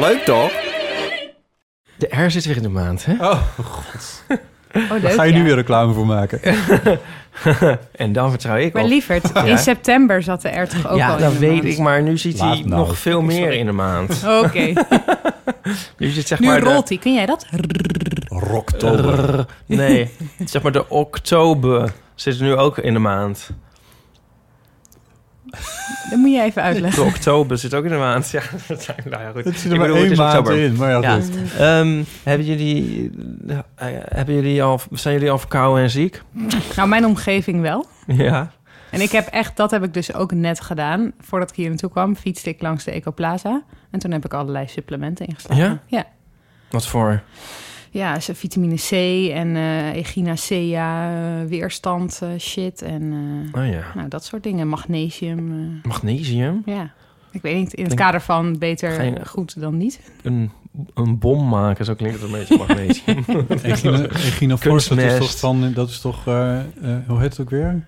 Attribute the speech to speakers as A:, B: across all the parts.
A: Leuk toch?
B: De R zit weer in de maand, hè?
C: Oh,
D: Oh, leuk,
C: daar ga je
D: ja.
C: nu weer reclame voor maken.
B: En dan vertrouw ik
D: Maar
B: op.
D: lieverd, in september zat de er toch ook
B: ja,
D: al
B: dat
D: in de
B: weet
D: maand?
B: ik, maar nu zit
C: Laat
B: hij
C: nou.
B: nog veel meer in de maand.
D: Oké,
B: Nu zit zeg
D: nu
B: maar de-
D: rolt hij. Kun jij dat?
C: Rocktober.
B: nee, zeg maar de oktober zit nu ook in de maand.
D: Dat moet je even uitleggen.
B: De oktober zit ook in de maand. Ja, dat zijn, nou ja, goed.
C: Het zit
B: Ik
C: er maar
B: bedoel, het
C: één
B: is
C: maand
B: oktober.
C: in. Maar ja,
B: Ja.
C: goed.
B: Ehm, hebben jullie, eh, hebben jullie al, zijn jullie al verkouden en ziek?
D: Nou, mijn omgeving wel.
B: Ja.
D: En ik heb echt, dat heb ik dus ook net gedaan. Voordat ik hier naartoe kwam, fietste ik langs de Ecoplaza. En toen heb ik allerlei supplementen ingeslagen.
B: Ja?
D: Ja,
B: Wat voor?
D: ja dus vitamine C en eh echinacea, eh, weerstand eh, shit en eh,
B: Oh ja.
D: nou, dat soort dingen. Magnesium, eh,
B: Magnesium.
D: ja. Ik weet niet, in
B: Klinkt-
D: het kader van beter
B: Ga je-
D: goed dan niet.
B: Een, een bom maken, zo klinkt het een beetje magnesium.
C: Echino- Echinophorus, dat is
B: Kunstmest.
C: toch van... Dat is toch... eh, eh, hoe heet het ook weer?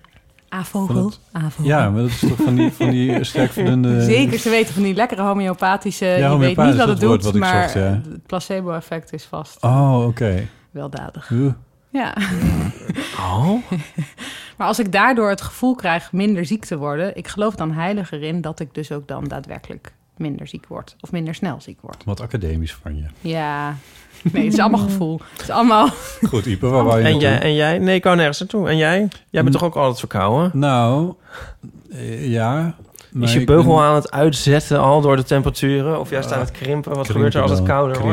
C: Van
D: Avogel,
C: het-
D: avogel.
C: Ja, maar dat is toch van die, van die sterk verdunde...
D: Zeker te weten van die lekkere homeopathische, je weet
C: Eh, homeopathisch,
D: niet
C: dat
D: wat het doet,
C: woord wat ik
D: maar
C: zocht, ja.
D: het placebo-effect is vast
C: Oh, oké.
D: weldadig.
C: Huh.
D: Ja.
B: Oh?
D: Maar als ik daardoor het gevoel krijg minder ziek te worden, ik geloof dan heiliger in dat ik dus ook dan daadwerkelijk minder ziek word. Of minder snel ziek word.
C: Wat academisch van je.
D: Ja. Nee, het is allemaal gevoel. Het is allemaal.
C: Goed, Ipe, waar wou je
B: En
C: naartoe?
B: jij, en jij? Nee, ik kan nergens naartoe. En jij? Jij bent toch ook altijd verkouden?
C: Nou, eh, ja. maar
B: is je
C: ik ben-
B: beugel aan het uitzetten al door de temperaturen? Of juist aan het krimpen? Wat
C: krimpen
B: gebeurt er als het
C: wel.
B: kouder
C: Krimp.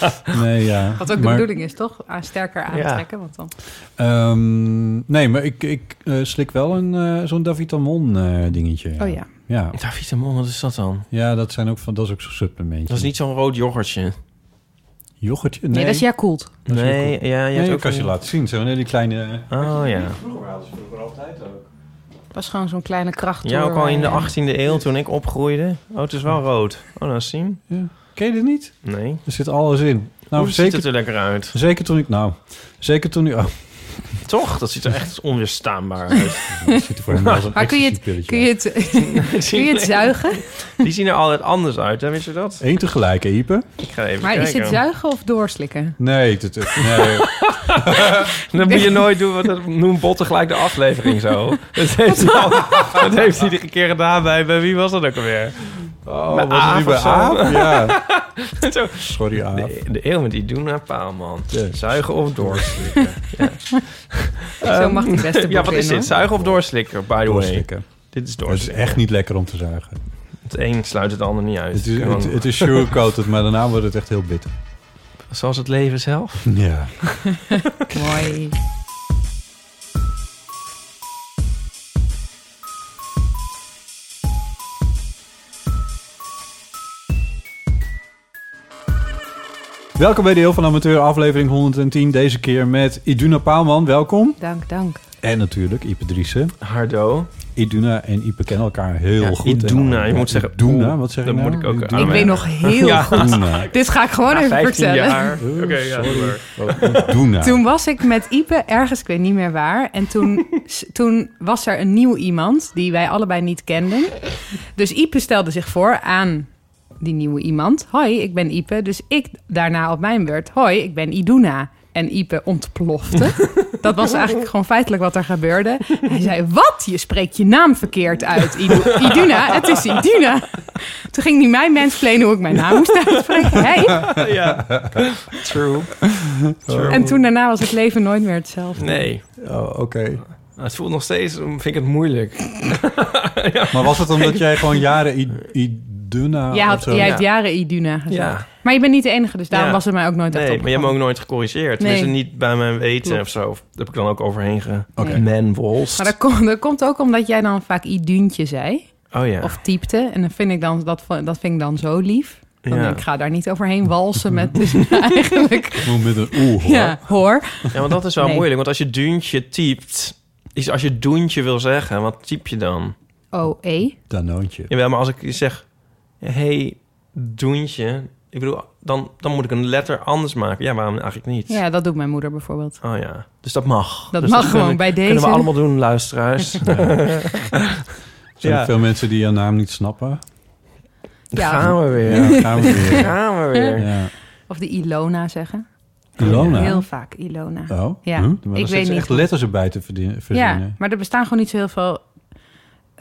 B: wordt?
C: Nee, ja.
D: Wat ook de
C: Maar,
D: bedoeling is, toch? Aan sterker aantrekken. Want dan.
C: ehm, nee, maar ik, ik eh, slik wel een eh, zo'n Davitamon eh, dingetje.
D: Oh ja.
C: ja.
B: Davitamon, wat is dat dan?
C: Ja, dat zijn ook van, dat is ook zo'n supplementje.
B: Dat is niet zo'n rood yoghurtje.
C: yoghurtje. Nee,
D: Nee, dat is ja koelt.
C: Dat is heel
B: Nee,
C: cool.
B: ja, je
C: Nee,
B: hebt
C: ook
B: ook
C: als
B: een-
C: je laat zien. Zo'n hele kleine. eh,
B: Oh ja.
C: Vroeger hadden ze vroeger altijd ook.
D: Was gewoon zo'n kleine eh, kracht.
B: Ja, ook al in de 18e eeuw toen ik opgroeide. Oh, het is wel rood. Oh, nou zien.
C: Ja. Ken je dit niet?
B: Nee.
C: Er zit alles in. Nou,
B: Hoe ziet
C: zeker,
B: het er lekker uit?
C: zeker toen ik. Nou, zeker toen ik. Oh,
B: Toch? Dat ziet er echt onweerstaanbaar uit.
C: dat ziet er voor hem als een
D: Maar kun je het,
C: ecstasy-pilletje
D: kun je het, kun je het zuigen?
B: Die zien er altijd anders uit, hè? weet je dat?
C: uit. Eén tegelijk, hè, Ipe?
B: Ik ga even
D: Maar
B: kijken.
D: is het zuigen
B: oh.
D: of doorslikken?
C: Nee, dat, nee.
B: Dat moet je nooit doen, want dat noemt Botte gelijk de aflevering zo. Dat heeft hij, al, dat heeft hij iedere keer gedaan bij, bij wie was dat ook alweer?
C: Oh,
B: Bij
C: was het nu
B: Aaf
C: bij
B: of zo?
C: Aaf? Ja.
B: Zo.
C: Sorry, Aaf.
B: De, de eeuw met die doen naar paal, man.
C: Ja.
B: Zuigen of doorslikken.
D: Zo mag die beste
B: Ehm, Ja, wat is dit?
D: Zuigen?
B: Zuigen of doorslikken, by the way?
C: Doorslikken.
B: Dit is
C: Het is
B: doorslikken.
C: echt niet lekker om te zuigen.
B: Het een sluit het ander niet uit.
C: Het is,
B: Gewoon
C: het, het is sugarcoated, maar daarna wordt het echt heel bitter.
B: Zoals het leven zelf.
C: Ja.
D: Mooi.
C: Welkom bij de Heel van Amateur, aflevering 110. Deze keer met Iduna Paalman, welkom.
D: Dank, dank.
C: En natuurlijk Ipe Driessen.
B: Hardo.
C: Iduna en Ipe kennen elkaar heel
B: Ja,
C: goed.
B: Iduna,
C: En-
B: je moet zeggen,
C: Iduna,
B: oeh,
C: wat zeg je
B: dat
C: nou?
B: moet ik ook
C: Iduna.
B: aan
D: Ik weet nog heel
B: Ja.
D: goed.
C: Iduna.
D: Dit ga ik gewoon even vertellen.
B: jaar.
C: Oeh,
B: Oké, ja.
C: sorry. Iduna.
D: Toen was ik met Ipe ergens, ik weet niet meer waar. En toen, s- toen was er een nieuw iemand die wij allebei niet kenden. Dus Ipe stelde zich voor aan die nieuwe iemand. Hoi, ik ben Ipe. Dus ik daarna op mijn beurt. Hoi, ik ben Iduna. En Ipe ontplofte. Dat was eigenlijk gewoon feitelijk wat er gebeurde. Hij zei, wat? Je spreekt je naam verkeerd uit, Idu- Iduna. Het is Iduna. Toen ging hij mij mensplenen hoe ik mijn naam moest uitspreken. Hey.
B: ja. True. True.
D: En toen daarna was het leven nooit meer hetzelfde.
B: Nee. Nou,
C: Oh, oké.
B: Het voelt nog steeds, vind ik het moeilijk.
C: Maar was het omdat jij gewoon jaren I- Iduna
D: Jij,
C: Ah, of
D: had,
C: zo-
D: jij
B: ja.
D: hebt jaren Iduna gezegd.
B: Ja.
D: Maar je bent niet de enige, dus daarom
B: Ja.
D: was het mij ook nooit echt
B: Nee, maar je hebt me
D: opgevallen.
B: ook nooit gecorrigeerd.
D: Nee.
B: Tenminste, niet bij mijn weten
D: Klopt.
B: of zo. Daar heb ik dan ook overheen ge...
D: Oké.
B: Man wolst.
D: Maar dat, komt- dat komt ook omdat jij dan vaak Iduntje zei.
B: Oh ja.
D: Of typte. En dan vind ik dan, dat, vo- dat vind ik dan zo lief. Dan
B: Ja.
D: denk ik, ga daar niet overheen walsen met dus eigenlijk.
C: Gewoon met een oeh hoor.
D: Ja, hoor.
B: Ja, want dat is wel
D: Nee.
B: moeilijk. Want als je duintje typt... Is als je doentje wil zeggen, wat typ je dan?
D: OE.
C: Danoontje.
B: Jawel, maar als ik zeg... hey, doentje... Ik bedoel, dan, dan moet ik een letter anders maken. Ja, waarom eigenlijk niet?
D: Ja, dat doet mijn moeder bijvoorbeeld.
B: Oh ja, dus dat mag.
D: Dat
B: Dus
D: mag gewoon
B: kunnen-
D: bij
B: Kunnen
D: deze.
B: we allemaal doen, luisteraars.
C: Er zijn
B: Ja.
C: ook veel mensen die jouw naam niet snappen.
D: Ja.
B: Gaan we weer.
C: Ja, gaan we weer.
B: Gaan we weer.
C: Ja.
D: Of de Ilona zeggen.
C: Ilona.
D: Heel vaak Ilona.
C: Oh,
D: Ja,
C: Huh?
D: ik
C: Maar daar
D: weet
C: zitten ze
D: niet.
C: echt letters erbij te verdienen-
D: Ja,
C: verzinnen.
D: maar er bestaan gewoon niet zo heel veel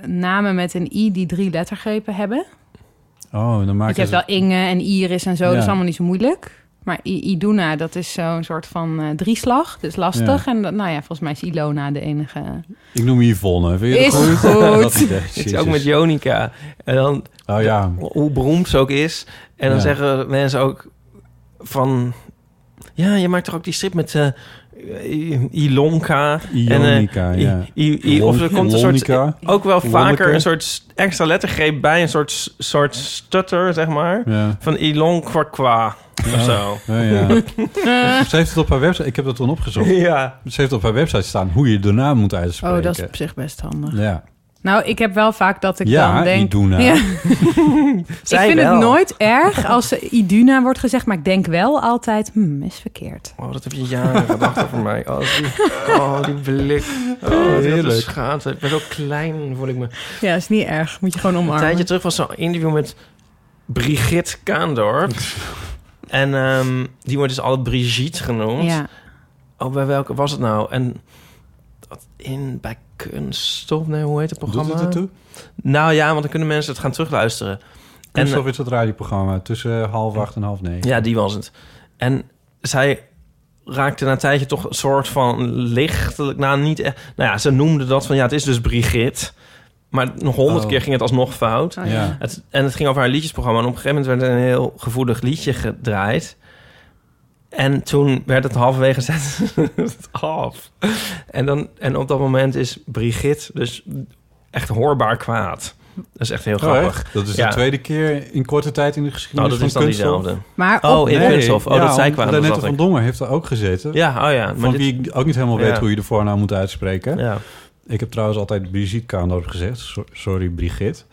D: namen met een i die drie lettergrepen hebben.
C: Oh, dan
D: Want
C: maak
D: je
C: je...
D: hebt wel Inge en Iris en zo, dat
C: Ja.
D: is allemaal niet zo moeilijk. Maar I- Iduna, dat is zo'n soort van eh, drieslag, dus lastig. En dat, nou ja, volgens mij is Ilona de enige.
C: Ik noem je Yvonne. Vind je dat
D: Is
C: goed? Dat
D: goed.
C: idee.
B: Het is
C: Jezus.
B: ook met Jonica. En dan,
C: Oh ja.
B: hoe beroemd ze ook is. En dan
C: Ja.
B: zeggen mensen ook van... Ja, je maakt toch ook die strip met eh I- Ilonka.
C: Ionica,
B: en, eh,
C: ja.
B: I- I- of er
C: Lon-
B: komt een soort...
C: Lonica.
B: Ook wel
C: Lonneke.
B: vaker een soort extra lettergreep bij. Een soort, soort stutter, zeg maar.
C: Ja.
B: Van Ilon kwa kwa. Of
C: Ah.
B: zo.
C: Ja, ja. Ze heeft het op haar website... Ik heb dat toen opgezocht.
B: Ja.
C: Ze heeft op haar website staan hoe je de naam moet uitspreken.
D: Oh, dat is op zich best handig.
C: Ja,
D: Nou, ik heb wel vaak dat ik
C: Ja,
D: dan denk...
C: Iduna.
B: Zij
D: ik vind
B: wel.
D: het nooit erg als eh, Iduna wordt gezegd, maar ik denk wel altijd, hmm, is verkeerd.
B: Oh, dat heb je jaren gedacht over mij. Oh, die, oh, die blik. Oh, die op de
C: Heerlijk.
B: schaamte. Ik ben zo klein, voel ik me.
D: Ja, is niet erg. Moet je gewoon
B: Een
D: omarmen.
B: tijdje terug was zo'n interview met Brigitte Kaandorp. en ehm, die wordt dus altijd Brigitte genoemd.
D: Ja.
B: Oh, bij welke was het nou? En dat in bij kunststof, nee, hoe heet het
C: doet
B: programma?
C: het ertoe?
B: Nou ja, want dan kunnen mensen het gaan terugluisteren. En,
C: Kunststof is het radioprogramma tussen eh, half acht en half negen.
B: eh, Ja, die was het. En zij raakte na een tijdje toch een soort van lichtelijk... Nou, niet echt... Nou ja, ze noemde dat van... Ja, het is dus Brigitte. Maar nog honderd
C: Oh.
B: keer ging het alsnog fout.
D: Oh,
C: Ja.
B: Het, en het ging over haar liedjesprogramma. En op een gegeven moment werd er een heel gevoelig liedje gedraaid. En toen werd het halverwege gezet het af. En, dan, en op dat moment is Brigitte dus echt hoorbaar kwaad. Dat is echt heel
C: Oh,
B: grappig.
C: echt? dat is
B: Ja.
C: de tweede keer in korte tijd in de
B: nou,
C: geschiedenis
B: dat is
C: van
B: dan
C: Kunststof.
B: diezelfde.
D: Maar op-
B: Oh, in Kunststof. Oh,
C: ja,
B: dat zij
C: omdat
B: kwaad. dat
C: Lenette
B: zat
C: van
B: ik.
C: Dongen heeft er ook gezeten.
B: Ja, oh ja. Maar
C: Van
B: dit-
C: wie ik ook niet helemaal weet
B: Ja.
C: hoe je de voornaam moet uitspreken.
B: ja.
C: Ik heb trouwens altijd Brigitte Kaandorp gezegd. So- Sorry, Brigitte.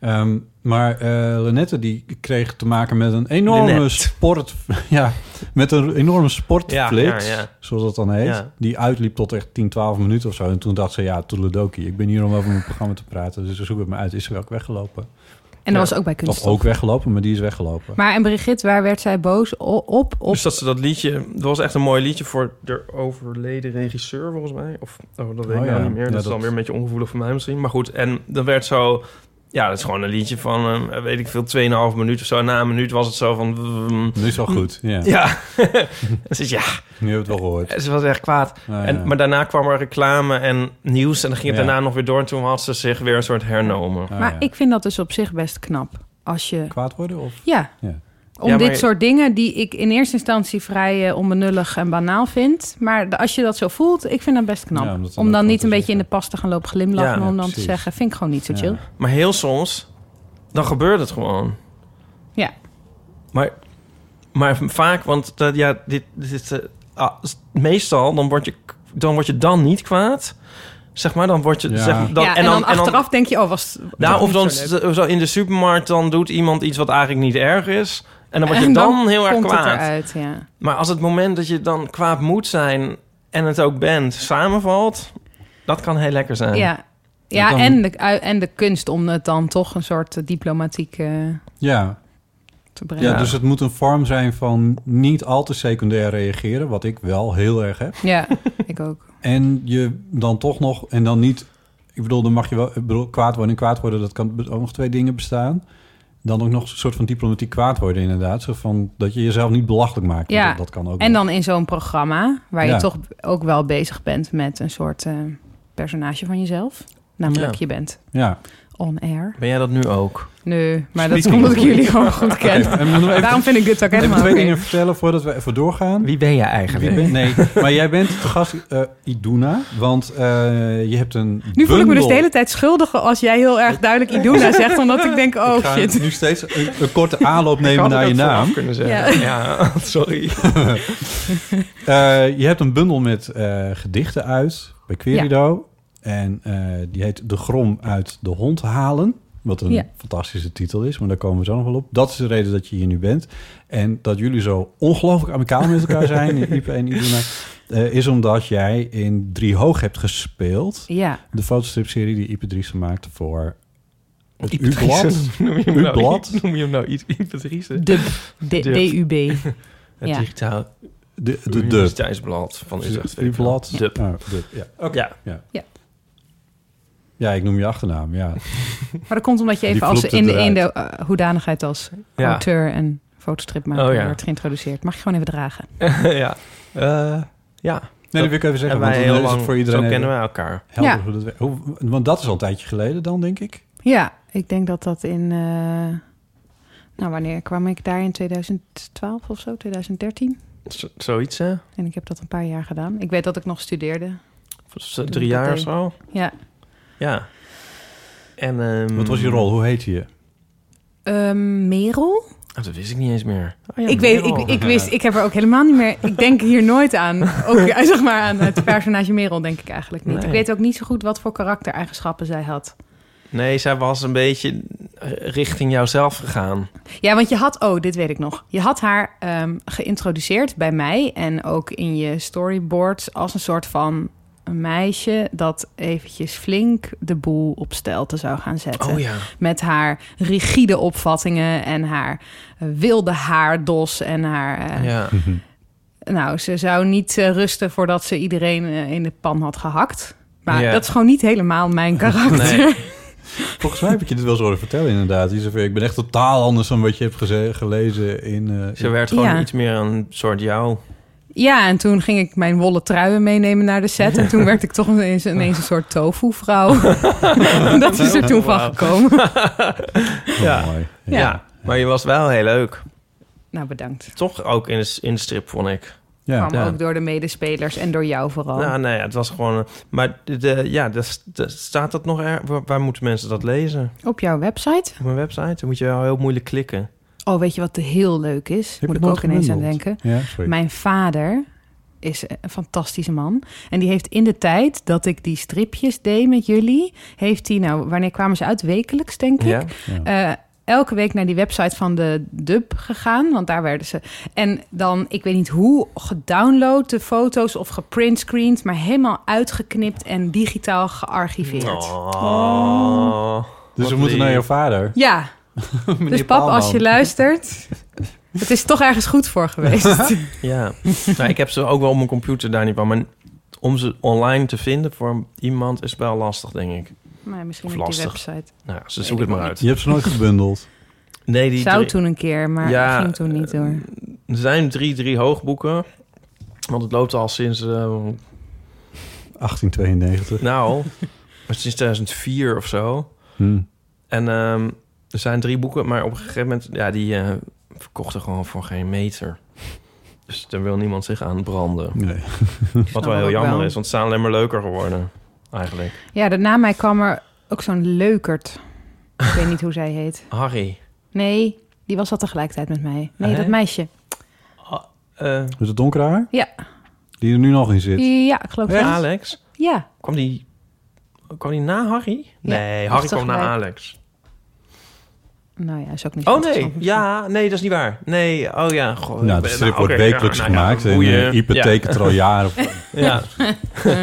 C: Ehm, maar eh Lenette die kreeg te maken met een enorme
B: Lenette.
C: sport... Ja, met een enorme sportflits,
B: Ja, ja, ja.
C: zoals dat dan heet.
B: Ja.
C: Die uitliep tot echt 10, 12 minuten of zo. En toen dacht ze, ja, toedeledokie. Ik ben hier om over mijn programma te praten. Dus zoek het me uit. Is ze ook weggelopen?
D: en dat
B: Ja.
D: was ook bij
C: Of
D: kunst.
C: ook weggelopen, maar die is weggelopen.
D: Maar en Brigitte, waar werd zij boos o- op? op?
B: Dus dat ze dat liedje... Dat was echt een mooi liedje voor de overleden regisseur, volgens mij. Of oh, dat weet
C: Oh
B: ik nou
C: ja.
B: niet meer.
C: Ja,
B: dat, is
C: dat-
B: dan weer een beetje ongevoelig voor mij misschien. Maar goed, en dan werd zo... Ja, dat is gewoon een liedje van, eh, weet ik veel, 2,5 minuut of zo. Na een minuut was het zo van... mm,
C: Nu is het wel goed. Ja.
B: Ja, En ze is, ja,
C: Nu hebben we het wel gehoord.
B: ze was echt kwaad.
C: Nou, ja.
B: En, maar daarna kwam er reclame en nieuws en dan ging het
C: Ja.
B: daarna nog weer door. En toen had ze zich weer een soort hernomen.
C: Nou,
D: maar
C: ja.
D: ik vind dat dus op zich best knap. Als je...
C: Kwaad worden? Of?
D: Ja.
C: Ja.
D: Om
B: Ja, maar-
D: dit soort dingen die ik in eerste instantie vrij eh, onbenullig en banaal vind. Maar de- als je dat zo voelt, ik vind dat best knap.
C: Ja, om dat dan
D: om dan
C: ook
D: niet
C: te
D: een beetje in de
C: zeggen.
D: pas te gaan lopen glimlachen.
B: Ja,
D: maar om
B: ja,
D: dan te
C: precies.
D: zeggen, vind ik gewoon niet zo
C: Ja.
D: chill.
B: Maar heel soms, dan gebeurt het gewoon.
D: Ja.
B: Maar, maar vaak, want dat, ja, dit, dit, is, eh, ah, s- meestal dan word, je, k- dan word je dan niet kwaad. Zeg maar, dan word je...
C: Ja.
B: Zeg, dan,
D: ja, en, dan, achteraf denk je, oh, was was
B: nou,
D: niet
B: of dan
D: zo leuk.
B: s- zo in de supermarkt, dan doet iemand iets wat eigenlijk niet erg is. En dan word je
D: En
B: dan, heel erg
D: komt het
B: kwaad.
D: eruit, ja.
B: Maar als het moment dat je dan kwaad moet zijn en het ook bent, samenvalt... Dat kan heel lekker zijn.
D: Ja, ja
C: dan-
D: en, de, eh, en de kunst om het dan toch een soort eh, diplomatiek eh,
C: Ja,
D: te brengen.
C: Ja,
D: Ja,
C: dus het moet een vorm zijn van niet al te secundair reageren, wat ik wel heel erg heb.
D: ik ook.
C: En je dan toch nog, en dan niet, ik bedoel, dan mag je wel, ik bedoel, kwaad worden en kwaad worden, dat kan ook nog twee dingen bestaan. Dan ook nog een soort van diplomatiek kwaad worden, inderdaad. Zo van dat je jezelf niet belachelijk maakt. want
D: Ja,
C: Dat, dat kan ook.
D: En
C: nog.
D: dan in zo'n programma waar je
C: Ja.
D: toch ook wel bezig bent met een soort eh, personage van jezelf. Namelijk
B: Ja.
D: je bent.
C: Ja,
D: on air.
B: Ben jij dat nu ook?
D: Nee, maar dat is
B: Splitsing.
D: omdat ik jullie gewoon goed ken.
C: En we moeten nog even,
D: Daarom vind ik dit ook
C: even
D: helemaal
C: twee
D: oké.
C: dingen vertellen voordat we even doorgaan.
B: Wie ben jij
C: Wie
B: eigenlijk?
C: ben- nee, maar jij bent de gast eh, Iduna, want eh, je hebt een
D: Nu voel ik me dus de
C: bundel.
D: hele tijd schuldig als jij heel erg duidelijk Iduna zegt. Omdat ik denk,
C: Ik
D: oh
C: ga
D: shit.
C: nu steeds een, een korte aanloop
B: Ik
C: nemen
B: had
C: naar je
B: het vooraf
C: naam.
B: kunnen zeggen. Ja, sorry.
C: Eh, je hebt een bundel met eh, gedichten uit bij Querido. En eh, die heet De Grom uit de Hond halen. Wat een
D: Ja.
C: fantastische titel is, maar daar komen we zo nog wel op. Dat is de reden dat je hier nu bent. En dat jullie zo ongelooflijk amicaal met elkaar zijn, Ipe en Iduna, eh, is omdat jij in Drie Hoog hebt gespeeld.
D: Ja,
C: De fotostripserie die Ipe Driessen maakte voor het
B: Iep
C: U-blad.
B: Driessen. Noem je hem
C: Uw
B: nou
C: blad?
B: Iep- Noem je hem nou iets Ipatrice?
D: dub. D-
B: Dub.
D: D-U-B.
B: Het
D: Ja.
B: digitaal
C: De, de, de,
B: universiteitsblad van Utrecht.
C: U-blad.
B: Dub.
C: Ah, de- ja.
B: Ja.
C: ja, ik noem je achternaam, ja.
D: Maar dat komt omdat je
C: Die
D: even als
C: vloept
D: in de,
C: het
D: in de
C: eruit.
D: eh, hoedanigheid als
B: Ja.
D: auteur en fotostripmaker
B: Oh ja.
D: wordt geïntroduceerd. Mag je gewoon even dragen.
B: ja. Eh, ja.
C: Nee, dat wil ik even zeggen,
B: En
C: want
B: wij
C: dan
B: heel
C: is het
B: lang,
C: voor iedereen
B: zo kennen
C: even-
B: wij elkaar.
C: Helder
D: Ja.
C: hoe dat werkt. Hoe- want dat is al een tijdje geleden dan, denk ik.
D: Ja, ik denk dat dat in... eh, nou, wanneer kwam ik daar? In 2012 of zo? 2013?
B: Z- zoiets, hè?
D: En ik heb dat een paar jaar gedaan. Ik weet dat ik nog studeerde.
B: Z- Drie jaar of zo.
D: Ja.
B: Ja. En, ehm,
C: Wat was je rol? Hoe heette je?
D: Ehm, Merel?
B: Oh, dat wist ik niet eens meer. Oh, ja,
D: ik weet,
B: Merel.
D: ik, ik wist, ik heb er ook helemaal niet meer... Ik denk hier nooit aan. Ook eh, zeg maar aan het personage Merel denk ik eigenlijk niet.
B: Nee.
D: Ik weet ook niet zo goed wat voor karaktereigenschappen zij had.
B: Nee, zij was een beetje richting jouzelf gegaan.
D: Ja, want je had, oh, dit weet ik nog. Je had haar ehm, geïntroduceerd bij mij en ook in je storyboards als een soort van een meisje dat eventjes flink de boel op stelte zou gaan zetten.
B: Oh ja.
D: Met haar rigide opvattingen en haar eh, wilde haardos en haar. eh,
B: ja.
D: Nou, ze zou niet eh, rusten voordat ze iedereen eh, in de pan had gehakt. Maar
B: Ja.
D: dat is gewoon niet helemaal mijn karakter.
B: Nee.
C: Volgens mij heb ik je dit wel eens horen vertellen, inderdaad. Iets van, Ik ben echt totaal anders dan wat je hebt geze- gelezen in... eh,
B: Ze werd gewoon
D: Ja.
B: iets meer een soort jou.
D: Ja, en toen ging ik mijn wollen truien meenemen naar de set. En toen werd ik toch ineens, ineens een soort tofu-vrouw. dat is er toen van
B: Wauw.
D: gekomen.
C: oh,
B: ja.
C: mooi.
B: Ja. Maar je was wel heel leuk.
D: Nou, bedankt.
B: Toch ook in de, s- in de strip, vond ik.
C: Ja.
D: Kwam
B: ja.
D: ook door de medespelers en door jou vooral.
B: Nou, nee, het was gewoon... eh, Maar de, de- ja, de, de- staat dat nog er? Waar, waar moeten mensen dat lezen?
D: Op jouw website.
B: Op mijn website? Dan moet je wel heel moeilijk klikken.
D: Oh, weet je wat heel leuk is?
C: Heb
D: Moet
C: je
D: ik
C: het
D: ook ineens aan
C: gebundeld?
D: denken.
C: Ja, sorry.
D: Mijn vader is een fantastische man. En die heeft in de tijd dat ik die stripjes deed met jullie... heeft hij, nou, wanneer kwamen ze uit? Wekelijks, denk ik.
B: Ja?
C: Ja.
D: eh, elke week naar die website van de dub gegaan, want daar werden ze. En dan, ik weet niet hoe, gedownload de foto's of geprintscreend, maar helemaal uitgeknipt en digitaal gearchiveerd.
B: Nou. Oh.
C: dus
B: Wat
C: we moeten
B: lief.
C: naar jouw vader.
D: Ja,
C: Meneer
D: dus pap, als
C: Paalman.
D: je luistert, het is toch ergens goed voor geweest.
B: Ja. nou, ik heb ze ook wel op mijn computer daar niet van. Maar om ze online te vinden voor iemand is wel lastig, denk ik.
D: maar misschien
B: Of
D: op die
B: lastig.
D: website.
B: Nou, ze
D: Weet
B: zoeken
D: ik
B: het maar
D: ook
B: uit.
C: Je hebt ze nooit gebundeld.
B: Nee, die
D: Zou
B: drie-
D: toen een keer, maar
B: Ja, eh,
D: ging toen niet door.
B: Er zijn drie, drie hoogboeken. Want het loopt al sinds, eh,
C: 1892.
B: nou, maar sinds 2004 of zo.
C: Hm.
B: En ehm, er zijn drie boeken, maar op een gegeven moment, ja, die eh, verkochten gewoon voor geen meter. Dus daar wil niemand zich aan branden.
C: Nee.
B: Wat
D: snap
B: wel
D: dat
B: heel
D: ook
B: jammer
D: wel.
B: is, want ze zijn alleen maar leuker geworden, eigenlijk.
D: Ja, daarna mij kwam er ook zo'n leukert. Ik weet niet hoe zij heet.
B: Harry.
D: Nee, die was al tegelijkertijd met mij. Nee,
B: Ah, Hè?
D: dat meisje.
B: eh,
C: Is het donker haar?
D: Ja.
C: Die er nu nog in zit.
D: Ja, ik geloof het. wel.
B: Alex.
D: Ja,
B: Kwam die, kwam die na Harry?
D: Ja,
B: Nee,
D: dat
B: Harry
D: is
B: kwam na
D: tegelijk.
B: Alex.
D: nou ja, is ook niet zo
B: Oh nee,
D: interessant.
B: ja, nee, dat is niet waar. Nee, oh ja. Goh,
C: Nou, de
B: ben-
C: strip
B: nou,
C: wordt
B: oké,
C: wekelijks
B: ja, nou ja,
C: gemaakt. en
B: boeien.
C: eh, Ipe
B: Ja,
C: tekent er al jaren. op.
B: Ja,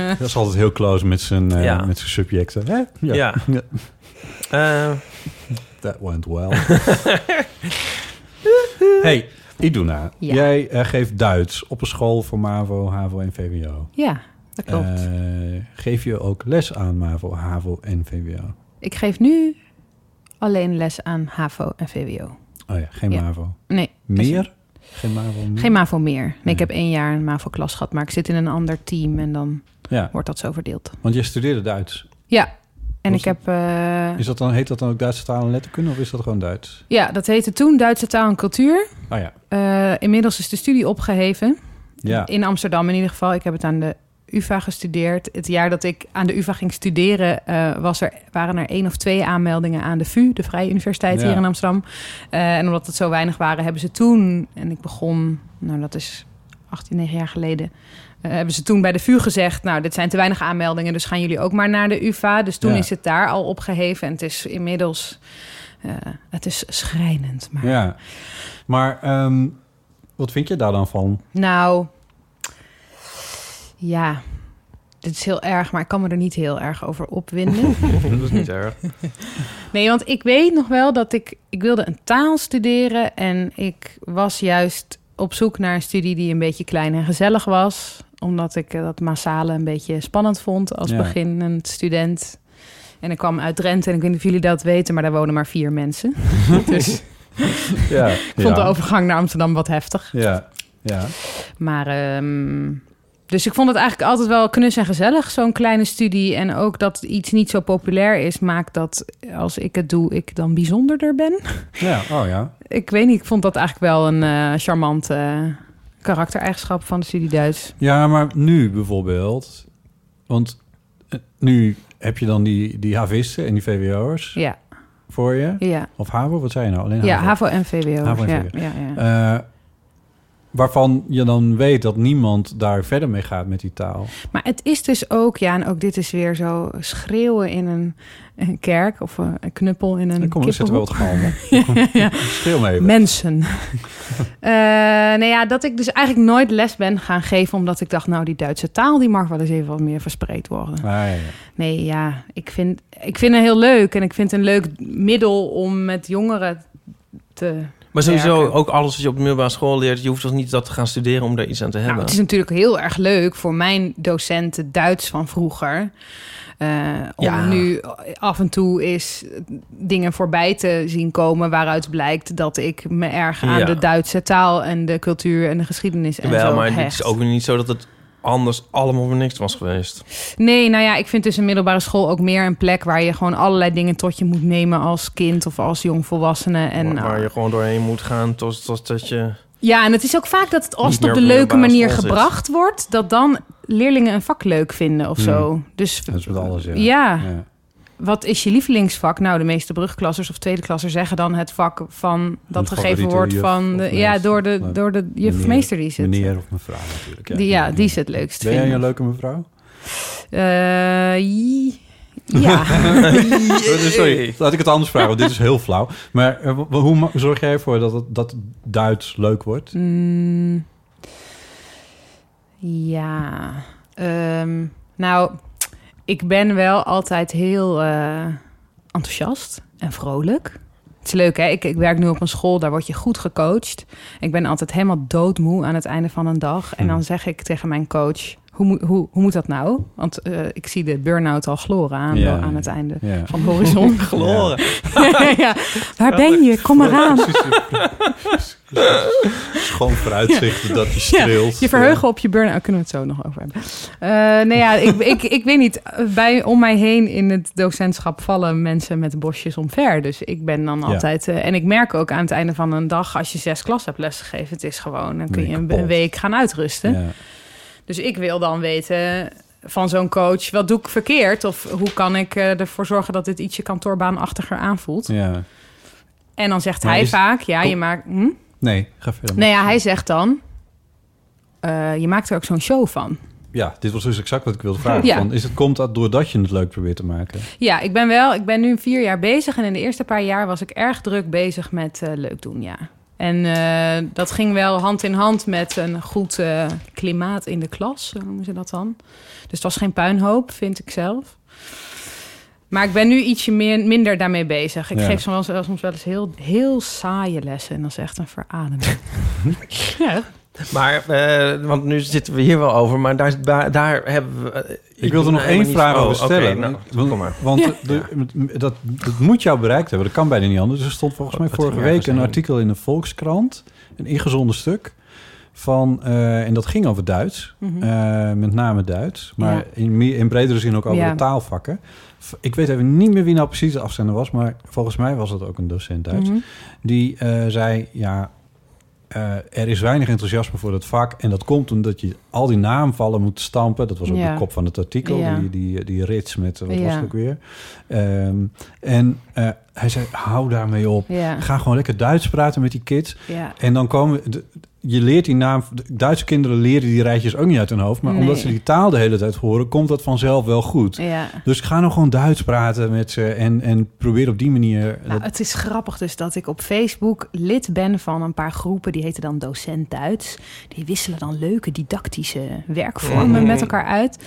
C: Dat is altijd heel close met zijn, eh,
B: Ja.
C: met zijn subjecten. Hè?
B: ja. Eh,
C: That went well. hey, Iduna.
D: Ja.
C: Jij eh, geeft Duits op een school voor MAVO, HAVO en VWO.
D: Ja, dat klopt.
C: Eh, geef je ook les aan MAVO, HAVO en VWO?
D: ik geef nu alleen les aan HAVO en VWO.
C: Oh ja, geen
D: Ja.
C: MAVO.
D: Nee,
C: Meer? Geen MAVO meer?
D: geen MAVO meer. Nee, ik
C: Nee.
D: heb één jaar een MAVO-klas gehad, maar ik zit in een ander team en dan
C: Ja,
D: wordt dat zo verdeeld.
C: want jij studeerde Duits.
D: Ja, En
C: Wat
D: ik heb... eh,
C: Is dat dan, heet dat dan ook Duitse taal en letterkunde of is dat gewoon Duits?
D: ja, dat heette toen Duitse taal en cultuur.
C: Ah ja,
D: Eh, inmiddels is de studie opgeheven.
C: ja.
D: In Amsterdam in ieder geval. Ik heb het aan de UvA gestudeerd. Het jaar dat ik aan de UvA ging studeren... eh, was er, waren er één of twee aanmeldingen aan de VU... de Vrije Universiteit
C: Ja.
D: hier in Amsterdam. Eh, en omdat het zo weinig waren, hebben ze toen... en ik begon, nou dat is 18, 9 jaar geleden... eh, hebben ze toen bij de VU gezegd... nou, dit zijn te weinig aanmeldingen... dus gaan jullie ook maar naar de UvA. Dus toen
C: Ja.
D: is het daar al opgeheven. En het is inmiddels... eh, het is schrijnend, maar...
C: ja. Maar ehm, wat vind je daar dan van?
D: Nou, ja, dit is heel erg, maar ik kan me er niet heel erg over opwinden.
B: dat is niet erg.
D: nee, want ik weet nog wel dat ik, ik wilde een taal studeren en ik was juist op zoek naar een studie die een beetje klein en gezellig was, omdat ik eh, dat massale een beetje spannend vond als
C: Ja.
D: beginnend student. En ik kwam uit Drenthe en ik weet niet of jullie dat weten, maar daar wonen maar vier mensen. dus
C: Ja,
D: ik vond
C: ja.
D: de overgang naar Amsterdam wat heftig.
C: Ja, ja.
D: Maar, ehm, dus ik vond het eigenlijk altijd wel knus en gezellig, zo'n kleine studie. En ook dat iets niet zo populair is, maakt dat als ik het doe, ik dan bijzonderder ben.
C: ja. Oh ja.
D: Ik weet niet, ik vond dat eigenlijk wel een eh, charmante eh, karaktereigenschap van de studie Duits.
C: Ja, maar nu bijvoorbeeld, want eh, nu heb je dan die, die HV'sten en die VWO'ers
D: Ja,
C: voor je.
D: ja.
C: Of HAVO, wat zei je nou? Alleen
D: ja HAVO en VWO.
C: HAVO en
D: ja,
C: VWO.
D: ja, ja.
C: Eh, waarvan je dan weet dat niemand daar verder mee gaat met die taal.
D: Maar het is dus ook, ja, en ook dit is weer zo schreeuwen in een, een kerk of eh, een knuppel in een
C: Dan kom er zitten wel
D: kippenhoek.
C: wat galm op.
D: ja.
C: Schreeuw mee.
D: Mensen. Eh nou ja, dat ik dus eigenlijk nooit les ben gaan geven... omdat ik dacht, nou, die Duitse taal... die mag wel eens even wat meer verspreid worden.
C: Ah, ja, ja.
D: Nee, ja, ik vind, ik vind het heel leuk. En ik vind het een leuk middel om met jongeren te...
B: Maar sowieso
D: Werken.
B: ook alles wat je op de middelbare school leert... je hoeft toch niet dat te gaan studeren om daar iets aan te
D: Nou,
B: hebben?
D: het is natuurlijk heel erg leuk voor mijn docenten Duits van vroeger... eh, om
B: Ja.
D: nu af en toe eens dingen voorbij te zien komen... waaruit blijkt dat ik me erg aan
B: Ja.
D: de Duitse taal... en de cultuur en de geschiedenis en
B: Wel,
D: zo
B: maar het
D: hecht.
B: is ook weer niet zo dat het anders allemaal voor niks was geweest.
D: Nee, nou ja, ik vind dus een middelbare school ook meer een plek waar je gewoon allerlei dingen tot je moet nemen als kind of als jongvolwassene. En, nou. eh,
B: En, waar, waar je gewoon doorheen moet gaan tot, tot dat je...
D: Ja, en het is ook vaak dat het
B: Niet
D: als het op
B: meer
D: de
B: op
D: leuke
B: middelbare
D: manier
B: school zit.
D: gebracht wordt, dat dan leerlingen een vak leuk vinden of zo. Dus
C: Dat is met alles, ja.
D: ja,
C: Ja.
D: wat is je lievelingsvak? Nou, de meeste brugklassers of tweedeklassers zeggen dan het vak van dat gegeven
C: favoriete
D: wordt
C: juf
D: van
C: of
D: de, ja,
C: meester.
D: door de,
C: Maar
D: door de juf of
C: meneer-
D: meester die zit. eh,
C: Meneer of mevrouw natuurlijk.
D: Die, ja, die ze het leukst
C: Ben jij een
D: vinden.
C: leuke mevrouw?
D: Eh, i- ja.
C: Oh, Sorry, laat ik het anders vragen, want dit is heel flauw. Maar eh, w- hoe ma- zorg jij ervoor dat, het, dat Duits leuk wordt?
D: Mm, ja. Ehm, nou, ik ben wel altijd heel eh, enthousiast en vrolijk. Het is leuk, hè? Ik, ik werk nu op een school, daar word je goed gecoacht. Ik ben altijd helemaal doodmoe aan het einde van een dag.
C: Hmm.
D: En dan zeg ik tegen mijn coach, hoe, moet- hoe, hoe moet dat nou? Want eh, ik zie de burn-out al gloren aan,
C: Ja,
D: aan
C: ja.
D: het einde
C: Ja.
D: van de horizon.
C: Gloren.
D: ja. Waar ben je? Kom eraan.
C: Schoon vooruitzichten dat je
D: Ja,
C: streelt.
D: Je verheugen op je burn-out, kunnen we het zo nog over hebben. Eh nou ja, ik, ik, ik weet niet. Bij, om mij heen in het docentschap vallen mensen met bosjes omver. Dus ik ben dan altijd... eh, en ik merk ook aan het einde van een dag... als je zes klas hebt lesgegeven, het is gewoon... dan kun
C: Ben
D: je
C: je
D: een,
C: kapot.
D: een week gaan uitrusten.
C: Ja.
D: Dus ik wil dan weten van zo'n coach... wat doe ik verkeerd? Of hoe kan ik eh, ervoor zorgen dat dit ietsje kantoorbaanachtiger aanvoelt?
C: ja.
D: En dan zegt
C: Maar
D: hij
C: is-
D: vaak... Ja, je maakt... Hm?
C: Nee, ga verder.
D: Nou ja, hij zegt dan... eh, je maakt er ook zo'n show van.
C: Ja, dit was dus exact wat ik wilde vragen.
D: Ja.
C: Van, is het, komt dat doordat je het leuk probeert te maken?
D: Ja, ik ben wel. Ik ben nu vier jaar bezig. En in de eerste paar jaar was ik erg druk bezig met eh, leuk doen, ja. En eh, dat ging wel hand in hand met een goed eh, klimaat in de klas, zo noemen ze dat dan. Dus het was geen puinhoop, vind ik zelf. Maar ik ben nu ietsje meer, minder daarmee bezig. Ik
C: Ja.
D: geef soms, wel- soms wel eens heel, heel saaie lessen. En dat is echt een verademing. ja.
B: Maar, eh, want nu zitten we hier wel over, maar daar, daar, daar hebben we... eh,
C: Ik wilde nog
B: helemaal
C: één
B: niet-
C: vraag
B: oh,
C: over
B: oké,
C: stellen.
B: nou,
C: want
B: kom maar.
C: want de- de- dat, dat moet jou bereikt hebben. Dat kan bijna niet anders. Er stond volgens mij
B: Wat
C: vorige
B: ging er
C: week een
B: zijn?
C: artikel in de Volkskrant. Een ingezonden stuk. Van, eh, en dat ging over Duits,
B: Hm.
D: Mhm.
C: eh, met name Duits, maar
D: Ja.
C: in, meer, in bredere zin ook over
D: Ja.
C: de taalvakken. V- Ik weet even niet meer wie nou precies de afzender was, maar volgens mij was dat ook een docent Duits.
D: Mhm.
C: Die eh, zei, ja, eh, er is weinig enthousiasme voor dat vak. En dat komt omdat je al die naamvallen moet stampen. Dat was ook
D: Ja.
C: de kop van het artikel,
D: Ja.
C: die, die, die rits met, wat was
D: Ja.
C: het ook weer? Ehm, en eh, hij zei, hou daarmee op.
D: Ja,
C: Ga gewoon lekker Duits praten met die kids.
D: ja.
C: En dan komen... de- je leert die naam... de Duitse kinderen leren die rijtjes ook niet uit hun hoofd. Maar
D: Nee.
C: omdat ze die taal de hele tijd horen... komt dat vanzelf wel goed.
D: ja.
C: Dus ga nou gewoon Duits praten met ze. En, en probeer op die manier...
D: Nou, het is grappig dus dat ik op Facebook lid ben van een paar groepen. Die heten dan docent Duits. Die wisselen dan leuke didactische werkvormen
B: Mhm.
D: met elkaar uit.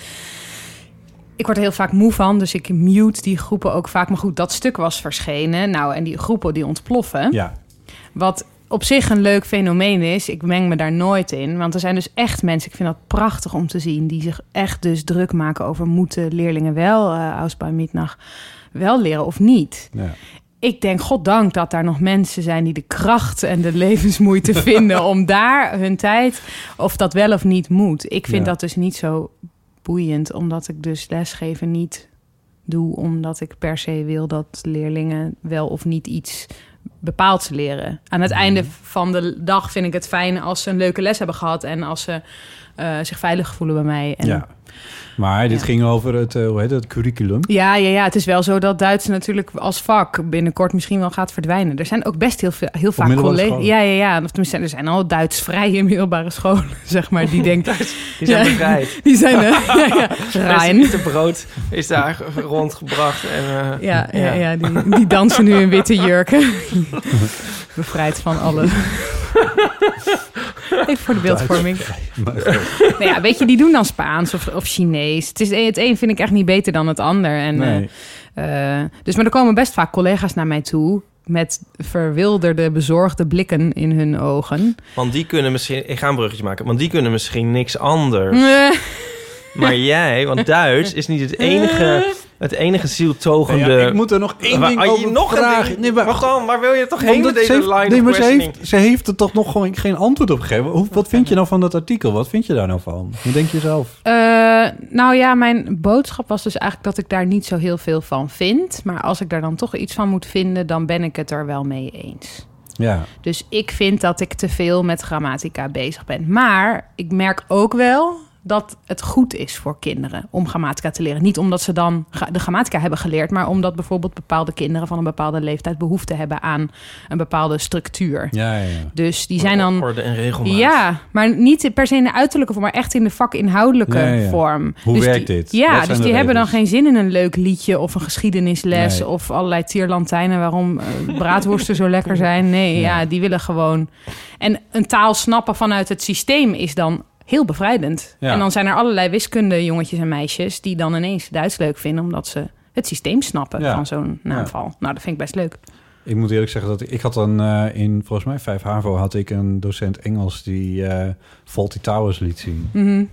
D: Ik word er heel vaak moe van, dus ik mute die groepen ook vaak. Maar goed, dat stuk was verschenen. Nou, en die groepen die ontploffen.
C: ja,
D: Wat op zich een leuk fenomeen is. Ik meng me daar nooit in. Want er zijn dus echt mensen, ik vind dat prachtig om te zien... die zich echt dus druk maken over... moeten leerlingen wel, uh, Ausbouw Mietnacht, wel leren of niet?
C: ja.
D: ik denk, goddank dat daar nog mensen zijn die de kracht en de levensmoeite vinden om daar hun tijd, of dat wel of niet moet. Ik vind
C: Ja.
D: dat dus niet zo boeiend, omdat ik dus lesgeven niet doe, omdat ik per se wil dat leerlingen wel of niet iets bepaalds leren. Aan
C: Mhm.
D: het einde van de dag vind ik het fijn als ze een leuke les hebben gehad en als ze eh, zich veilig voelen bij mij. En
C: Ja. Maar dit
D: Ja.
C: ging over het, eh, hoe heet het, curriculum.
D: Ja, ja, ja, het is wel zo dat Duits natuurlijk als vak binnenkort misschien wel gaat verdwijnen. Er zijn ook best heel, veel, heel vaak
C: middelbare
D: collega's.
C: scholen.
D: Ja, ja, ja. Of tenminste, er zijn al Duitsvrije middelbare scholen, zeg maar, die denken.
B: Die zijn
D: Ja.
B: bevrijd.
D: Die zijn. eh, ja, ja, Rijn.
B: Het brood is daar rondgebracht. En, eh,
D: Ja, ja, ja die, die dansen nu in witte jurken. Bevrijd van alle. Even voor de beeldvorming. Nou ja, weet je, die doen dan Spaans of, of Chinees. Het, is, het een vind ik echt niet beter dan het ander. En, eh,
C: Nee.
D: Eh, dus maar er komen best vaak collega's naar mij toe met verwilderde, bezorgde blikken in hun ogen.
B: Want die kunnen misschien... Ik ga een bruggetje maken. Want die kunnen misschien niks anders.
D: Eh,
B: Maar jij, want Duits is niet het enige, het enige zieltogende...
C: Ja, ik moet er nog één
B: Waar-
C: ding
B: ah, je-
C: over
B: nog een
C: vragen.
B: ding?
C: Nee, maar,
B: Wacht dan, waar wil je toch heen met
C: omdat
B: deze
C: ze heeft,
B: line
C: nee,
B: of
C: maar ze
B: questioning?
C: heeft, ze heeft er toch nog gewoon geen antwoord op gegeven. Hoe, wat vind je nou van dat artikel? Wat vind je daar nou van? Hoe denk je zelf?
D: eh, nou ja, mijn boodschap was dus eigenlijk dat ik daar niet zo heel veel van vind. Maar als ik daar dan toch iets van moet vinden, dan ben ik het er wel mee eens.
C: Ja,
D: Dus ik vind dat ik te veel met grammatica bezig ben. Maar ik merk ook wel dat het goed is voor kinderen om grammatica te leren. Niet omdat ze dan gra- de grammatica hebben geleerd, maar omdat bijvoorbeeld bepaalde kinderen van een bepaalde leeftijd behoefte hebben aan een bepaalde structuur.
C: ja, ja. ja.
D: Dus die zijn dan.
B: Orde en regelmaat.
D: Ja, maar niet per se in de uiterlijke vorm, maar echt in de vakinhoudelijke
C: Ja, ja.
D: vorm.
C: Hoe
D: dus
C: werkt
D: die-
C: dit? Wat
D: Ja,
C: zijn
D: dus
C: de
D: die hebben dan
C: regels?
D: geen zin in een leuk liedje of een geschiedenisles
C: Nee.
D: of allerlei tierlantijnen waarom eh, braadworsten zo lekker zijn. Nee, ja.
C: Ja.
D: die willen gewoon. En een taal snappen vanuit het systeem is dan heel bevrijdend.
C: Ja.
D: En dan zijn er allerlei wiskunde jongetjes en meisjes die dan ineens Duits leuk vinden omdat ze het systeem snappen
C: Ja.
D: van zo'n naamval. Nou, dat vind ik best leuk.
C: Ik moet eerlijk zeggen dat ik, ik had dan eh, in, volgens mij, 5 HAVO had ik een docent Engels die eh Faulty Towers liet zien.
D: Mhm.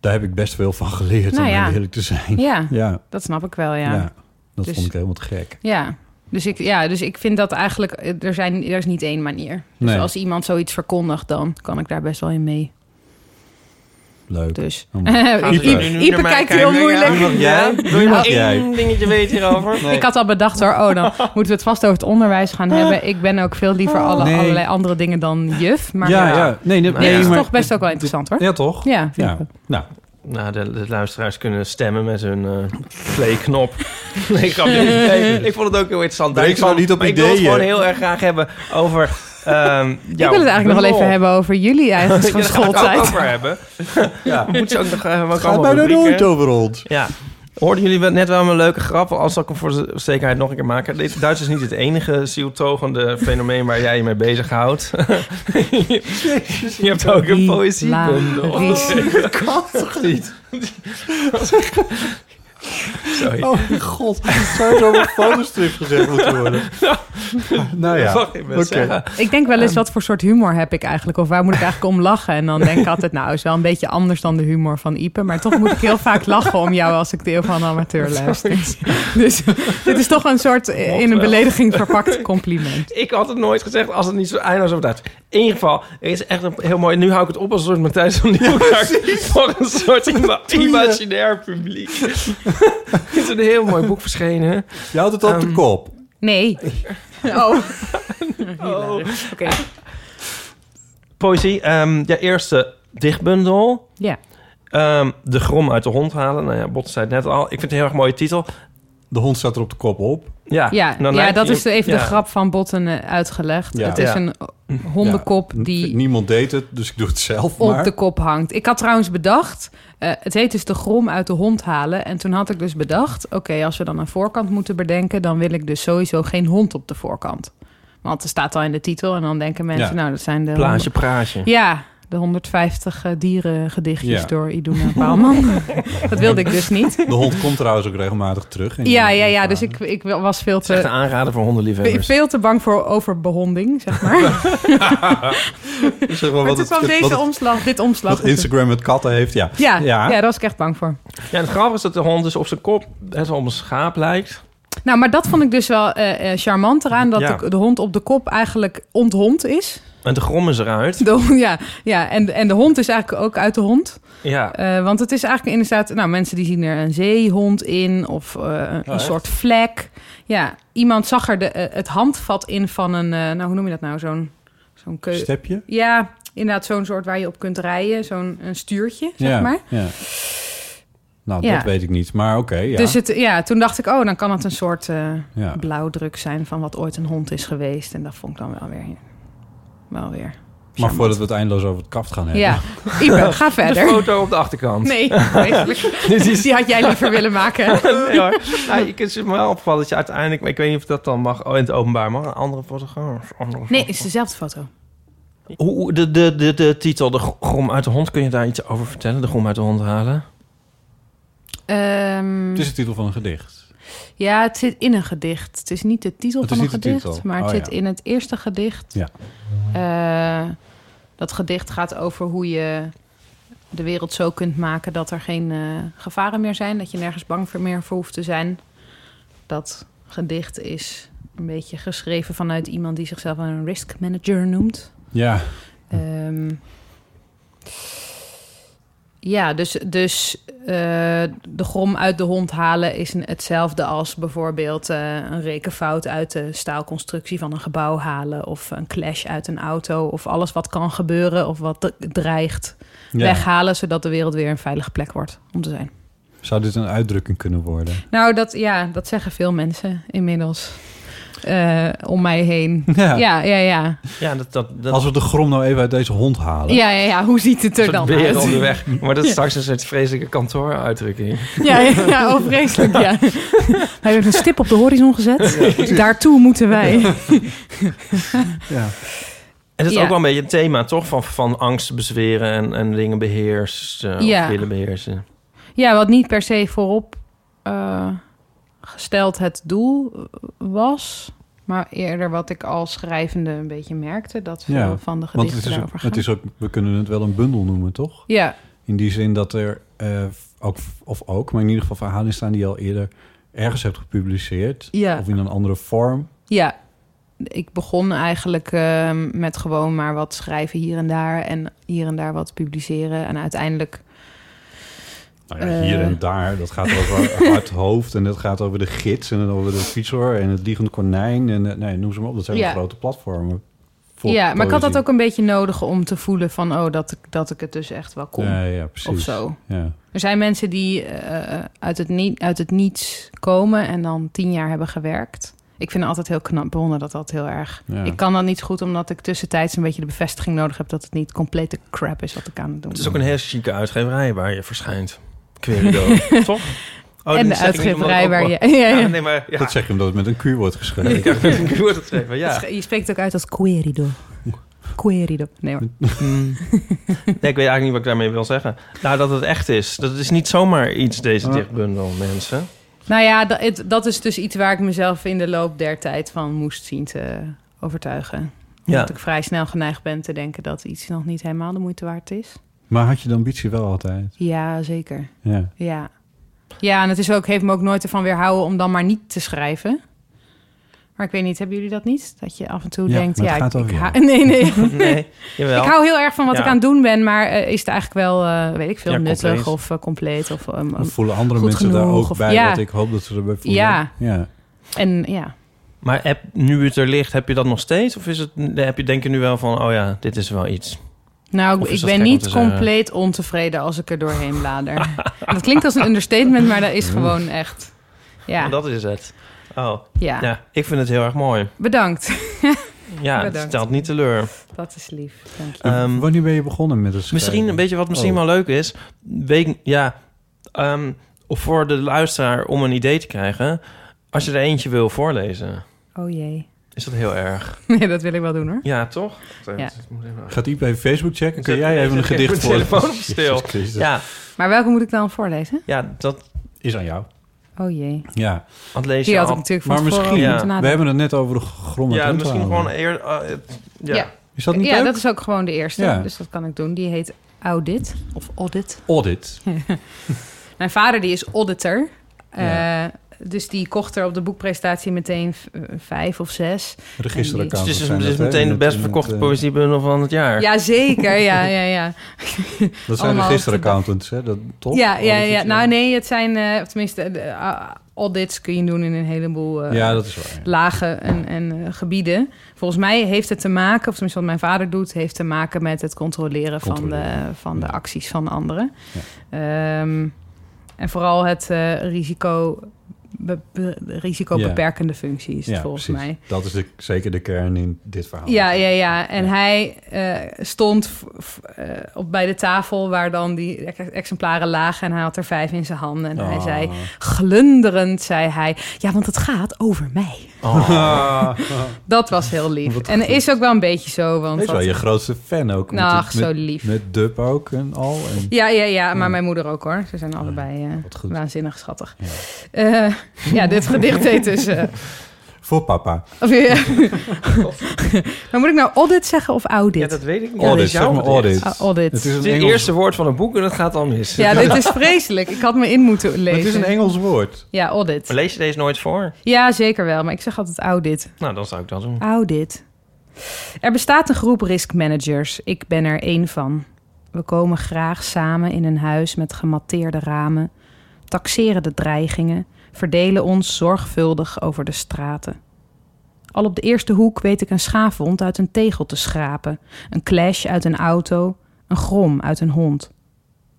C: Daar heb ik best veel van geleerd,
D: Nou
C: om
D: ja.
C: heel eerlijk te zijn.
D: Ja,
C: Ja,
D: dat snap ik wel,
C: ja. dat
D: Dus-
C: vond ik helemaal te gek.
D: Ja, dus ik, ja, dus ik vind dat eigenlijk... eh, Er, zijn, er is niet één manier. Dus
C: Nee.
D: als iemand zoiets verkondigt, dan kan ik daar best wel in mee.
C: Leuk.
D: Dus...
C: Oh, maar-
D: Ipe
B: Gaan ze nu
D: Ipe
B: naar mij
D: kijkt
B: kijken?
D: heel moeilijk.
B: Ja,
C: jij?
B: Wil je nog
C: Ja.
B: één dingetje weten hierover?
D: Ik had al bedacht hoor, oh dan moeten we het vast over het onderwijs gaan hebben. Ik ben ook veel liever alle,
C: Nee.
D: allerlei andere dingen dan juf. Maar
C: ja, ja. Nee, nee,
B: Dit
D: dit
C: nee,
D: is
C: maar-
D: toch best ook wel interessant hoor.
C: Ja, toch?
D: Ja, vind
C: Ja.
D: ik ook.
C: Nou,
B: Nou, de, de luisteraars kunnen stemmen met hun eh play-knop. nee, grapje. Nee, ik vond het ook heel interessant.
C: Nee, ik zou
B: Duitsland,
C: niet op
B: maar Ik wil het
C: ideeën.
B: gewoon heel erg graag hebben over... ehm
D: ik wil het eigenlijk nog wel even hebben over jullie eigen
B: Van schooltijd.
D: schooltijd.
B: over hebben.
C: ja.
B: Moet ze ook nog eh, ook
C: Gaat
B: allemaal
C: bijna
B: rubrieken.
C: nooit over ons.
B: Ja. Hoorden jullie wel- net wel mijn leuke grap? Als zal ik hem voor de zekerheid nog een keer maken. Dit- Duits is niet het enige zieltogende fenomeen waar jij je mee bezighoudt. je hebt ook een poëziebundel.
D: Hilarisch.
C: Kan toch niet?
B: Sorry.
C: Oh mijn god. Zou zo'n fotostrip gezegd moeten worden? Nou
B: Dat
C: ja.
B: mag ik best
C: Oké.
B: zeggen.
D: Ik denk wel eens
B: Ehm.
D: wat voor soort humor heb ik eigenlijk. Of waar moet ik eigenlijk om lachen? En dan denk ik altijd, nou, is wel een beetje anders dan de humor van Ipe. Maar toch moet ik heel vaak lachen om jou als ik de Eeuw van de Amateur luister. Dus dit is toch een soort eh, in een belediging verpakt compliment.
B: Ik had het nooit gezegd als het niet zo eindeloos over Duits. in ieder geval, er is echt een heel mooi... Nu hou ik het op als een soort Matthijs van Nieuwkerk... voor een soort ima- imaginair publiek. er is een heel mooi boek verschenen.
C: Je houdt het op de
B: Ehm,
C: kop.
D: Nee. Oh. Oké.
B: Poëzie, ehm ja, eerste dichtbundel.
D: Ja.
B: Ehm, de grom uit de hond halen. Nou ja, Bot zei het net al. Ik vind het een heel erg mooie titel.
C: De hond staat er op de kop op.
B: Ja,
D: Ja,
B: dan
D: ja
B: Ah, nou lijkt
D: dat
B: je-
D: is even
B: ja.
D: de grap van Botten eh, uitgelegd.
C: Ja.
D: Het is
B: Ja.
D: een hondenkop
C: Ja,
D: die
C: Niemand deed het, dus ik doe het zelf
D: op
C: maar.
D: de kop hangt. Ik had trouwens bedacht, eh, het heet dus de grom uit de hond halen. En toen had ik dus bedacht, oké, als we dan een voorkant moeten bedenken... dan wil ik dus sowieso geen hond op de voorkant. Want er staat al in de titel en dan denken mensen,
C: Ja.
D: nou, dat zijn de...
B: Plaatje, praatje.
D: Ja, de 150 eh, dierengedichtjes
C: Ja.
D: door Iduna Bouwman. dat wilde ik dus niet.
C: De hond komt trouwens ook regelmatig terug. in
D: Ja,
C: de-
D: ja,
C: in de
D: ja, dus
C: verhalen.
D: ik, ik was veel
B: Het is echt
D: te...
B: een aanrader voor hondenliefhebbers.
D: Veel te bang voor overbehonding, zeg maar.
C: Zeg maar
D: Maar
C: wat
D: toen
C: het-
D: kwam
C: wat
D: deze
C: het-
D: omslag, dit omslag.
C: Wat Instagram met katten heeft, ja.
D: Ja, ja.
C: Ja.
D: daar was ik echt bang voor.
B: Ja, en het grappige is dat de hond dus op zijn kop best wel op een schaap lijkt.
D: Nou, maar dat vond ik dus wel eh, eh, charmant eraan. Dat
B: Ja.
D: de, de hond op de kop eigenlijk onthond is.
B: En de grom is eruit.
D: De, hond- ja, ja en, en de hond is eigenlijk ook uit de hond.
B: Ja.
D: Eh, want het is eigenlijk inderdaad... Nou, mensen die zien er een zeehond in of eh, een
C: Oh, echt?
D: soort vlek. Ja, iemand zag er de, eh, het handvat in van een... eh, nou, hoe noem je dat nou? Zo'n zo'n keu-
C: Stepje?
D: Ja, inderdaad zo'n soort waar je op kunt rijden. Zo'n een stuurtje, zeg
C: ja,
D: maar.
C: ja. Nou,
D: Ja.
C: dat weet ik niet, maar oké, ja.
D: Dus het, ja, toen dacht ik, oh, dan kan het een soort... eh,
C: ja.
D: blauwdruk zijn van wat ooit een hond is geweest. En dat vond ik dan wel weer. Wel weer.
C: Maar voordat we het eindeloos over het kaft gaan hebben.
D: Ja, Ipe, ga
B: De
D: verder.
B: foto op de achterkant.
D: Nee, vreselijk.
B: Dit is-
D: die had jij liever willen maken.
B: Nee, hoor. Nou, je kunt ze maar wel opvallen dat je uiteindelijk... maar Ik weet niet of dat dan mag, oh, in het openbaar mag. Een andere fotograaf. Andere
D: Nee,
B: foto-
D: is dezelfde foto.
B: Hoe- hoe- de, de, de, de titel, De Grom uit de Hond. Kun je daar iets over vertellen? De Grom uit de Hond halen?
D: Ehm,
C: Het is de titel van een gedicht.
D: ja, het zit in een gedicht. Het is niet de titel
C: Het
D: van
C: is
D: een
C: niet de
D: gedicht,
C: titel.
D: maar het
C: Oh,
D: zit
C: ja.
D: in het eerste gedicht.
C: Ja.
D: Eh, dat gedicht gaat over hoe je de wereld zo kunt maken dat er geen eh, gevaren meer zijn, dat je nergens bang voor meer voor hoeft te zijn. Dat gedicht is een beetje geschreven vanuit iemand die zichzelf een risk manager noemt.
C: Ja,
D: Ehm, ja, dus, dus eh, de grom uit de hond halen is een- hetzelfde als bijvoorbeeld eh, een rekenfout uit de staalconstructie van een gebouw halen. Of een clash uit een auto. Of alles wat kan gebeuren of wat d- dreigt
C: ja.
D: weghalen. Zodat de wereld weer een veilige plek wordt om te zijn.
C: Zou dit een uitdrukking kunnen worden?
D: Nou, dat, ja, dat zeggen veel mensen inmiddels eh, om mij heen.
C: Ja.
D: Ja, ja, ja.
B: Ja, dat... dat, dat
C: Als we de grom nou even uit deze hond halen.
D: Ja, ja, ja. Hoe ziet het
B: een
D: er
B: soort
D: dan
B: beren op
D: uit?
B: de weg. Maar dat is straks een soort vreselijke kantooruitdrukking.
D: Ja, ja, ja oh, vreselijk, ja. Hij heeft een stip op de horizon gezet. Daartoe moeten wij.
C: Ja.
B: En dat is
D: Ja.
B: ook wel een beetje het thema, toch? Van, van angst bezweren en, en dingen beheersen. eh, of
D: Ja.
B: willen beheersen.
D: Ja, wat niet per se voorop eh, gesteld het doel eh, was... maar eerder wat ik als schrijvende een beetje merkte... dat veel
C: Ja,
D: van de
C: Want
D: gedichten
C: het is, ook,
D: daarover gaan.
C: het is ook, we kunnen het wel een bundel noemen, toch?
D: Ja,
C: In die zin dat er eh, ook, of ook, maar in ieder geval verhalen staan die je al eerder ergens hebt gepubliceerd.
D: ja,
C: Of in een andere vorm.
D: ja. Ik begon eigenlijk eh, met gewoon maar wat schrijven hier en daar... en hier en daar wat publiceren. En uiteindelijk
C: Nou ja, hier
D: Eh.
C: en daar. Dat gaat over hard hoofd en dat gaat over de gids en over de fietser en het liegende konijn. En eh, nee, noem ze maar op. Dat zijn
D: Ja.
C: grote platformen. voor
D: ja, maar ik had dat
C: poëzie.
D: ook een beetje nodig om te voelen van... oh, dat ik, dat ik het dus echt wel kon.
C: Ja, ja, precies.
D: of zo.
C: Ja.
D: Er zijn mensen die eh, uit, het niet, uit het niets komen en dan tien jaar hebben gewerkt. Ik vind het altijd heel knap, bewonder dat altijd heel erg.
C: Ja.
D: Ik kan dat niet zo goed, omdat ik tussentijds een beetje de bevestiging nodig heb... dat het niet complete crap is wat ik aan het doen
B: Het is
D: ben.
B: ook een heel chique uitgeverij waar je verschijnt. Querido, toch? Oh, dit
D: en de
B: zeg ik niet omdat ik
D: uitgeverij
B: ook
D: waar
B: wel-
D: je... Ja, ja.
B: Ja, nee, maar... Ja.
C: Dat zeg je omdat het met een Q wordt geschreven.
B: Ik heb ik hoor het even, ja.
D: Je spreekt het ook uit als querido. Querido. Nee hoor.
B: Hmm. Nee, ik weet eigenlijk niet wat ik daarmee wil zeggen. Nou, dat het echt is. Dat is niet zomaar iets, deze
C: Ah.
B: dichtbundel, mensen.
D: Nou ja, dat, het- dat is dus iets waar ik mezelf in de loop der tijd van moest zien te overtuigen.
B: Ja.
D: Dat ik vrij snel geneigd ben te denken dat iets nog niet helemaal de moeite waard is.
C: Maar had je de ambitie wel altijd?
D: Ja, zeker.
C: Ja.
D: Ja. Ja, en het is ook, heeft me ook nooit ervan weerhouden om dan maar niet te schrijven. Maar ik weet niet, hebben jullie dat niet? Dat je af en toe
C: Ja,
D: denkt,
C: maar het
D: ja,
C: gaat
D: ik,
C: over
D: ik
C: jou.
D: hou- nee, nee.
B: Nee, jawel.
D: Ik hou heel erg van wat
B: Ja.
D: ik aan het doen ben, maar eh, is het eigenlijk wel, eh, weet ik veel,
B: Ja,
D: nuttig
B: compleet.
D: of eh, compleet of ehm,
C: Of voelen andere
D: goed
C: mensen daar
D: genoeg,
C: ook
D: of-
C: bij
D: ja.
C: wat ik hoop dat ze erbij voelen?
D: Ja.
C: ja.
D: en ja.
B: Maar heb, nu het er ligt, heb je dat nog steeds? Of is het, heb je, denk je nu wel van, oh ja, dit is wel iets?
D: Nou,
B: Of
D: ik,
B: is
D: ik
B: dat
D: ben
B: gek om
D: niet
B: te zeggen?
D: compleet ontevreden als ik er doorheen blader. dat klinkt als een understatement, maar dat is gewoon echt. Ja,
B: Maar Dat is het. Oh,
D: ja.
B: ja. Ik vind het heel erg mooi.
D: bedankt.
B: Ja, het
D: Bedankt.
B: stelt niet teleur.
D: Dat is lief. Dank je.
B: Ehm,
C: Wanneer ben je begonnen met het schrijven?
B: Misschien een beetje wat misschien
C: Oh.
B: wel leuk is. Week, ja, ehm, of voor de luisteraar om een idee te krijgen. Als je er eentje wil voorlezen,
D: Oh jee.
B: is dat heel erg.
D: Nee, dat wil ik wel doen hoor.
B: Ja, toch? Wacht even, dus
D: Ja.
B: ik moet even-
C: Gaat Iep even Facebook checken? Kun
B: Zet-
C: jij even een
B: zet-
C: gedicht
B: mijn
C: voor?
B: telefoon op stil.
C: Jezus Christus.
B: Ja,
D: Maar welke moet ik dan voorlezen?
B: ja, dat,
C: Is aan jou.
D: Oh jee.
C: Ja.
B: dat lees
D: Die
B: je
D: had ik
B: al.
D: natuurlijk van
C: Maar
D: tevoren
C: misschien,
B: Ja.
D: al moeten
C: we
D: nadenken.
C: hebben het net over de grond.
B: Ja, misschien gewoon eer. eh, het- ja.
D: Ja.
C: Is dat niet
D: Ja,
C: leuk?
D: dat is ook gewoon de eerste.
C: Ja.
D: Dus dat kan ik doen. Die heet Audit of Audit.
C: Audit.
D: Mijn vader die is auditor.
C: Ja.
D: Eh, dus die kocht er op de boekpresentatie meteen v- eh, vijf of zes.
B: Dus
C: Registeraccounts.
B: het is,
C: zijn
B: het is
C: dat, hè?
B: meteen
C: In
B: de
C: het-
B: best
C: in het,
B: verkochte
C: eh,
B: poëziebundel van het jaar.
D: Jazeker, ja, ja, ja.
C: Dat zijn
D: allemaal
C: registeraccounts, hè? Dat, toch?
D: Ja, ja,
C: Audit,
D: ja. Nou nee, het zijn... eh, of tenminste, de, eh, audits kun je doen in een heleboel... eh,
C: Ja, dat is waar. ja.
D: lagen en, en eh, gebieden. Volgens mij heeft het te maken, of tenminste wat mijn vader doet, heeft te maken met het controleren, Van, de,
C: Controleren,
D: van de
C: ja.
D: acties van anderen. Ehm, en vooral het eh, risico, be- be- risicobeperkende functie is het
C: Ja,
D: volgens
C: precies.
D: mij.
C: Dat is de, zeker de kern in dit verhaal.
D: Ja, ja, ja. En
C: Ja.
D: hij eh, stond v- v- eh, op, bij de tafel waar dan die ex- exemplaren lagen. En hij had er vijf in zijn handen. En hij
C: Ah.
D: zei, glunderend zei hij... Ja, want het gaat over mij.
C: Ah,
D: Dat was heel lief.
C: Wat
D: En
C: goed.
D: is ook wel een beetje zo. Want
C: Hij is wel
D: dat-
C: je grootste fan ook. met
D: Nou,
C: het-
D: ach, zo
C: met-
D: lief.
C: Met dub ook en al. En
D: Ja, ja, ja, maar
C: Ja.
D: mijn moeder ook hoor. Ze zijn allebei eh,
C: wat goed.
D: waanzinnig schattig.
C: Ja.
D: Ja, ja dit gedicht heet dus. eh,
C: Voor papa.
D: of, eh, maar moet ik nou audit zeggen of audit?
B: Ja, dat weet ik niet.
C: Audit,
B: Dat is
C: zeg
B: jouw
C: maar
B: gedicht.
C: audit.
D: Ah, audit.
C: Het is een
B: Het is het
C: Engels,
B: eerste woord van een boek en dat gaat al mis.
D: Ja, dit is vreselijk. Ik had me in moeten lezen.
C: Het is een Engels woord.
D: Ja, audit.
B: Lees je deze nooit voor?
D: Ja, zeker wel. Maar ik zeg altijd audit.
B: Nou, dan zou ik dat doen.
D: Audit. Er bestaat een groep riskmanagers. Ik ben er één van. We komen graag samen in een huis met gematteerde ramen, taxeren de dreigingen, verdelen ons zorgvuldig over de straten. Al op de eerste hoek weet ik een schaafwond uit een tegel te schrapen, een clash uit een auto, een grom uit een hond.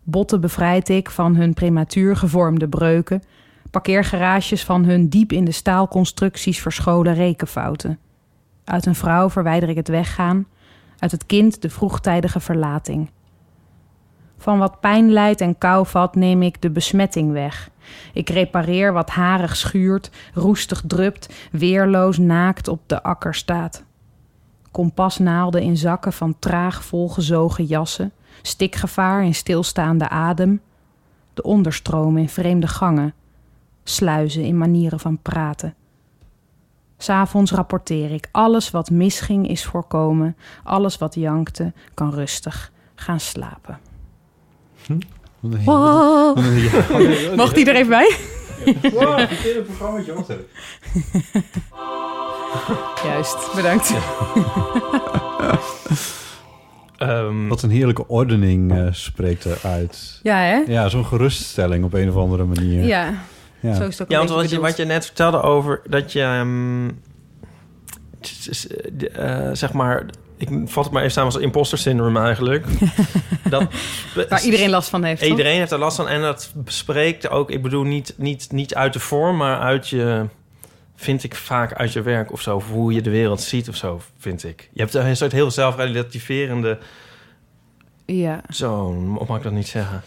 D: Botten bevrijd ik van hun prematuur gevormde breuken, parkeergarages van hun diep in de staalconstructies verscholen rekenfouten. Uit een vrouw verwijder ik het weggaan, uit het kind de vroegtijdige verlating. Van wat pijn lijdt en kou vat neem ik de besmetting weg. Ik repareer wat harig schuurt, roestig drupt, weerloos naakt op de akker staat. Kompasnaalden in zakken van traag volgezogen jassen, stikgevaar in stilstaande adem, de onderstroom in vreemde gangen, sluizen in manieren van praten. S'avonds rapporteer ik. Alles wat misging is voorkomen. Alles wat jankte kan rustig gaan slapen.
C: Wat een-
D: Wow.
C: wat een- ja.
D: Mag die er even bij?
C: Wow, ik ken het programmaatje wat er-
D: Juist, bedankt.
B: Ehm,
C: Wat een heerlijke ordening eh, spreekt eruit.
D: Ja, hè?
C: Ja, zo'n geruststelling op een of andere manier.
D: Ja,
C: Ja.
D: zo is het ook
B: ja,
D: een
B: want wat
D: beetje
B: je, wat je net vertelde over dat je... ehm, s- s- de, eh, zeg maar... Ik vat het maar even samen als imposter syndrome eigenlijk. dat,
D: bedoeld. Waar iedereen last van heeft, toch?
B: Iedereen heeft er last van en dat spreekt ook, ik bedoel, niet, niet, niet uit de vorm, maar uit je, vind ik vaak uit je werk of zo, of hoe je de wereld ziet of zo, vind ik. Je hebt een soort heel zelfrelativerende,
D: Ja.
B: zo, of mag ik dat niet zeggen?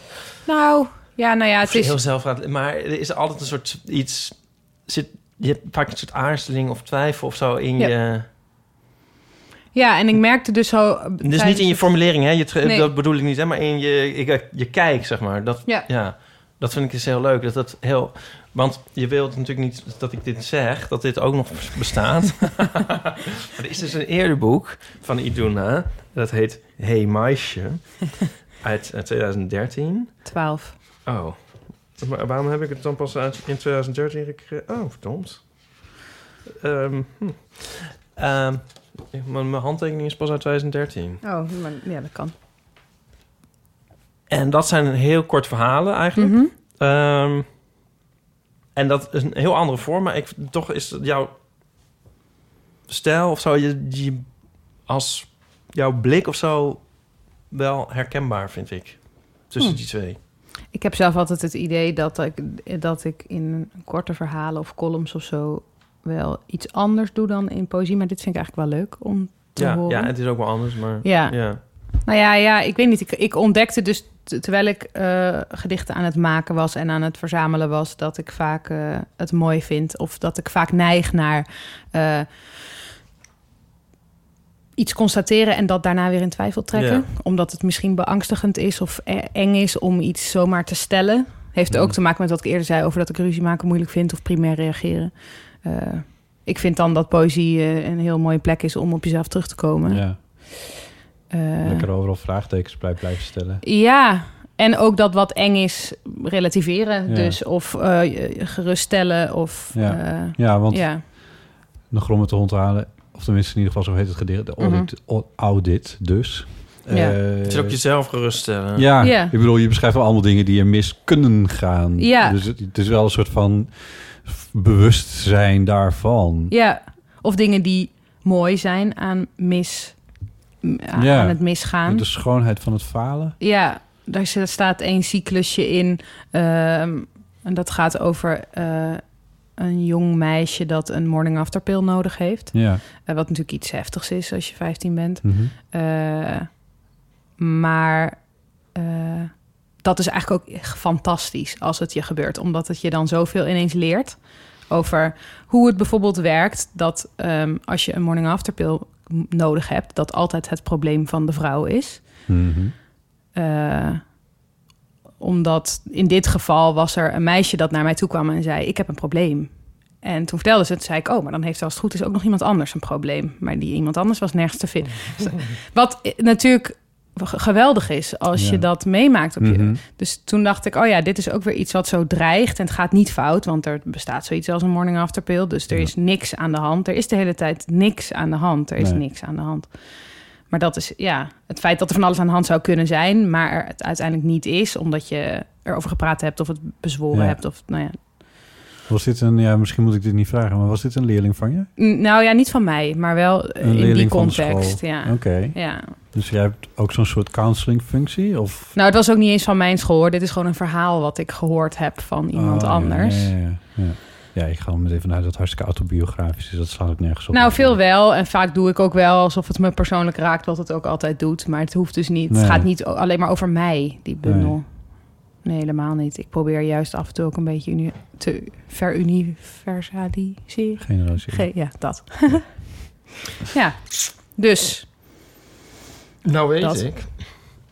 D: Nou, ja, nou ja,
B: Het
D: het is...
B: heel zelfrelativerend, maar er is altijd een soort iets, zit, je hebt vaak een soort aarzeling of twijfel of zo in
D: Ja.
B: je...
D: Ja, en ik merkte dus zo...
B: Dus niet in je formulering, hè? Je tra-
D: Nee.
B: Dat bedoel ik niet, hè? Maar in je, ik- eh, je kijk, zeg maar. Dat,
D: Ja.
B: ja. Dat vind ik dus heel leuk. Dat dat heel... Want je wilt natuurlijk niet dat ik dit zeg, dat dit ook nog bestaat. maar er is dus een eerder boek van Iduna. Dat heet Hey Meisje. Uit eh, 2013.
D: Twaalf.
B: Oh. Maar waarom heb ik het dan pas uit in 2013 gekregen? Oh, verdomd. Ehm, hm. Ehm, ik- mijn, mijn handtekening is pas uit 2013.
D: Oh, maar, ja, dat kan.
B: En dat zijn heel kort verhalen eigenlijk.
D: Mhm.
B: Ehm, en dat is een heel andere vorm, maar ik, toch is het jouw stijl of zo, je, je, als jouw blik of zo, wel herkenbaar, vind ik. Tussen
D: Hm.
B: die twee.
D: Ik heb zelf altijd het idee dat ik, dat ik in korte verhalen of columns of zo wel iets anders doe dan in poëzie. Maar dit vind ik eigenlijk wel leuk om te
B: Ja,
D: horen.
B: ja, het is ook wel anders, maar...
D: Ja.
B: ja.
D: Nou ja, ja, ik weet niet. Ik, ik ontdekte dus t- terwijl ik eh, gedichten aan het maken was en aan het verzamelen was, dat ik vaak eh, het mooi vind. Of dat ik vaak neig naar eh, iets constateren en dat daarna weer in twijfel trekken.
B: Ja.
D: Omdat het misschien beangstigend is of e- eng is om iets zomaar te stellen. Heeft
C: Mhm.
D: ook te maken met wat ik eerder zei over dat ik ruzie maken moeilijk vind of primair reageren. Eh, ik vind dan dat poëzie eh, een heel mooie plek is om op jezelf terug te komen.
C: Ja,
D: Eh,
C: lekker overal vraagtekens bij blijven stellen.
D: ja, en ook dat wat eng is, relativeren
C: Ja.
D: dus. Of eh, je- geruststellen of...
C: Ja.
D: eh,
C: Ja, want
D: ja.
C: nog om het te onthalen, of tenminste in ieder geval zo heet het gedicht, de audit, o- audit dus.
D: Mhm. Ja.
C: Eh,
B: Het is ook jezelf geruststellen.
C: ja,
D: Ja.
C: ik bedoel, je beschrijft wel allemaal dingen die er mis kunnen gaan.
D: Ja.
C: Dus het, het is wel een soort van f- bewustzijn daarvan.
D: ja, of dingen die mooi zijn aan, mis, m- aan,
C: Ja. dus-
D: aan het misgaan.
C: De schoonheid van het falen.
D: Ja, daar sta- staat één cyclusje in. ehm, en dat gaat over eh, een jong meisje dat een morning after pill nodig heeft.
C: Ja.
D: Eh, wat natuurlijk iets heftigs is als je 15 bent.
C: Mhm.
D: Eh, maar eh, dat is eigenlijk ook echt fantastisch als het je gebeurt, omdat het je dan zoveel ineens leert over hoe het bijvoorbeeld werkt dat ehm, als je een morning after pill m- nodig hebt, dat altijd het probleem van de vrouw is.
C: Mhm.
D: Eh, omdat in dit geval was er een meisje dat naar mij toe kwam en zei: Ik heb een probleem. En toen vertelde ze het, zei ik: Oh, maar dan heeft als het goed is ook nog iemand anders een probleem. Maar die iemand anders was nergens te vinden. Dus, Wat eh, natuurlijk ge- geweldig is als
C: Ja.
D: je dat meemaakt op
C: Mhm.
D: je. Dus toen dacht ik: Oh ja, dit is ook weer iets wat zo dreigt. En het gaat niet fout, want er bestaat zoiets als een morning after pill. Dus er
C: Ja.
D: is niks aan de hand. Er is de hele tijd niks aan de hand. Er is
C: Nee.
D: niks aan de hand. Maar dat is ja, het feit dat er van alles aan de hand zou kunnen zijn, maar er het uiteindelijk niet is, omdat je erover gepraat hebt of het bezworen
C: Ja.
D: hebt. Of, nou, ja.
C: Was dit een, ja, misschien moet ik dit niet vragen, maar was dit een leerling van je?
D: N- nou ja, niet van mij, maar wel eh,
C: Een
D: in die
C: leerling van de
D: context.
C: school.
D: Ja.
C: Oké.
D: Ja.
C: Dus jij hebt ook zo'n soort counselingfunctie? Of
D: Nou, het was ook niet eens van mijn school. Hoor. Dit is gewoon een verhaal wat ik gehoord heb van iemand
C: Oh, ja,
D: anders.
C: Ja, ja, ja. Ja, ik ga er meteen vanuit dat het hartstikke autobiografisch is. Dat slaat ook nergens op.
D: Nou, veel wel. En vaak doe ik ook wel alsof het me persoonlijk raakt, wat het ook altijd doet. Maar het hoeft dus niet.
C: Nee.
D: Het gaat niet o- alleen maar over mij, die bundel. Nee. helemaal niet. Ik probeer juist af en toe ook een beetje uni- te veruniversaliseren.
C: Generatie.
D: Ge- ja, dat. ja, dus
B: Nou weet
D: Dat.
B: ik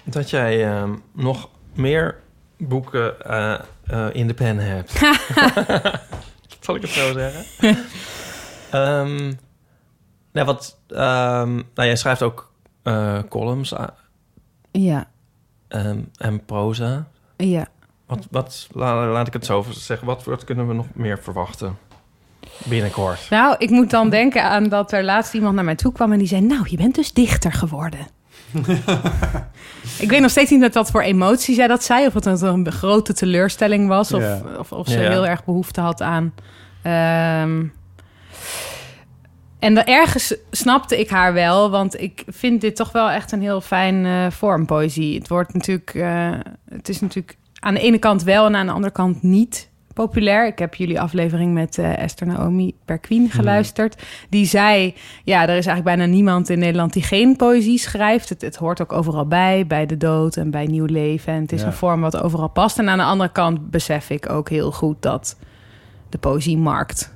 B: dat jij ehm, nog meer boeken eh, eh, in de pen hebt. Zal ik het zo zeggen? Ehm, nou, wat, ehm, nou, jij schrijft ook eh, columns ah,
D: ja,
B: ehm, en proza.
D: ja.
B: Wat, wat, la- laat ik het zo zeggen. Wat, wat kunnen we nog meer verwachten binnenkort?
D: Nou, ik moet dan denken aan dat er laatst iemand naar mij toe kwam en die zei: Nou, je bent dus dichter geworden. ik weet nog steeds niet met wat voor emotie zij dat zei. Of het een, een grote teleurstelling was. Of,
C: Ja.
D: of, of ze
B: Ja.
D: heel erg behoefte had aan. ehm, en dan ergens snapte ik haar wel, want ik vind dit toch wel echt een heel fijn eh, vorm poëzie. Het wordt natuurlijk, eh, het is natuurlijk aan de ene kant wel en aan de andere kant niet populair. Ik heb jullie aflevering met eh, Esther Naomi
C: Hmm.
D: Perquin geluisterd. Die zei, ja, er is eigenlijk bijna niemand in Nederland die geen poëzie schrijft. Het, het hoort ook overal bij, bij de dood en bij nieuw leven. En het is
C: Ja.
D: een vorm wat overal past. En aan de andere kant besef ik ook heel goed dat de poëziemarkt...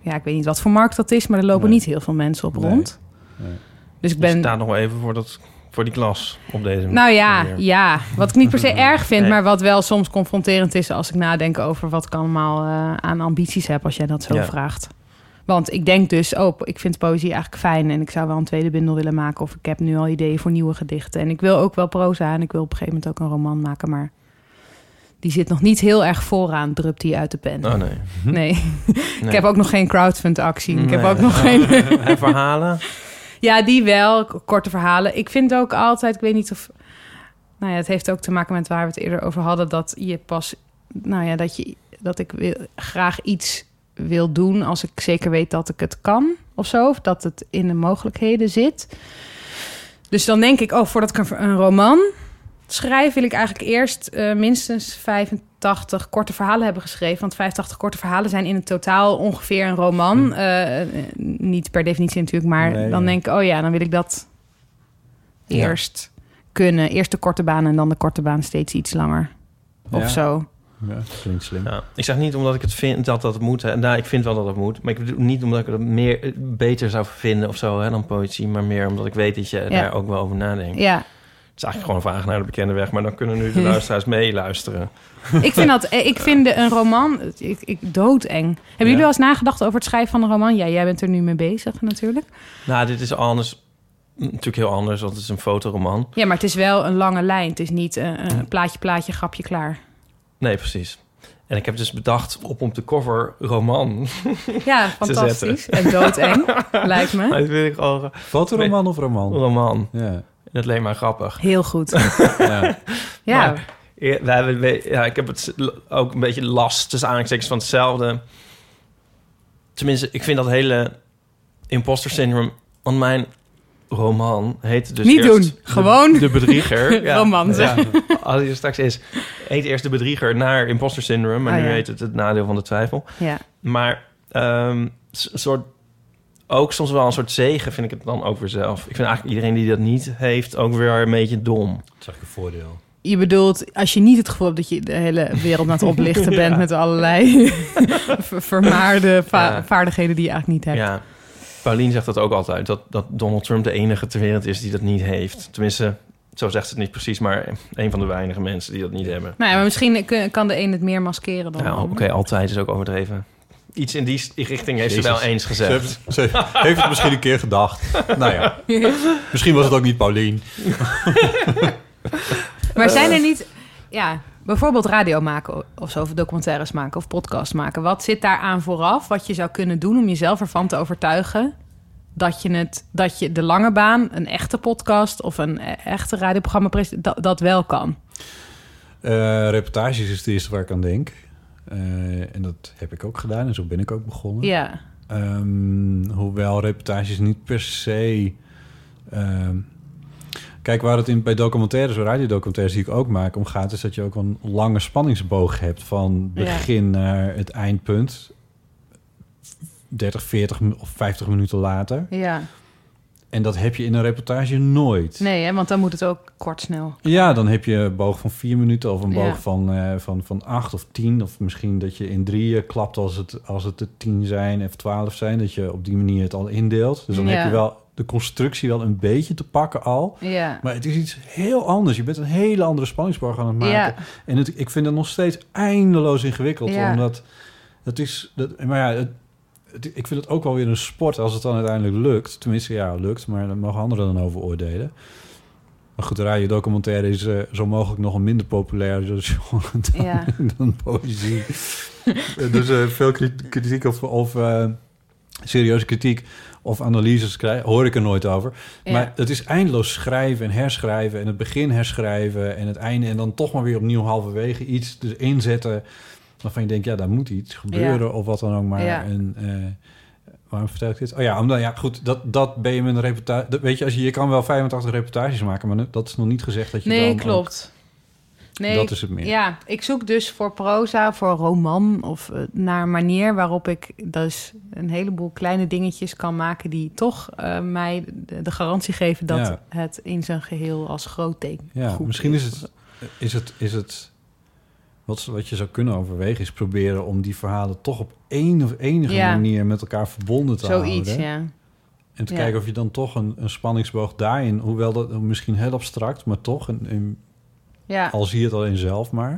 D: Ja, ik weet niet wat voor markt dat is, maar er lopen
C: Nee.
D: niet heel veel mensen op
C: Nee.
D: rond.
C: Nee.
D: Dus ik
B: Ben...
D: ben...
B: Sta nog wel even voor, dat, voor die klas op deze
D: Nou ja,
B: manier.
D: ja, wat ik niet per se erg vind,
B: Nee.
D: maar wat wel soms confronterend is als ik nadenk over wat ik allemaal eh, aan ambities heb, als jij dat zo
B: Ja.
D: vraagt. Want ik denk dus, oh, ik vind poëzie eigenlijk fijn en ik zou wel een tweede bundel willen maken of ik heb nu al ideeën voor nieuwe gedichten en ik wil ook wel proza en ik wil op een gegeven moment ook een roman maken, maar Die zit nog niet heel erg vooraan, drupt hij uit de pen.
B: Oh nee.
D: nee.
B: Nee.
D: ik heb ook nog geen crowdfund-actie. Ik heb
B: Nee.
D: ook nog geen...
B: En verhalen?
D: Ja, die wel. K- Korte verhalen. Ik vind ook altijd, ik weet niet of. Nou ja, het heeft ook te maken met waar we het eerder over hadden. Dat je pas. Nou ja, dat, je, dat ik wil, graag iets wil doen als ik zeker weet dat ik het kan of zo. Of dat het in de mogelijkheden zit. Dus dan denk ik, oh, voordat ik een, v- een roman schrijf, wil ik eigenlijk eerst eh, minstens 85 korte verhalen hebben geschreven. Want 85 korte verhalen zijn in het totaal ongeveer een roman. Eh, eh, niet per definitie natuurlijk, maar
C: Hm. Nee,
D: dan
C: ja.
D: denk ik, oh ja, dan wil ik dat
B: Ja.
D: eerst kunnen. Eerst de korte baan en dan de korte baan steeds iets langer. Of
C: Ja.
D: zo.
C: Ja, dat klinkt slim.
B: Ja. Ik zeg niet omdat ik het vind dat dat moet. hè. Nou, ik vind wel dat dat moet. Maar ik bedoel niet omdat ik het meer, eh, beter zou vinden of zo hè, dan poëzie. Maar meer omdat ik weet dat je daar ook wel over nadenkt.
D: Ja,
B: Het is eigenlijk gewoon een vraag naar de bekende weg. Maar dan kunnen nu de luisteraars meeluisteren.
D: ik vind dat, eh, ik vind de- een roman, ik, ik doodeng. Hebben jullie wel eens nagedacht over het schrijven van een roman? Ja, jij bent er nu mee bezig natuurlijk.
B: Nou, dit is anders. Natuurlijk heel anders, want het is een fotoroman.
D: Ja, maar het is wel een lange lijn. Het is niet eh, eh, plaatje, plaatje, grapje, klaar.
B: Nee, precies. En ik heb dus bedacht op om te cover roman.
D: Ja, fantastisch. En doodeng, lijkt me.
B: Dat vind ik al
C: Fotoroman of roman?
B: roman.
C: Ja.
B: En dat leek mij grappig.
D: Heel goed.
C: ja.
D: Ja,
B: Maar- Ja, we hebben, we- ja, ik heb het ook een beetje last tussen aanhalingstekens van hetzelfde. Tenminste, ik vind dat hele imposter syndrome... Want mijn roman heet dus
D: niet
B: eerst
D: doen. Gewoon
B: De Bedrieger. Ja.
D: roman. zeg.
B: Als hij er straks is, heet eerst De Bedrieger naar imposter syndrome. Maar
D: Ah,
B: nu
D: ja.
B: heet het Het Nadeel van de Twijfel.
D: Ja.
B: Maar ehm, s- een soort, ook soms wel een soort zegen vind ik het dan ook weer zelf. Ik vind eigenlijk iedereen die dat niet heeft ook weer een beetje dom.
C: Dat is een voordeel.
D: Je bedoelt, als je niet het gevoel hebt dat je de hele wereld aan het oplichten bent met allerlei ver- vermaarde va-
B: Ja.
D: vaardigheden die je eigenlijk niet hebt.
B: Ja. Paulien zegt dat ook altijd, dat, dat Donald Trump de enige ter wereld is die dat niet heeft. Tenminste, zo zegt ze het niet precies, maar een van de weinige mensen die dat niet hebben.
D: Nou ja, maar misschien kun- kan de een het meer maskeren dan. de
B: Nou, oké,
D: ander.
B: altijd is ook overdreven. Iets in die s- richting heeft ze
C: Jezus.
B: wel eens
C: Ze
B: gezegd.
C: heeft, ze heeft het misschien een keer gedacht. Nou ja, misschien was het ook niet Paulien.
D: Maar zijn er niet, ja, bijvoorbeeld radio maken of zo, of documentaires maken of podcast maken. Wat zit daar aan vooraf? Wat je zou kunnen doen om jezelf ervan te overtuigen dat je het, dat je de lange baan, een echte podcast of een e- echte radioprogramma prese- dat, dat wel kan.
C: Eh, reportages is het eerste waar ik aan denk. Eh, en dat heb ik ook gedaan en zo ben ik ook
B: Hm.
C: begonnen.
D: Ja,
C: Ehm, hoewel reportages niet per se. ehm, kijk, waar het in, bij documentaires, radiodocumentaires die ik ook maak, om gaat, is dat je ook een lange spanningsboog hebt van
D: Ja.
C: begin naar het eindpunt. 30, 40 mi- of 50 minuten later.
D: ja.
C: En dat heb je in een reportage nooit.
D: Nee, hè, want dan moet het ook kort snel.
C: Ja, dan heb je een boog van vier minuten of een boog
D: Ja.
C: van, eh, van, van acht of tien. Of misschien dat je in drieën klapt als het, als het er tien zijn of twaalf zijn. Dat je op die manier het al indeelt. Dus dan
D: Ja.
C: heb je wel de constructie wel een beetje te pakken al.
D: Ja.
C: Maar het is iets heel anders. Je bent een hele andere spanningsboog aan het maken.
D: Ja.
C: En het, ik vind dat nog steeds eindeloos ingewikkeld.
D: Ja.
C: Omdat dat is. Dat, maar ja, het, het- ik vind het ook wel weer een sport als het dan uiteindelijk lukt. Tenminste, ja, lukt, maar daar mogen anderen dan over oordelen. Maar goed, radio documentaire is eh, zo mogelijk nog een minder populair genre dan,
D: Ja.
C: dan poëzie. Eh, dus eh, veel kri- kritiek of, of eh, serieuze kritiek of analyses krijg, hoor ik er nooit over.
D: Ja.
C: Maar het is eindeloos schrijven en herschrijven en het begin herschrijven en het einde en dan toch maar weer opnieuw halverwege iets dus inzetten waarvan je denkt, ja, daar moet iets gebeuren of wat dan ook maar.
D: Ja.
C: En, eh, waarom vertel ik dit? Oh ja, omdat, ja goed, dat, dat ben je met een reportage... dat- Weet je, als je, je kan wel 85 reportages maken, maar dat is nog niet gezegd dat je
D: Nee,
C: dan...
D: klopt. Nee,
C: dat
D: ik-
C: is het meer.
D: Ja, ik zoek dus voor proza, voor roman of eh, naar een manier waarop ik dus een heleboel kleine dingetjes kan maken die toch eh, mij de, de garantie geven dat
C: Ja.
D: het in zijn geheel als groot ding.
C: Ja,
D: goed
C: misschien is het, is het, is het wat, ze- wat je zou kunnen overwegen, is proberen om die verhalen toch op een of enige
D: Ja.
C: manier met elkaar verbonden te
D: Zoiets,
C: houden.
D: ja.
C: En te
D: Ja.
C: kijken of je dan toch een, een spanningsboog daarin, hoewel dat misschien heel abstract, maar toch, een, een-
D: Ja,
C: al zie je het alleen zelf maar.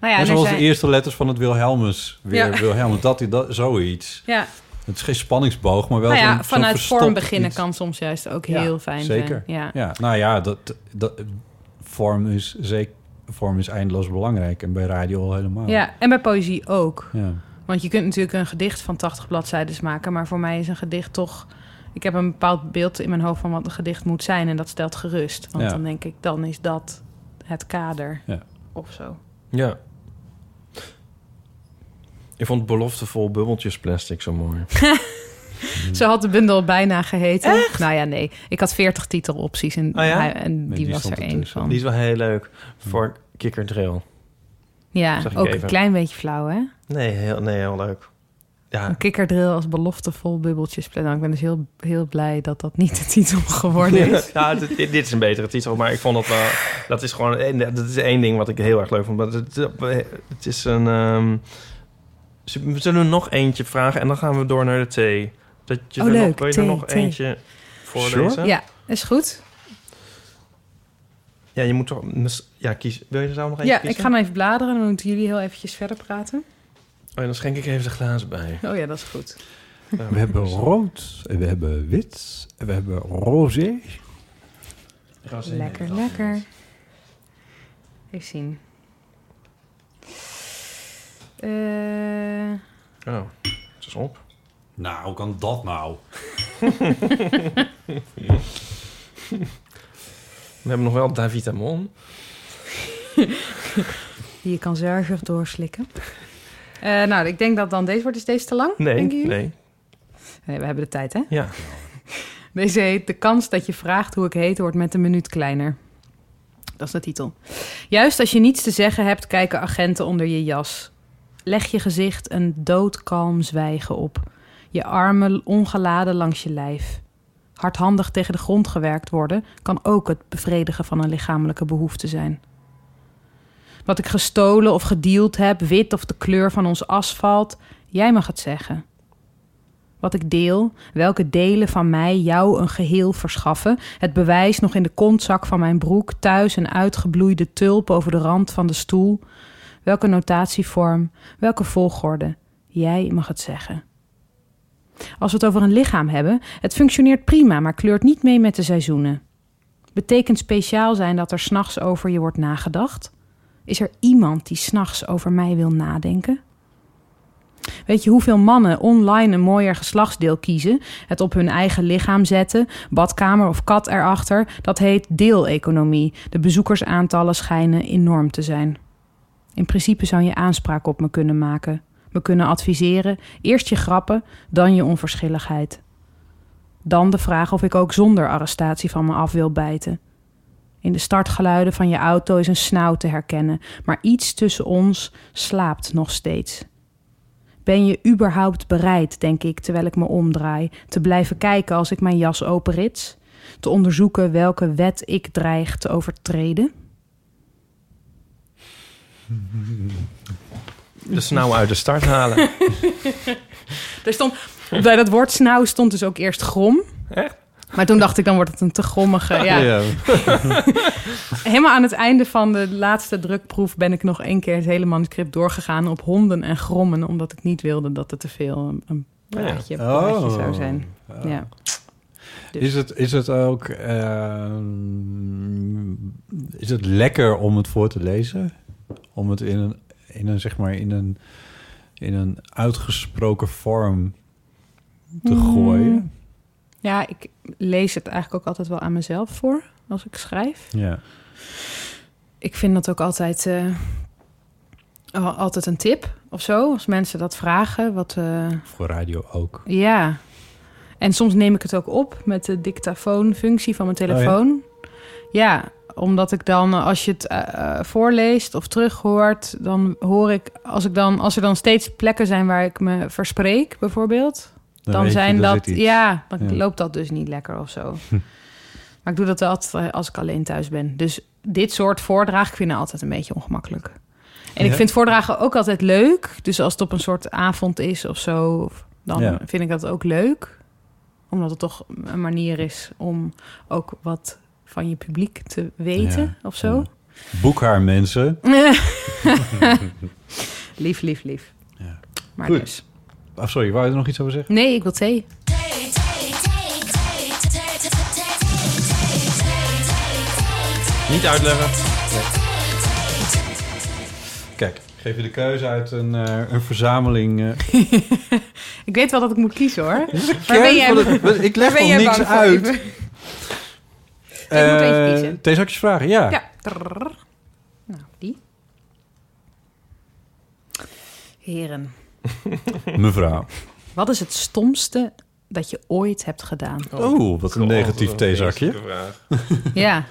D: nou ja,
C: en
D: en er
C: zoals
D: zijn-
C: de eerste letters van het Wilhelmus, weer
D: Ja.
C: Wilhelmus, dat, dat, zoiets.
D: ja.
C: Het is geen spanningsboog, maar wel
D: Nou
C: zo'n-
D: ja,
C: zo'n
D: vanuit
C: verstopt
D: vorm beginnen
C: iets.
D: kan soms juist ook
C: Ja,
D: heel fijn
C: zeker.
D: zijn. Ja.
C: Ja, nou ja, dat, dat, vorm is zeker vorm is eindeloos belangrijk. En bij radio al helemaal.
D: Ja, en bij poëzie ook.
C: Ja.
D: Want je kunt natuurlijk een gedicht van 80 bladzijden maken, maar voor mij is een gedicht toch. Ik heb een bepaald beeld in mijn hoofd van wat een gedicht moet zijn en dat stelt gerust. Want
C: Ja.
D: dan denk ik, dan is dat het kader
C: Ja.
D: of zo.
B: Ja. Ik vond beloftevol bubbeltjesplastic zo mooi.
D: Zo had de bundel bijna geheten. Nou ja, nee. Ik had 40 titelopties en,
B: Oh ja?
D: hij- en die,
C: die
D: was
C: stond
D: er één
C: ertussen.
D: van.
B: Die is wel heel leuk. Voor Kikker Trail.
D: Ja,
B: Zag ik
D: ook
B: even.
D: een klein beetje flauw, hè?
B: Nee, heel, nee, heel leuk. Ja,
D: Een kikkerdrill als beloftevol bubbeltjes. Nou, ik ben dus heel, heel blij dat dat niet de titel geworden is.
B: ja dit, dit is een betere titel, maar ik vond dat wel... Dat is gewoon... eh, Dat is één ding wat ik heel erg leuk vond. Maar het, het is een... ehm, ze- we zullen nog eentje vragen en dan gaan we door naar de thee. Dat je
D: Oh,
B: er nog,
D: leuk,
B: wil je er
D: thee,
B: nog
D: thee.
B: eentje voorlezen?
D: Ja, is goed.
B: Ja, je moet toch... mis- Ja, kies. Wil je er zo nog eentje
D: Ja, ik
B: kiezen?
D: ga nou even bladeren. Dan moeten jullie heel eventjes verder praten.
B: Oh, ja, dan schenk ik even de glazen bij.
D: Oh ja, dat is goed.
B: Ja,
C: We hebben
B: dus-
C: rood, en we hebben wit, en we hebben roze.
B: Roze-
D: Lekker, lekker. Even zien. Eh,
B: Oh, het is op.
C: Nou, hoe kan dat nou?
B: We hebben nog wel Davitamon.
D: die je kan zuiver doorslikken. Eh, nou, ik denk dat dan deze wordt. Is deze te lang?
B: Nee,
D: denken jullie?
B: nee.
D: Nee, we hebben de tijd, hè?
B: Ja.
D: Deze heet De kans dat je vraagt hoe ik heet wordt met een minuut kleiner. Dat is de titel. Juist als je niets te zeggen hebt, kijken agenten onder je jas. Leg je gezicht een doodkalm zwijgen op. Je armen ongeladen langs je lijf. Hardhandig tegen de grond gewerkt worden kan ook het bevredigen van een lichamelijke behoefte zijn. Wat ik gestolen of gedeeld heb, wit of de kleur van ons asfalt, jij mag het zeggen wat ik deel, welke delen van mij jou een geheel verschaffen, het bewijs nog in de kontzak van mijn broek, thuis een uitgebloeide tulp over de rand van de stoel, welke notatievorm, welke volgorde, jij mag het zeggen. Als we het over een lichaam hebben, het functioneert prima, maar kleurt niet mee met de seizoenen. Betekent speciaal zijn dat er s'nachts over je wordt nagedacht? Is er iemand die s'nachts over mij wil nadenken? Weet je hoeveel mannen online een mooier geslachtsdeel kiezen, het op hun eigen lichaam zetten, badkamer of kat erachter? Dat heet deeleconomie. De bezoekersaantallen schijnen enorm te zijn. In principe zou je aanspraak op me kunnen maken, me kunnen adviseren, eerst je grappen, dan je onverschilligheid. Dan de vraag of ik ook zonder arrestatie van me af wil bijten. In de startgeluiden van je auto is een snauw te herkennen, maar iets tussen ons slaapt nog steeds. Ben je überhaupt bereid, denk ik, terwijl ik me omdraai, te blijven kijken als ik mijn jas openrits? Te onderzoeken welke wet ik dreig te overtreden?
B: De snauw dus nou uit de start halen.
D: Er stond, bij dat woord snauw stond dus ook eerst grom.
B: Echt?
D: Maar toen dacht ik, dan wordt het een te grommige. Ja.
C: Ja.
D: Helemaal aan het einde van de laatste drukproef ben ik nog één keer het hele manuscript doorgegaan op honden en grommen, omdat ik niet wilde dat het te veel een- een
B: Ja.
D: praatje, praatje
C: Oh.
D: zou zijn. Ja. Dus-
C: Is, het, is het ook... eh, is het lekker om het voor te lezen? Om het in een, in een zeg maar, in een, in een uitgesproken vorm te gooien?
D: Mm. ja, ik lees het eigenlijk ook altijd wel aan mezelf voor als ik schrijf.
C: Ja.
D: ik vind dat ook altijd, eh, al- altijd een tip of zo. Als mensen dat vragen. Wat, eh,
C: Voor radio ook.
D: ja. En soms neem ik het ook op met de dictafoonfunctie van
C: Oh
D: mijn telefoon. ja. omdat ik dan, eh, als je het eh, eh, voorleest of terughoort, dan hoor ik, als, ik dan, als er dan steeds plekken zijn waar ik me verspreek, bijvoorbeeld, dan,
C: weet je,
D: zijn
C: er
D: dat,
C: zit iets.
D: ja, dan
C: Ja.
D: loopt dat dus niet lekker of zo. maar ik doe dat wel altijd eh, als ik alleen thuis ben. Dus dit soort voordragen vind ik nou altijd een beetje ongemakkelijk. En ik
C: Ja.
D: vind voordragen ook altijd leuk. Dus als het op een soort avond is of zo, of- dan
C: Ja.
D: vind ik dat ook leuk. Omdat het toch een manier is om ook wat van je publiek te weten
C: Ja,
D: of zo.
C: Boek haar, mensen.
D: lief, lief, lief.
C: Ja.
D: Maar
C: Goed.
D: dus.
C: Oh, sorry, wou je er nog iets over zeggen?
D: Nee, ik wil thee.
B: Niet uitleggen.
C: Kijk, ik geef je de keuze uit een, eh, een verzameling. eh,
D: Ik weet wel dat ik moet kiezen hoor.
C: kern
D: ben jij-
C: van het- ik leg
D: Waar ben
C: nog
D: jij
C: niks
D: bang voor,
C: uit.
D: Ipe? moet eentje
C: Eh,
D: kiezen.
C: Thees, zal ik je vragen? Ja.
D: Ja. Trrr. Nou, die. Heren,
C: Mevrouw.
D: wat is het stomste dat je ooit hebt gedaan?
C: Oeh, Oh, wat een negatief theezakje.
D: Ja.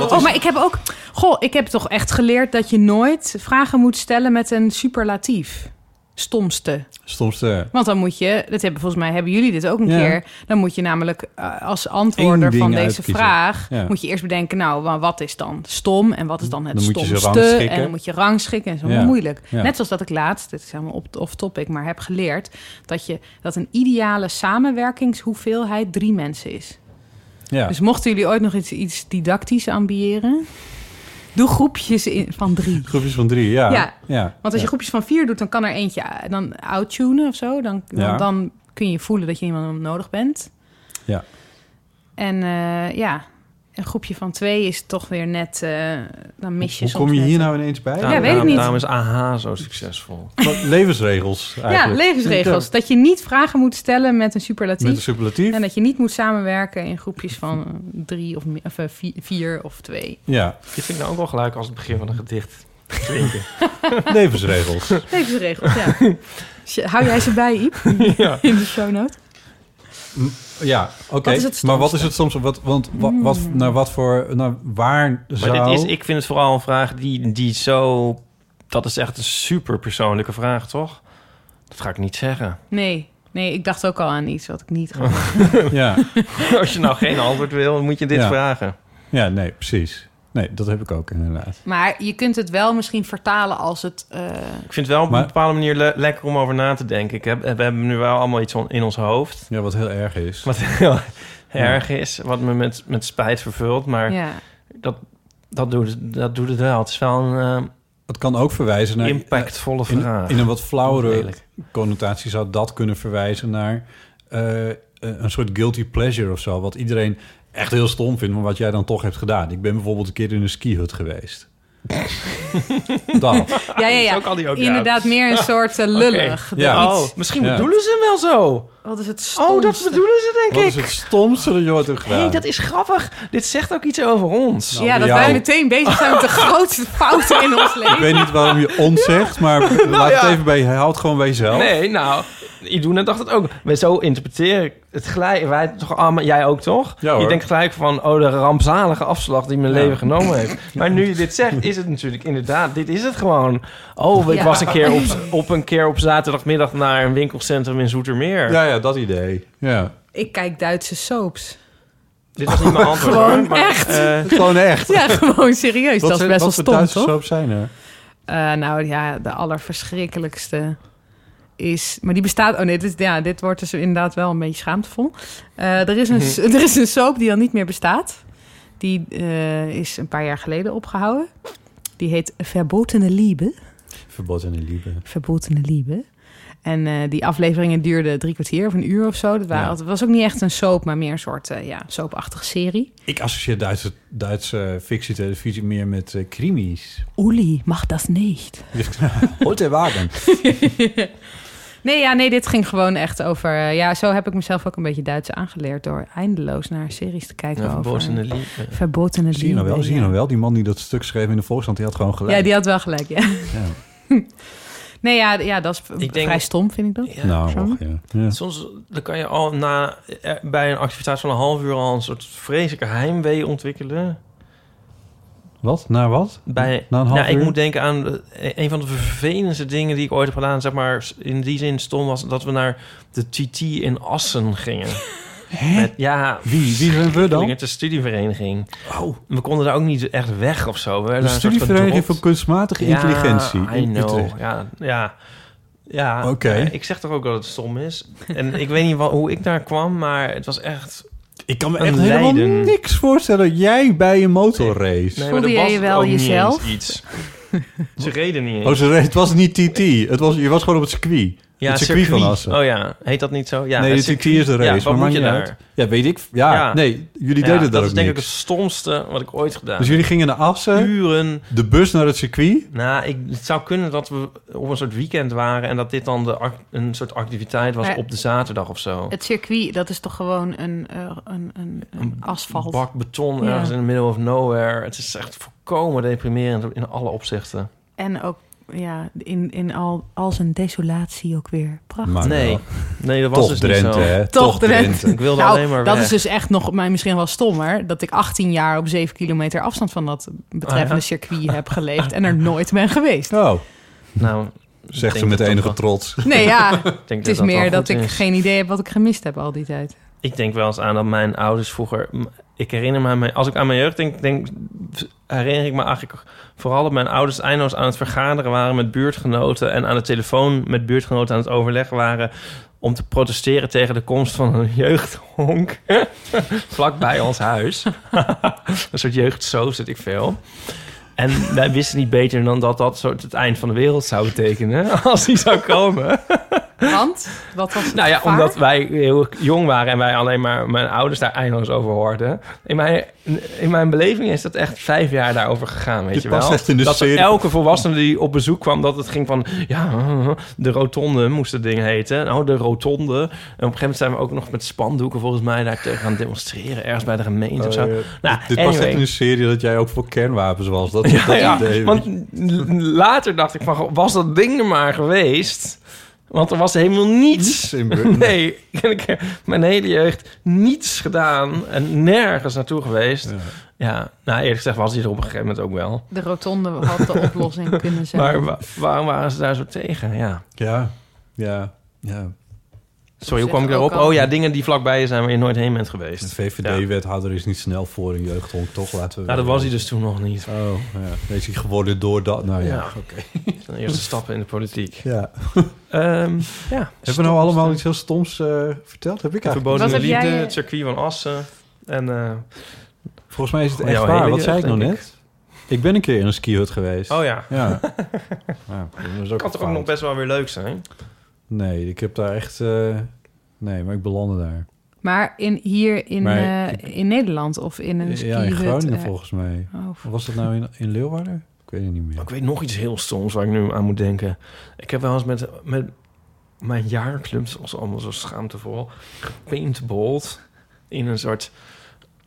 D: Oh, maar ik heb ook... Goh, ik heb toch echt geleerd dat je nooit vragen moet stellen met een superlatief. Stomste.
C: Stomste.
D: Want dan moet je, dat hebben volgens mij hebben jullie dit ook een
C: Ja.
D: keer. Dan moet je namelijk eh, als
C: Eén
D: antwoorder
C: ding
D: van deze
C: uitkiezen.
D: vraag
C: Ja.
D: moet je eerst bedenken, nou, maar wat is dan stom en wat is dan het
C: Dan moet je ze
D: stomste?
C: rangschikken.
D: en dan moet je rangschikken en zo
C: Ja.
D: moeilijk.
C: Ja.
D: Net zoals dat ik laatst, dit is helemaal op- off topic, maar heb geleerd dat je dat een ideale samenwerkingshoeveelheid drie mensen is.
C: Ja.
D: Dus mochten jullie ooit nog iets, iets didactisch ambiëren, doe groepjes in, van drie.
C: Groepjes van drie, ja.
D: Ja.
C: ja.
D: Want als je groepjes van vier doet, dan kan er eentje eh, dan outtunen of zo. Dan, dan,
C: Ja.
D: dan kun je voelen dat je iemand nodig bent.
C: Ja.
D: En eh, ja, een groepje van twee is toch weer net... eh, dan mis je
C: Hoe
D: soms
C: kom je
D: net-
C: hier nou ineens bij?
D: Ja, weet ik niet.
B: Daarom is AH zo succesvol.
C: Wat- Levensregels nou eigenlijk.
D: Ja, levensregels. Dat je niet vragen moet stellen met een
C: Met een
D: superlatief.
C: superlatief.
D: En dat je niet moet samenwerken in groepjes van eh, drie of, me- of eh, vi- vier of twee.
C: Ja,
B: Dit vind ik nou ook wel gelijk als het begin van een gedicht. Klinken.
C: levensregels.
D: Levensregels, ja. Sj- Hou jij ze bij, Iep?
B: ja.
D: In de show note?
C: Ja, oké.
D: Wat is het Hmm.
C: Maar wat is het soms? Wat, want wa- wat, naar wat voor, naar waar zou...
B: Maar dit is, ik vind het vooral een vraag die, die zo... Dat is echt een super persoonlijke vraag, toch? Dat ga ik niet zeggen.
D: Nee. Nee, ik dacht ook al aan iets wat ik niet ga
C: Ja,
B: Als je nou geen antwoord wil, dan moet je dit
C: Ja.
B: vragen.
C: ja, nee, precies. Nee, dat heb ik ook inderdaad.
D: Maar je kunt het wel misschien vertalen als het. eh,
B: Ik vind het wel op
C: Maar-
B: een bepaalde manier le- lekker om over na te denken. Ik heb, we hebben nu wel allemaal iets on- in ons hoofd.
C: Ja, wat heel erg is.
B: Wat heel erg is. Wat me met, met spijt vervult. Maar
D: ja.
B: dat, dat, doet, het- dat doet het wel. Het is wel een
C: Het kan ook verwijzen
B: eh,
C: naar...
B: impactvolle
C: In,
B: vraag.
C: in een wat flauwere
B: Lelijk.
C: connotatie zou dat kunnen verwijzen naar eh, een soort guilty pleasure of zo. Wat iedereen echt heel stom vindt, maar wat jij dan toch hebt gedaan. Ik ben bijvoorbeeld een keer in een skihut geweest. dat.
D: ja, ja, ja.
B: ook al die ook, ja.
D: Inderdaad, meer een soort eh, lullig.
C: Ja.
D: Dat iets-
B: Oh, misschien
C: Ja.
B: bedoelen ze hem wel zo.
D: Wat is het stomste?
B: Oh, dat bedoelen ze denk
C: Wat
B: ik.
C: is het stomste dat je ooit hebt gedaan?
B: hey, dat is grappig. Dit zegt ook iets over ons.
D: ja, dat
C: jou.
D: wij meteen bezig zijn met de grootste fouten in ons leven.
C: Ik weet niet waarom je ons zegt, maar
D: Nou
C: laat het even bij je. Houd gewoon bij jezelf.
B: Nee, nou, Iduna dacht het ook. Maar zo interpreteer ik het gelijk. Wij toch allemaal, jij ook toch?
C: Ja, hoor.
B: je denkt gelijk van, oh, de rampzalige afslag die mijn
C: Ja.
B: leven genomen heeft. Maar nu je dit zegt, is het natuurlijk inderdaad, dit is het gewoon. Oh, ik
D: Ja.
B: was een keer op, op een keer op zaterdagmiddag naar een winkelcentrum in Zoetermeer.
C: Ja, ja, dat idee. Ja.
D: Ik kijk Duitse soaps.
B: Dit was niet mijn antwoord. hoor, maar, eh,
C: Gewoon echt.
D: Ja, gewoon serieus. dat is
C: zijn-
D: best wel
C: wat voor
D: stom,
C: Duitse
D: toch?
C: soap zijn er?
D: Eh, nou ja, de allerverschrikkelijkste is... Maar die bestaat... Oh nee, dit, ja, dit wordt dus inderdaad wel een beetje schaamtevol. Eh, er, is een, er is een soap die dan niet meer bestaat. Die eh, is een paar jaar geleden opgehouden. Die heet Verbotene Liebe.
C: Verboden in Liebe.
D: Verbotene Liebe. En eh, die afleveringen duurden drie kwartier of een uur of zo. Dat waren
C: Ja.
D: altijd- was ook niet echt een soap, maar meer een soort eh, ja, soapachtige serie.
C: Ik associeer Duitse, Duitse fictietelevisie meer met eh, krimis.
D: Uli mag dat niet.
C: Hotel Wagen.
D: Nee, ja, nee, dit ging gewoon echt over... eh, ja, zo heb ik mezelf ook een beetje Duits aangeleerd... door eindeloos naar series te kijken
B: ja,
D: over...
B: verbotene liefde.
D: verbotene
C: Zie je nou wel,
D: liefde,
C: zie je
D: ja.
C: nou wel. Die man die dat stuk schreef in de Volkskrant, die had gewoon gelijk.
D: Ja, die had wel gelijk, ja.
C: Ja.
D: Nee, ja, ja dat is
B: Ik denk-
D: vrij stom, vind ik dat.
B: Ja.
C: Nou,
D: Zo.
C: och, ja. Ja.
B: Soms dan kan je al na, eh, bij een activiteit van een half uur al een soort vreselijke heimwee ontwikkelen.
C: Wat? Naar wat?
B: Bij,
C: Na een half
B: nou, ik
C: uur?
B: moet denken aan eh, een van de vervelendste dingen die ik ooit heb gedaan. Zeg maar, in die zin stom was dat we naar de TT in Assen gingen. Met, ja,
C: Wie? Wie zijn we dan?
B: het de studievereniging.
C: Oh,
B: We konden daar ook niet echt weg of zo. We werden
C: de
B: daar een soort
C: studievereniging voor
B: gedropt.
C: kunstmatige intelligentie.
B: Ja, I
C: in Utrecht.
B: know. Ja, ja. Ja,
C: Oké.
B: Ja, ik zeg toch ook dat het stom is. En ik weet niet wel hoe ik daar kwam, maar het was echt...
C: Ik kan me
B: Een
C: echt helemaal
B: Leiden.
C: niks voorstellen dat jij bij een motorrace...
B: maar
D: Voelde
B: er
D: jij
B: was
D: je wel
B: ook niet eens
D: jezelf?
B: Iets. Ze reden niet eens.
C: Oh, ze reed- het was niet TT. Het was, je was gewoon op het circuit.
B: ja,
C: het circuit, van Assen.
B: Oh ja, heet dat niet zo? Ja,
C: nee, het
B: het
C: circuit is de race.
B: Ja, wat
C: maar
B: moet
C: maakt
B: je
C: niet
B: daar?
C: uit. Ja, weet ik. Ja,
B: Ja.
C: nee, jullie
B: Ja,
C: deden daar
B: dat
C: ook
B: is denk ik
C: niks.
B: het stomste wat ik ooit gedaan
C: Dus jullie gingen naar
B: heb.
C: Assen,
B: Uren.
C: de bus naar het circuit.
B: Nou, ik, het zou kunnen dat we op een soort weekend waren... en dat dit dan de, ac- een soort activiteit was
D: Maar-
B: op de zaterdag of zo.
D: Het circuit, dat is toch gewoon een, eh, een, een, een asfalt.
B: Bak beton
D: Ja.
B: ergens in the middle of nowhere. Het is echt volkomen deprimerend in alle opzichten.
D: En ook ja, in, in al, al zijn desolatie ook weer. Prachtig.
C: Maar
B: nee,
C: wel.
B: nee, dat was
C: Toch
B: dus niet
C: Ah, nou. Drenthe,
B: zo.
C: hè?
D: Toch Drenthe.
B: Ik wilde
D: Nou,
B: alleen maar
D: dat
B: weg.
D: is dus echt nog maar misschien wel stommer. Dat ik 18 jaar op 7 kilometer afstand van dat betreffende
B: Ah, ja.
D: circuit heb geleefd en er nooit ben geweest.
C: Oh,
B: Nou, ik
C: zegt ze
B: denk
C: met
B: dat
C: enige
B: dat
C: trots.
D: Nee, ja.
B: wel- ik denk
D: Het is
B: dat wel
D: meer
B: goed
D: dat ik
B: is.
D: geen idee heb wat ik gemist heb al die tijd.
B: Ik denk wel eens aan dat mijn ouders vroeger... m- Ik herinner me aan mijn... Als ik aan mijn jeugd denk, denk herinner ik me eigenlijk vooral... dat mijn ouders eindeloos aan het vergaderen waren met buurtgenoten... en aan de telefoon met buurtgenoten aan het overleg waren... om te protesteren tegen de komst van een jeugdhonk... vlakbij ons huis. een soort jeugdsoos, weet ik veel. En wij wisten niet beter dan dat dat soort het eind van de wereld zou betekenen... als die zou komen.
D: Want? Wat was het
B: Nou ja,
D: gevaar?
B: omdat wij heel jong waren en wij alleen maar mijn ouders daar eindeloos over hoorden. In mijn, in mijn beleving is dat echt vijf jaar daarover gegaan, weet
C: Je
B: je,
C: past
B: wel.
C: echt in de
B: dat er
C: serie.
B: elke volwassene die op bezoek kwam, dat het ging van... Ja, de rotonde moest het ding heten. Nou, de rotonde. En op een gegeven moment zijn we ook nog met spandoeken volgens mij daar tegen gaan demonstreren. Ergens bij de gemeente of zo.
C: Eh,
B: Nou,
C: dit was
B: anyway.
C: echt een serie dat jij ook voor kernwapens was. Dat,
B: Ja,
C: dat
B: Ah, ja,
C: idee.
B: want l- later dacht ik van, goh, was dat ding er maar geweest? Want er was helemaal niets.
C: In Bur-
B: Nee, en ik heb mijn hele jeugd niets gedaan en nergens naartoe geweest. Ja, nou eerlijk gezegd was hij er op een gegeven moment ook wel.
D: De rotonde had de oplossing kunnen zijn.
B: Maar wa- waarom waren ze daar zo tegen? Ja.
C: Ja, ja, ja.
B: Sorry, hoe
D: Op
B: kwam ik
D: zich
B: erop?
D: ook al.
B: Oh ja, dingen die vlakbij je zijn waar je nooit heen bent
C: De
B: geweest. Ja.
C: VVD-wethouder is niet snel voor een jeugdhond, toch? Laten we
B: Nou, dat was hij dus toen nog niet.
C: Oh, ja. Deze is geworden door dat. Nou ja,
B: Ja.
C: oké.
B: De eerste stappen in de politiek.
C: Ja.
B: Ehm, ja.
C: Hebben we nou allemaal iets heel stoms eh, verteld? Heb ik eigenlijk?
B: Verboden
D: Wat heb
B: liefde,
D: jij- eh,
B: het circuit van Assen. En eh,
C: Volgens mij is het
B: Oh,
C: echt
B: jouw
C: waar.
B: hele
C: Wat zei ik
B: jeugd,
C: nou
B: denk
C: net? Ik ben een keer in een skihut geweest.
B: oh ja,
C: Ja. ja dat is ook
B: kan toch ook
C: fout.
B: nog best wel weer leuk zijn?
C: Nee, ik heb daar echt... eh, Nee, maar ik belandde daar.
D: Maar in, hier in,
C: Maar
D: eh,
C: ik-
D: in Nederland of in een ski
C: ja, in Groningen volgens mij.
D: oh,
C: Of was dat nou in, in Leeuwarden? Ik weet het niet meer.
B: Ik weet nog iets heel stoms waar ik nu aan moet denken. Ik heb wel eens met, met mijn jaarclubs, was allemaal zo schaamtevol, gepaintballed in een soort...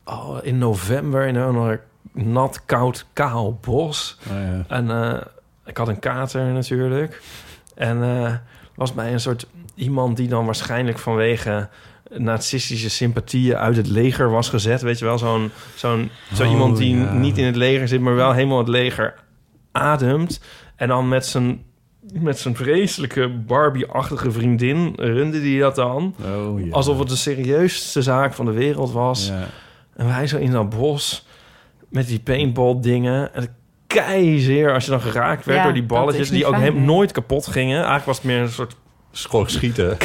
B: Oh, in november in een of ander nat, koud, kaal bos.
C: Nou ja.
B: En eh, ik had een kater natuurlijk. En eh, was mij een soort iemand die dan waarschijnlijk vanwege nazistische sympathieën uit het leger was gezet. Weet je wel, zo'n zo'n zo
C: Oh,
B: iemand die
C: ja.
B: niet in het leger zit, maar wel helemaal het leger ademt. En dan met zijn, met zijn vreselijke Barbie-achtige vriendin runde die dat dan.
C: Oh, ja.
B: Alsof het de serieusste zaak van de wereld was.
C: Ja.
B: En wij zo in dat bos met die paintball dingen. En het keizeer als je dan geraakt werd
D: Ja,
B: door die
D: dat
B: balletjes
D: is niet
B: die ook
D: fijn,
B: helemaal
D: hè?
B: nooit kapot gingen. Eigenlijk was het meer een soort...
C: Schor schieten.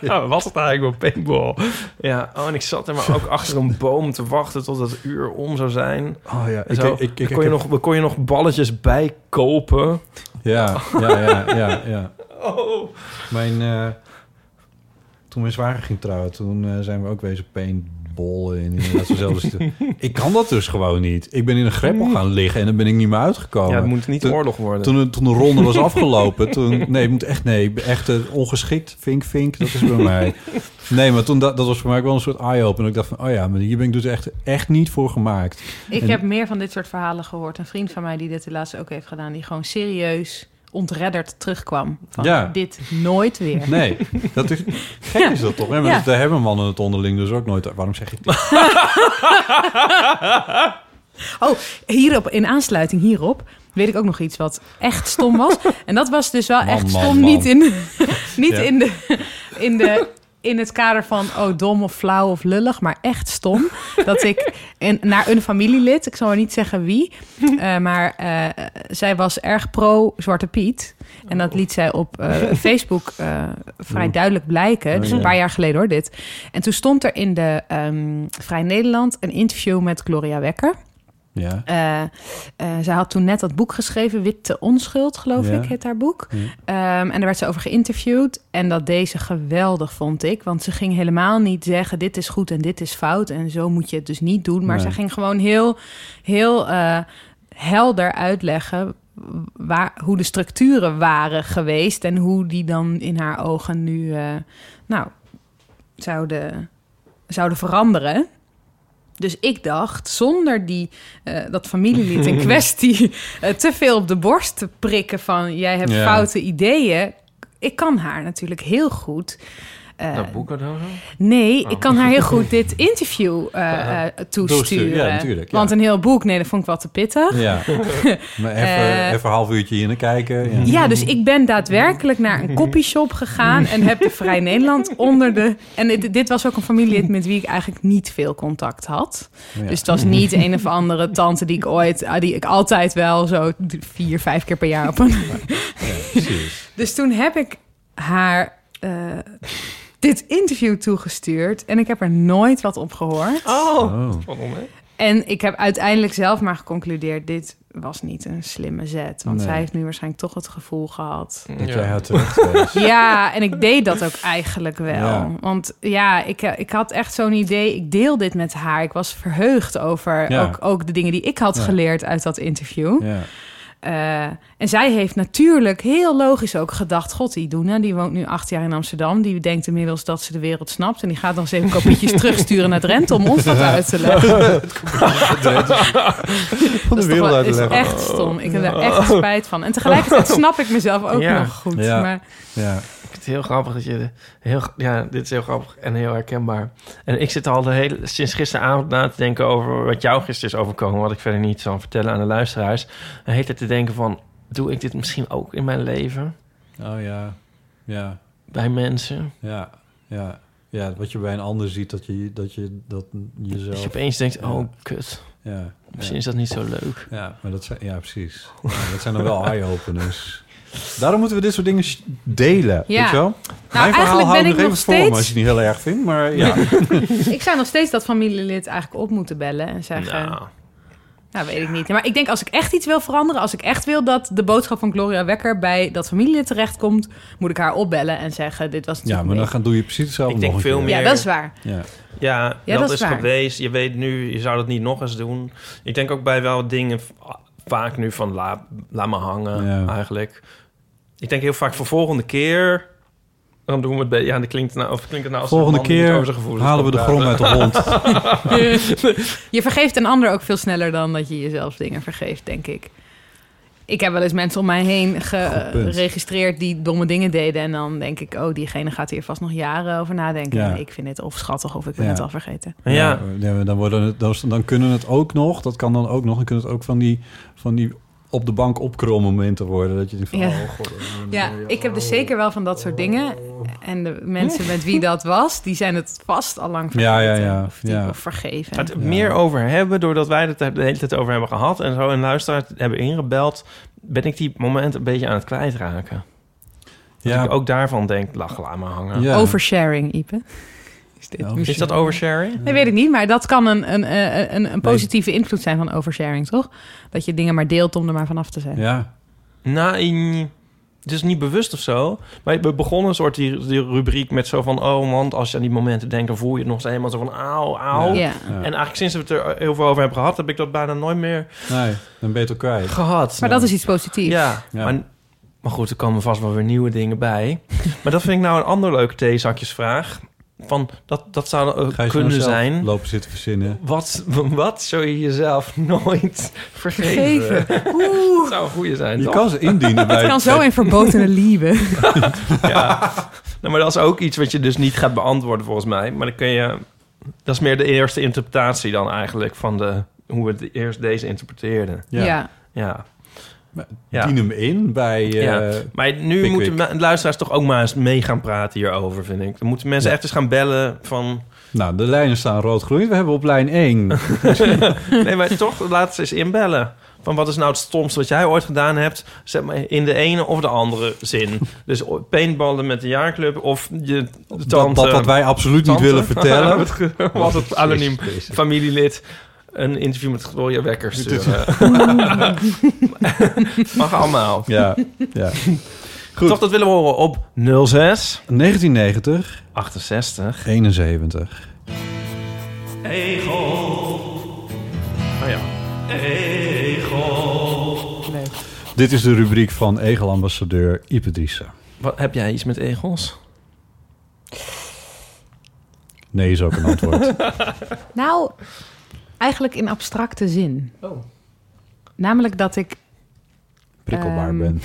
B: ja, was het eigenlijk wel paintball? Ja, oh, en ik zat er maar ook achter een boom te wachten tot het uur om zou zijn.
C: Oh ja,
B: En
C: ik,
B: zo,
C: ik, ik, ik,
B: kon, je
C: heb-
B: nog, daar kon je nog balletjes bij kopen.
C: Oh, Ja, ja, ja, ja, ja.
B: Oh.
C: Mijn, eh, toen mijn zwager ging trouwen, toen eh, zijn we ook wezen paintballen in inderdaad dezelfde situatie. Ik kan dat dus gewoon niet. Ik ben in een greppel gaan liggen en dan ben ik niet meer uitgekomen.
B: Ja, het moet niet
C: Toen-
B: oorlog worden.
C: toen, toen de ronde was afgelopen, toen... Nee, ik moet echt, nee, ik ben echt eh, ongeschikt. Vink, vink, dat is bij mij. Nee, maar toen, dat, dat was voor mij ook wel een soort eye-open. Ik dacht van, oh ja, maar hier ben ik dus echt, echt niet voor gemaakt.
D: Ik
C: En-
D: heb meer van dit soort verhalen gehoord. Een vriend van mij die dit de laatste ook heeft gedaan, die gewoon serieus ontredderd terugkwam. Van
C: Ja.
D: dit nooit weer.
C: Nee, dat is... Gek is dat toch? Hè? Maar
D: Ja.
C: dat, daar hebben mannen het onderling dus ook nooit... Waarom zeg ik dit?
D: Oh, hierop, in aansluiting hierop, weet ik ook nog iets wat echt stom was. en dat was dus wel
C: Man,
D: echt
C: man,
D: stom,
C: man.
D: niet, in, niet
C: Ja.
D: in, de, in, de, in het kader van oh dom of flauw of lullig, maar echt stom. dat ik in, naar een familielid, ik zal maar niet zeggen wie, eh, maar eh, zij was erg pro Zwarte Piet. En dat liet zij op eh, Facebook eh, vrij duidelijk blijken. Dus een paar jaar geleden hoor, dit. En toen stond er in de ehm, Vrij Nederland een interview met Gloria Wekker.
C: Ja.
D: Eh, eh, zij had toen net dat boek geschreven, Witte Onschuld, geloof
C: Ja.
D: ik, heet haar boek.
C: Ja.
D: Ehm, en daar werd ze over geïnterviewd. En dat deze geweldig vond ik. Want ze ging helemaal niet zeggen: dit is goed en dit is fout. En zo moet je het dus niet doen. Maar
C: Nee.
D: ze ging gewoon heel, heel eh, helder uitleggen. Waar, hoe de structuren waren geweest en hoe die dan in haar ogen nu eh, nou, zouden, zouden veranderen. Dus ik dacht, zonder die, eh, dat familielid in kwestie eh, te veel op de borst te prikken van jij hebt
C: Ja.
D: foute ideeën. Ik kan haar natuurlijk heel goed. eh,
B: dat Nou, boek dan?
D: nee,
B: Oh.
D: ik kan haar heel goed dit interview eh,
B: Ja.
D: eh, toesturen.
C: ja, natuurlijk, ja.
D: Want een heel boek, nee, dat vond ik wel te pittig.
C: Ja. maar even,
D: Eh.
C: even een half uurtje in kijken. Ja.
D: Ja, dus ik ben daadwerkelijk naar een copyshop gegaan en heb de Vrij Nederland onder de. En dit, dit was ook een familielid met wie ik eigenlijk niet veel contact had.
C: Ja.
D: Dus het was niet een of andere tante die ik ooit, ah, die ik altijd wel zo d- vier, vijf keer per jaar op een.
C: Ja, precies.
D: Dus toen heb ik haar eh, dit interview toegestuurd en ik heb er nooit wat op gehoord.
B: Oh,
C: Oh.
B: waarom hè?
D: En ik heb uiteindelijk zelf maar geconcludeerd: dit was niet een slimme zet. Want
C: Nee.
D: zij heeft nu waarschijnlijk toch het gevoel gehad.
C: Dat
B: Ja.
C: jij eh, haar terecht was.
D: Ja, en ik deed dat ook eigenlijk wel.
C: Ja.
D: Want ja, ik, ik had echt zo'n idee. Ik deel dit met haar. Ik was verheugd over
C: Ja.
D: ook, ook de dingen die ik had
C: Ja.
D: geleerd uit dat interview.
C: Ja.
D: Eh, en zij heeft natuurlijk heel logisch ook gedacht... God, die Iduna, die woont nu acht jaar in Amsterdam. Die denkt inmiddels dat ze de wereld snapt. En die gaat dan zeven kopietjes terugsturen naar Drenthe... om ons dat uit te leggen.
C: Van de
D: Dat is, toch
C: wereld
D: wel-
C: uit te
D: is
C: leggen. Oh.
D: echt stom. Ik heb daar echt spijt van. En tegelijkertijd snap ik mezelf ook
B: Ja.
D: nog goed.
C: Ja.
D: Maar
C: Ja.
B: Ik vind het heel grappig dat je... de- Heel, ja, dit is heel grappig en heel herkenbaar. En ik zit al de hele, sinds gisteravond na te denken over wat jou gisteren is overkomen... wat ik verder niet zal vertellen aan de luisteraars. En heet het te denken van, doe ik dit misschien ook in mijn leven?
C: Oh ja. Ja.
B: Bij mensen?
C: Ja, ja, ja. Wat je bij een ander ziet, dat je dat, je, dat jezelf.
B: Dat je opeens denkt,
C: Ja.
B: oh kut,
C: ja,
B: misschien
C: ja,
B: is dat niet zo leuk.
C: ja, maar dat zijn, ja, precies. Ja, dat zijn dan wel eye-openers. Daarom moeten we dit soort dingen sh- delen.
D: Ja. Nou,
C: Weet je wel? Mijn
D: eigenlijk
C: verhaal
D: ben
C: hou
D: ik
C: nog even
D: nog
C: voor me
D: steeds-
C: als je het niet heel erg vindt. Maar ja,
D: ik zou nog steeds dat familielid eigenlijk op moeten bellen... en zeggen...
B: Nou,
D: Nou, weet ik niet. Maar ik denk als ik echt iets wil veranderen, als ik echt wil dat de boodschap van Gloria Wekker bij dat familielid terechtkomt, moet ik haar opbellen en zeggen: Dit was
C: ja
D: natuurlijk.
C: maar dan
D: niks.
C: gaan, doe je precies hetzelfde.
B: Ik denk
C: nog een
B: veel
C: keer.
B: meer-
D: Ja, dat is waar.
C: Ja.
B: Ja,
D: Ja,
B: dat,
D: dat is
B: is
D: waar.
B: geweest. Je weet nu, je zou dat niet nog eens doen. Ik denk ook bij wel dingen v- vaak nu van laat, laat me hangen
C: Ja.
B: eigenlijk. Ik denk heel vaak voor volgende keer... Dan doen we het bij... Ja, dat klinkt nou, of klinkt het nou als
C: Volgende
B: een man die niet over
C: keer
B: zijn gevoelens
C: halen we
B: kan
C: de
B: praten.
C: grom uit de hond.
D: Je vergeeft een ander ook veel sneller dan dat je jezelf dingen vergeeft, denk ik. Ik heb wel eens mensen om mij heen
C: Goed punt.
D: geregistreerd die domme dingen deden. En dan denk ik, oh, diegene gaat hier vast nog jaren over nadenken.
C: Ja.
D: En Ik vind dit of schattig of ik ben
C: Ja.
D: het al vergeten.
B: Ja,
C: ja, maar dan, worden het, dan- dan kunnen het ook nog, dat kan dan ook nog, dan kunnen het ook van die, van die op de bank opkrom momenten worden. Dat je denkt van,
D: Ja.
C: oh god. eh,
D: Ja, ik heb dus zeker wel van dat soort dingen. En de mensen met wie dat was, die zijn het vast al lang vergeten.
C: Ja, ja, ja.
D: Of, die,
C: Ja.
D: of vergeven.
B: Gaat het meer over hebben, doordat wij het de hele tijd over hebben gehad... en zo en luisteraars hebben ingebeld... ben ik die momenten een beetje aan het kwijtraken. Dat
C: Ja,
B: ik ook daarvan denk, lach, laat me hangen.
C: ja.
D: Oversharing, Ipe. Is, dit
C: Ja,
D: nu-
B: Is dat oversharing?
D: Nee, weet ik niet, maar dat kan een, een, eh, een, een positieve invloed zijn van oversharing, toch? Dat je dingen maar deelt om er maar vanaf te zijn.
C: Ja,
B: Nou, in- het is niet bewust of zo. Maar we begonnen een soort die, die rubriek met zo van... oh man, als je aan die momenten denkt... dan voel je het nog eens helemaal zo van auw, auw.
D: Ja.
C: ja.
B: En eigenlijk sinds we het er heel veel over hebben gehad... heb ik dat bijna nooit meer
C: nee, dan ben je het ook kwijt.
B: gehad.
D: Maar dat is iets positiefs.
B: Ja,
C: Ja.
B: Maar, maar goed, er komen vast wel weer nieuwe dingen bij. maar dat vind ik nou een ander leuke theezakjesvraag. Van, dat, dat zou eh,
C: Ga je zo
B: kunnen
C: zelf
B: zijn...
C: lopen zitten verzinnen.
B: Wat, wat zou je jezelf nooit vergeven?
D: Geven.
B: Dat zou een goeie zijn,
C: Je
B: toch?
C: kan ze indienen bij...
D: Het kan zo in verbotene lieve.
B: Ja. nou, maar dat is ook iets wat je dus niet gaat beantwoorden volgens mij. Maar dan kun je... Dat is meer de eerste interpretatie dan eigenlijk van de, hoe we de, eerst deze interpreteerden.
D: Ja.
C: Ja,
B: Ja.
C: Maar
B: ja.
C: Dien hem in bij... eh,
B: Ja. Maar nu
C: Pickwick.
B: moeten ma- luisteraars toch ook maar eens mee gaan praten hierover, vind ik. Dan moeten mensen
C: Ja.
B: echt eens gaan bellen van...
C: Nou, de lijnen staan rood-groen. We hebben op lijn 1.
B: Nee, maar toch, laat ze eens inbellen. Van wat is nou het stomste wat jij ooit gedaan hebt? Zeg maar in de ene of de andere zin. Dus o- paintballen met de jaarclub of je tante...
C: dat, dat wat wij absoluut
B: tante-
C: niet willen vertellen.
B: Wat het anoniem
C: Jezus.
B: familielid. een interview met Gloria Wekker sturen. Mag allemaal.
C: Ja, ja. Goed.
B: Toch, dat willen we horen op 06
C: 1990,
B: 68.
C: 71.
B: Oh ja.
C: Dit is de rubriek van Egel-ambassadeur Ipe Driessen.
B: Wat, heb jij iets met egels?
C: Nee is ook een antwoord.
D: Nou, eigenlijk in abstracte zin.
B: Oh.
D: Namelijk dat ik
C: Prikkelbaar
D: Ehm,
C: ben.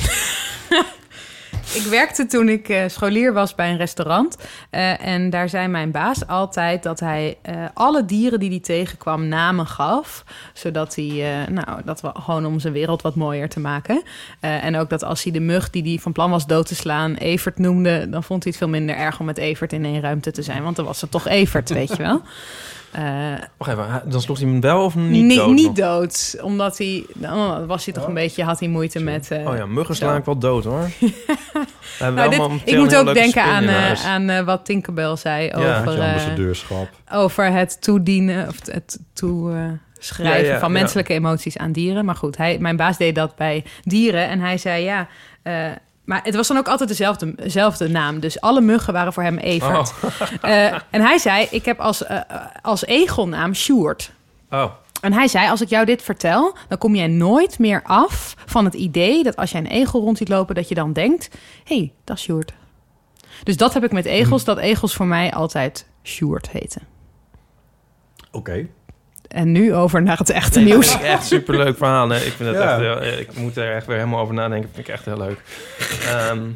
D: Ik werkte toen ik eh, scholier was bij een restaurant. Eh, en daar zei mijn baas altijd dat hij eh, alle dieren die hij tegenkwam namen gaf. Zodat hij, eh, nou, dat we gewoon om zijn wereld wat mooier te maken. Eh, en ook dat als hij de mug die hij van plan was dood te slaan, Evert noemde. dan vond hij het veel minder erg om met Evert in één ruimte te zijn. Want dan was het toch Evert, weet je wel. Eh,
B: Wacht even, hij- dan sloeg hij hem wel of niet
D: niet,
B: dood?
D: niet
B: nog?
D: dood. Omdat hij, dan was hij toch een beetje, had hij moeite met. eh,
B: Oh ja, muggen slaan
D: Zo.
B: ik wel dood hoor.
D: Nou, dit- ik moet ook denken aan, eh, aan eh, wat Tinkerbell zei
B: Ja,
D: over,
C: Je
D: eh,
C: ambassadeurschap.
D: over het toedienen of het toeschrijven
B: Ja, ja,
D: van
B: ja.
D: menselijke emoties aan dieren. Maar goed, hij, mijn baas deed dat bij dieren en hij zei ja. eh, maar het was dan ook altijd dezelfde, dezelfde naam. Dus alle muggen waren voor hem
B: Oh,
D: Evert. Eh, en hij zei, ik heb als, eh, als egelnaam Sjoerd.
B: Oh,
D: En hij zei, als ik jou dit vertel, dan kom jij nooit meer af van het idee dat als jij een egel rond ziet lopen, dat je dan denkt, hé, hey, dat is Sjoerd. Dus dat heb ik met egels,
B: Hmm.
D: dat egels voor mij altijd Sjoerd heten.
C: Oké.
D: En nu over naar het echte
B: nee,
D: nieuws.
B: dat vind ik echt superleuk verhaal. hè. Ik, vind het
C: Ja.
B: echt heel, eh, ik moet er echt weer helemaal over nadenken. Vind ik echt heel leuk. Ehm,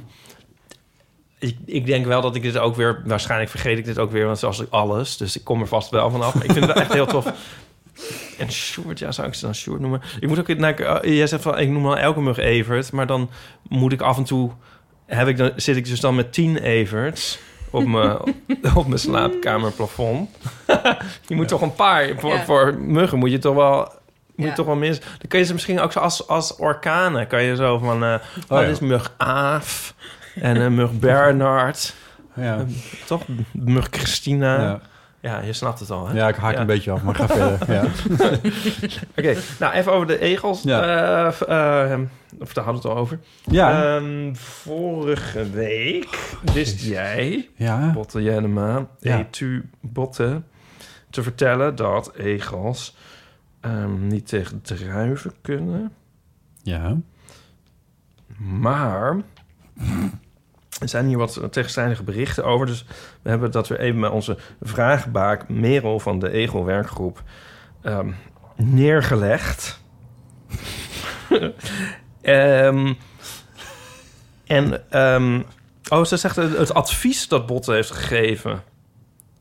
B: ik, ik denk wel dat ik dit ook weer... Waarschijnlijk vergeet ik dit ook weer, want zoals ik alles. Dus ik kom er vast wel vanaf. Maar ik vind het wel echt heel tof. En Sjoerd, ja, zou ik ze dan Sjoerd noemen? Ik moet ook... Nou, ik, eh, jij zegt van, ik noem al elke mug Evert. Maar dan moet ik af en toe... Heb ik dan, zit ik dus dan met tien Everts op mijn, op mijn slaapkamerplafond. je moet toch een paar... Voor,
D: Ja.
B: voor muggen moet je toch wel... Moet je
D: Ja.
B: toch wel mis. Dan kun je ze misschien ook zo als, als orkanen. Kan je zo van. eh oh,
C: ja.
B: dit is mug Aaf. En eh, mug Bernard.
C: Ja.
B: Toch? Mug Christina.
C: Ja.
B: Ja. je snapt het al. Hè?
C: ja, ik haak
B: eh, Ja.
C: een beetje af, maar ga verder. Ja.
B: Oké, nou even over de egels.
C: Ja.
B: Eh, f- eh, of daar hadden we het al over.
C: Ja.
B: Ehm, vorige week wist jij,
C: ja.
B: Botte Jennema,
C: Ja.
B: Etu Botte, te vertellen dat egels ehm, niet tegen druiven kunnen.
C: Ja.
B: Maar er zijn hier wat tegenstrijdige berichten over. Dus we hebben dat weer even met onze vraagbaak Merel van de Egel Werkgroep ehm, neergelegd. Ehm, en, ehm, oh, ze zegt het, het advies dat Botte heeft gegeven.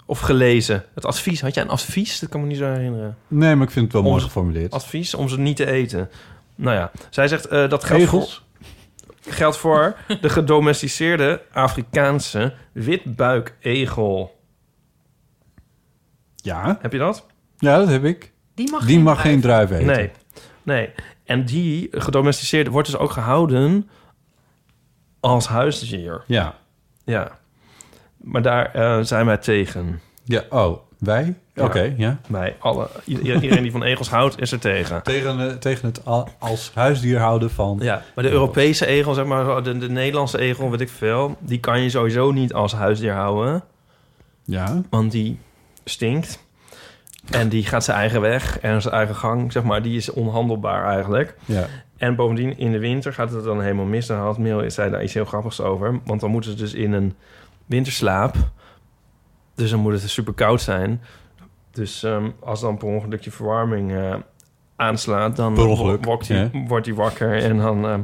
B: Of gelezen. Het advies. Had jij een advies? Dat kan ik me niet zo herinneren.
C: Nee, maar ik vind het wel mooi
B: Onze-
C: geformuleerd.
B: Advies om ze niet te eten. Nou ja, zij zegt eh, dat geldt voor-
C: Egels?
B: geldt voor de gedomesticeerde Afrikaanse witbuitegel.
C: Ja.
B: Heb je dat?
C: Ja, dat heb ik.
D: Die mag,
C: Die mag geen druif eten.
B: Nee. Nee. En die gedomesticeerde wordt dus ook gehouden als huisdier.
C: Ja.
B: Ja. Maar daar eh, zijn wij tegen.
C: Ja, oh, wij?
B: Ja.
C: Oké, ja.
B: Wij alle. Iedereen iedereen die van egels houdt, is er tegen.
C: Tegen, eh, tegen het al- als huisdier houden van...
B: Ja, maar de Europese egel, zeg maar, de, de Nederlandse egel, weet ik veel, die kan je sowieso niet als huisdier houden.
C: Ja.
B: Want die stinkt. En die gaat zijn eigen weg en zijn eigen gang, zeg maar. Die is onhandelbaar eigenlijk.
C: ja.
B: En bovendien, in de winter gaat het dan helemaal mis. Daar had Merel zei daar iets heel grappigs over. Want dan moeten ze dus in een winterslaap. Dus dan moet het super koud zijn. Dus ehm, als dan per ongeluk je verwarming eh, aanslaat... dan
C: Per ongeluk,
B: wo- wokt die-
C: ja.
B: wordt hij wakker en dan ehm,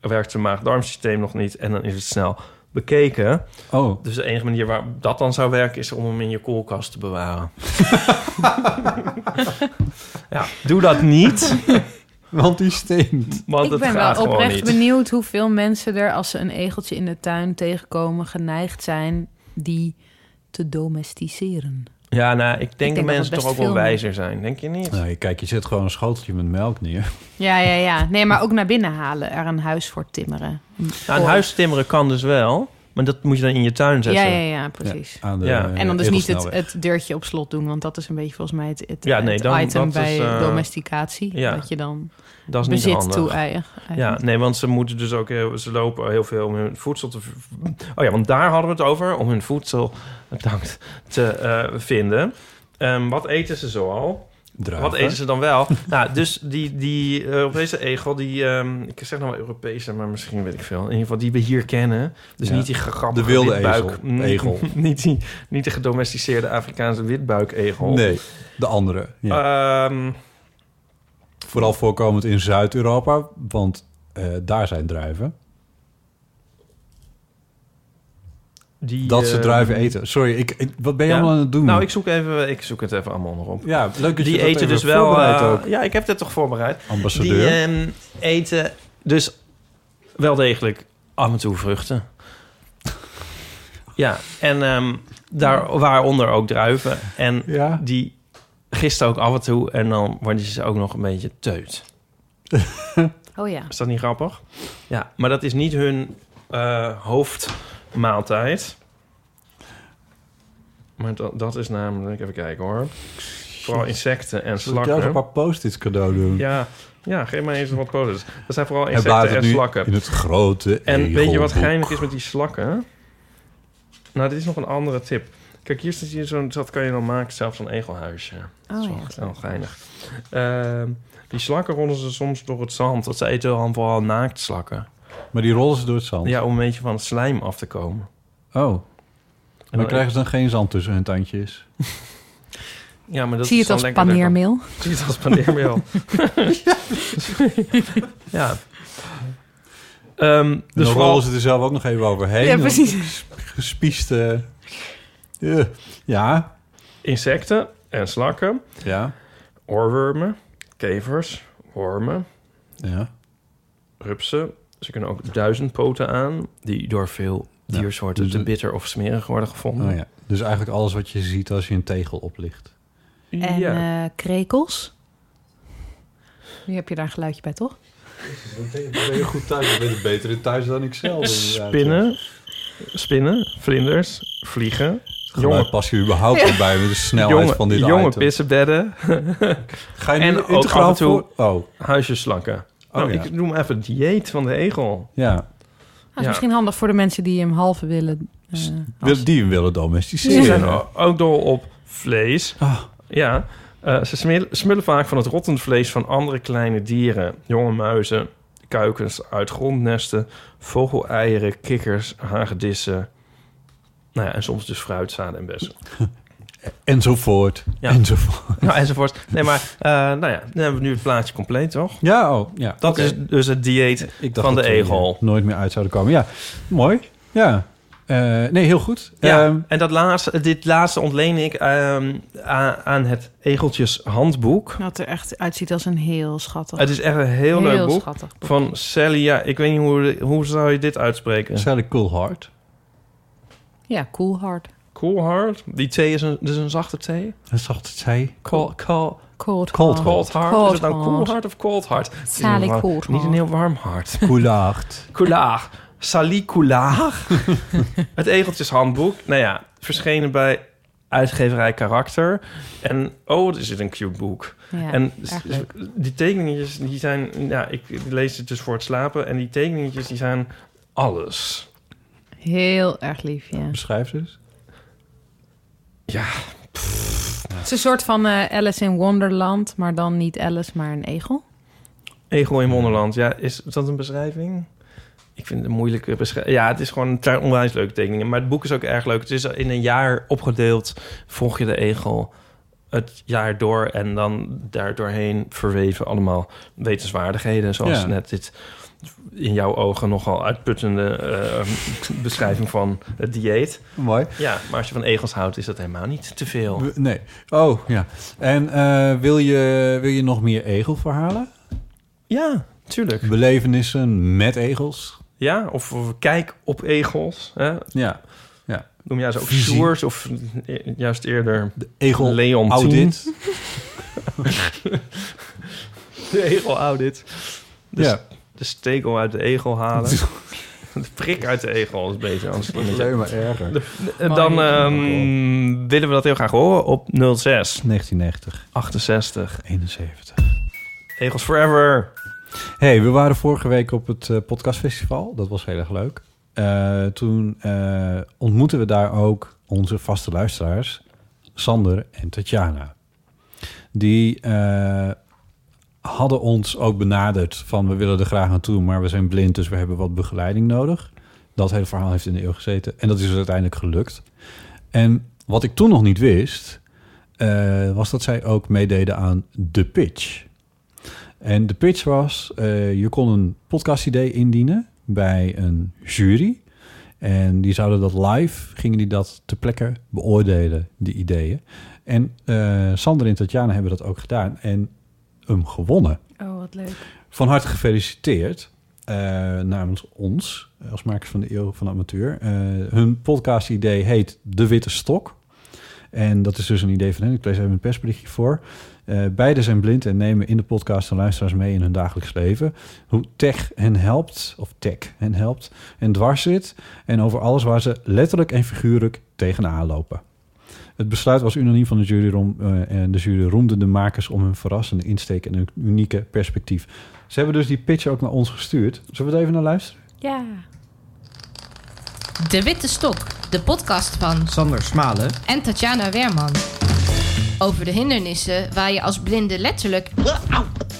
B: werkt zijn maag-darmsysteem nog niet. En dan is het snel bekeken.
C: Oh,
B: Dus de enige manier waar dat dan zou werken is om hem in je koelkast te bewaren. ja, doe dat niet,
C: want die stinkt.
B: want
D: ik
B: het
D: ben
B: gaat
D: wel
B: gewoon
D: oprecht
B: niet.
D: benieuwd hoeveel mensen er als ze een egeltje in de tuin tegenkomen geneigd zijn die te domesticeren.
B: Ja, nou, ik denk dat
D: dat
B: mensen toch
D: het best
B: ook wel
D: veel meer-
B: wijzer zijn, denk je niet?
C: Nou, je- kijk, je zet gewoon een schoteltje met melk neer.
D: Ja, ja, ja. Nee, maar ook naar binnen halen, er een huis voor timmeren.
B: Nou, een huis timmeren kan dus wel. Maar dat moet je dan in je tuin
D: Ja,
B: zetten.
D: ja, ja, precies.
C: aan de, eh,
B: Ja.
D: En dan dus niet het,
C: edelsnelweg.
D: het deurtje op slot doen, want dat is een beetje volgens mij het, het,
B: Ja, nee,
D: het
B: dan-
D: item
B: dat
D: bij
B: is, eh,
D: domesticatie.
B: ja.
D: Dat je dan
B: Dat is niet
D: bezit
B: handig.
D: toe-eigen.
B: Ja, nee, want ze moeten dus ook heel, ze lopen heel veel om hun voedsel te. Oh ja, want daar hadden we het over, om hun voedsel bedankt, te eh, vinden. Ehm, wat eten ze zoal?
C: Druiven.
B: Wat eten ze dan wel? nou, dus die, die eh, Europese egel, die, ehm, ik zeg nou wel Europese, maar misschien weet ik veel. In ieder geval die we hier kennen. Dus
C: Ja.
B: niet die gegrabbelde
C: De wilde
B: witbuik-
C: ezel.
B: Niet-
C: Egel.
B: niet, die, niet de gedomesticeerde Afrikaanse witbuikegel.
C: Nee, de andere. Ja.
B: Ehm,
C: Vooral voorkomend in Zuid-Europa, want eh, daar zijn druiven.
B: die,
C: Dat ze
B: eh,
C: druiven eten. Sorry, ik, ik- wat ben je
B: ja.
C: allemaal aan het doen?
B: Nou, ik zoek, even, ik zoek het even allemaal nog op.
C: ja, leuk dat je
B: Die
C: dat
B: eten
C: even
B: dus wel.
C: voorbereidt
B: eh,
C: ook,
B: ja, ik heb dit toch voorbereid. Die
C: ambassadeur.
B: ehm, eten dus wel degelijk af en toe vruchten. ja, en ehm, daar waaronder ook druiven. En
C: ja,
B: die gisten ook af en toe. En dan worden ze ook nog een beetje teut.
D: Oh ja.
B: Is dat niet grappig? Ja, maar dat is niet hun eh, hoofdmaaltijd. Maar dat, dat is namelijk, even kijken hoor. Vooral insecten en
C: zal ik jou ook een
B: slakken.
C: paar post-its cadeau doen?
B: Ja, ja, geef mij eens wat positives. Dat zijn vooral
C: Hij blaast
B: insecten
C: het
B: en
C: nu
B: slakken.
C: in het grote
B: En weet je wat
C: egelboek.
B: geinig is met die slakken? Nou, dit is nog een andere tip. Kijk, hier staat hier zo'n... Dat kan je dan maken zelf zo'n egelhuisje. dat is
D: Oh,
B: wel,
D: ja.
B: wel geinig. Ehm, die slakken rollen ze soms door het zand. Dat ze eten dan vooral naaktslakken.
C: Maar die rollen ze door het zand.
B: Ja, om een beetje van het slijm af te komen.
C: Oh,
B: En
C: maar
B: dan- Dus
C: krijgen ze dan geen zand tussen hun tandjes?
B: Ja, maar dat
D: Zie je
B: is
D: het als
B: dan lekker-
D: paneermeel?
B: Zie je het als paneermeel. ja. Ehm,
C: Dus
B: dus
C: dan
B: vooral...
C: rollen ze er zelf ook nog even overheen.
D: Ja,
C: Dan
D: precies.
C: Gespieste... Eh, Ja,
B: insecten en slakken.
C: ja,
B: Oorwormen, kevers, wormen,
C: ja.
B: rupsen. Ze kunnen ook duizendpoten aan, die door veel
C: Ja,
B: diersoorten
C: dus
B: te
C: een-
B: bitter of smerig worden gevonden.
C: Oh, ja. Dus eigenlijk alles wat je ziet als je een tegel oplicht.
D: En
B: Ja.
D: eh, krekels. Nu heb je daar een geluidje bij, toch?
C: Dan ben je goed thuis. Dan ben je beter in thuis dan ik zelf.
B: spinnen, spinnen, vlinders, vliegen,
C: Jongen,
B: jonge,
C: pas je überhaupt al bij met de snelheid
B: jonge,
C: van dit
B: jonge
C: item.
B: pissebedden,
C: Ga je nu
B: En ook
C: integraal
B: af en toe-
C: voor- Oh,
B: huisjeslakken.
C: Oh,
B: nou,
C: ja.
B: Ik noem even het dieet van de egel.
C: ja.
D: Dat Ah, is
B: Ja.
D: misschien handig voor de mensen die hem halve willen. eh, als-
C: Wil- Die hem willen
B: Ze
C: domesticeren.
B: zijn o- ook dol op vlees.
C: Ah.
B: Ja, eh, ze smil- smullen vaak van het rottend vlees van andere kleine dieren. Jonge muizen, kuikens uit grondnesten, vogeleieren, kikkers, hagedissen. Nou ja, en soms dus fruitzaden en bessen.
C: Enzovoort.
B: Ja.
C: Enzovoort.
B: nou, enzovoort. Nee, maar eh, nou ja, dan hebben we nu het plaatje compleet, toch?
C: Ja, oh, ja.
B: Dat
C: Oké.
B: is dus het dieet
C: Ik dacht
B: van de
C: dat we hier
B: egel.
C: Nooit meer uit zouden komen. Ja, mooi. Ja. Eh, nee, heel goed.
B: Ja,
C: Ehm,
B: en dat laatste, dit laatste ontleen ik ehm, aan, aan het Egeltjeshandboek.
D: Dat er echt uitziet als een heel schattig.
B: Het is echt een heel, leuk boek.
D: schattig.
B: Van Celia, ik weet niet hoe, hoe zou je dit uitspreken?
C: Sally Coolhart.
D: Ja, cool hard.
B: Coolhard. Die thee is een, dus een zachte thee.
C: Dat is altijd zij.
B: Cold, cold,
D: Cold,
C: Cold
D: hard.
B: cold hard.
D: Cold
B: is het nou
D: hard.
B: coolhard of cold hard? Het is
D: Sally
B: een wa-
D: cold
B: Niet een
D: hard.
B: heel warm hart.
C: Coolhart.
B: Coulaar. Sally Coulaar. het Egeltjeshandboek. Nou ja, verschenen bij uitgeverij Karakter. En oh, er zit een cute boek.
D: Ja,
B: en
D: erg leuk.
B: die tekeningetjes, die zijn... Ja, ik lees het dus voor het slapen. En die tekeningetjes, die zijn alles.
D: Heel erg lief, ja.
C: Beschrijf ze eens.
B: Ja,
D: Het is een soort van eh, Alice in Wonderland, maar dan niet Alice, maar een egel.
B: Egel in Wonderland. Ja, is dat een beschrijving? Ik vind het een moeilijke beschrijving. Ja, het is gewoon het zijn onwijs leuke tekeningen. Maar het boek is ook erg leuk. Het is in een jaar opgedeeld. Volg je de egel het jaar door en dan daardoorheen verweven allemaal wetenswaardigheden. Zoals
C: Ja.
B: net dit in jouw ogen nogal uitputtende eh, beschrijving van het dieet.
C: Mooi.
B: Ja, maar als je van egels houdt, is dat helemaal niet te veel.
C: We- Nee. Oh, ja. En eh, wil, je, wil je nog meer egelverhalen?
B: Ja, tuurlijk.
C: Belevenissen met egels?
B: Ja, of, of kijk op egels. Hè?
C: Ja.
B: Noem jij ze ook
C: Visie.
B: Soers of eh, juist eerder
C: De egel
B: Leon
C: audit.
B: De egel audit. De,
C: Ja.
B: de stekel uit de egel halen. De prik uit de egel is beter. Anders
C: Alleen maar erger.
B: Eh, Dan ehm, willen we dat heel graag horen op 06
C: 1990,
B: 68.
C: 71.
B: Egels Forever.
C: Hey, we waren vorige week op het eh, podcastfestival. Dat was heel erg leuk. Eh, toen eh, ontmoetten we daar ook onze vaste luisteraars, Sander en Tatjana. Die eh, hadden ons ook benaderd van we willen er graag naartoe, maar we zijn blind, dus we hebben wat begeleiding nodig. Dat hele verhaal heeft in de eeuw gezeten en dat is dus uiteindelijk gelukt. En wat ik toen nog niet wist, eh, was dat zij ook meededen aan de pitch. En de pitch was, eh, je kon een podcastidee indienen bij een jury. En die zouden dat live, gingen die dat ter plekke beoordelen, die ideeën. En eh, Sander en Tatjana hebben dat ook gedaan en hem gewonnen.
D: Oh, wat leuk.
C: Van harte gefeliciteerd eh, namens ons, eh, als makers van de Eeuw van de Amateur. Eh, hun podcast-idee heet De Witte Stok. En dat is dus een idee van hen. Ik lees even een persberichtje voor. Eh beide zijn blind en nemen in de podcast de luisteraars mee in hun dagelijks leven. Hoe tech hen helpt, of tech hen helpt, en dwars zit. En over alles waar ze letterlijk en figuurlijk tegenaan lopen. Het besluit was unaniem van de jury rom- eh, en de jury roemde de makers om hun verrassende insteek en hun unieke perspectief. Ze hebben dus die pitch ook naar ons gestuurd. Zullen we er even naar luisteren?
D: Ja.
E: De Witte Stok, de podcast van
A: Sander Smalen.
E: en Tatjana Weerman. Over de hindernissen waar je als blinde letterlijk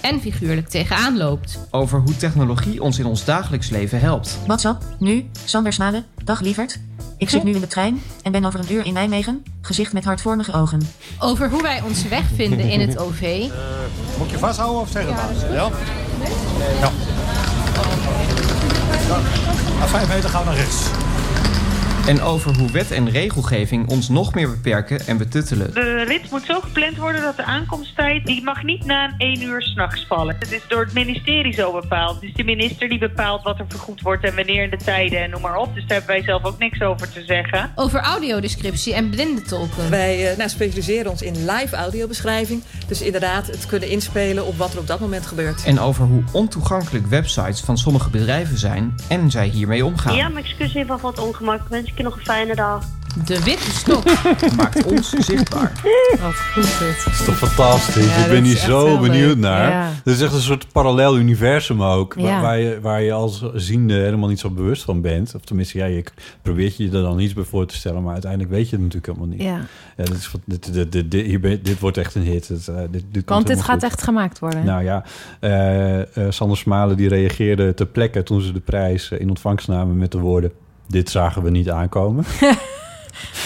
E: en figuurlijk tegenaan loopt.
F: over hoe technologie ons in ons dagelijks leven helpt.
G: WhatsApp, nu, Sander Smalen, dag lieverd. Ik zit nu in de trein en ben over een uur in Nijmegen, gezicht met hartvormige ogen.
E: Over hoe wij onze weg vinden in het OV.
H: Moet je vasthouden of zeggen maar? Ja. ja. Na vijf meter gaan we naar rechts.
F: En over hoe wet en regelgeving ons nog meer beperken en betuttelen.
I: De rit moet zo gepland worden dat de aankomsttijd... die mag niet na 1 uur s'nachts vallen. Het is door het ministerie zo bepaald. Dus de minister die bepaalt wat er vergoed wordt... en wanneer en de tijden en noem maar op. Dus daar hebben wij zelf ook niks over te zeggen.
E: Over audiodescriptie en blindentolken.
J: Wij eh, nou, specialiseren ons in live audiobeschrijving. Dus inderdaad, het kunnen inspelen op wat er op dat moment gebeurt.
F: En over hoe ontoegankelijk websites van sommige bedrijven zijn en zij hiermee omgaan.
I: mijn excuus even wat ongemak. Wens ik je nog een fijne dag.
E: De Witte Stok.
F: Maakt ons zichtbaar.
D: Wat goed dit.
C: Dat is toch fantastisch?
D: Ja,
C: ik
D: dat
C: ben
D: is
C: hier
D: echt
C: zo
D: heel
C: benieuwd
D: leuk.
C: naar.
D: Ja.
C: Dit is echt een soort parallel universum ook. Waar,
D: Ja.
C: waar je, waar je als ziende helemaal niet zo bewust van bent. Of tenminste, ja, je probeert je er dan iets bij voor te stellen. Maar uiteindelijk weet je het natuurlijk helemaal niet.
D: Ja.
C: Ja, dit, is, wat- dit, dit, dit, dit, hier ben- dit wordt echt een hit. Het, eh, dit, dit komt
D: Want dit
C: helemaal
D: gaat
C: goed.
D: echt gemaakt worden.
C: Nou ja, eh, eh, Sander Smalen die reageerde ter plekke toen ze de prijs eh, in ontvangst namen met de woorden... Dit zagen we niet aankomen.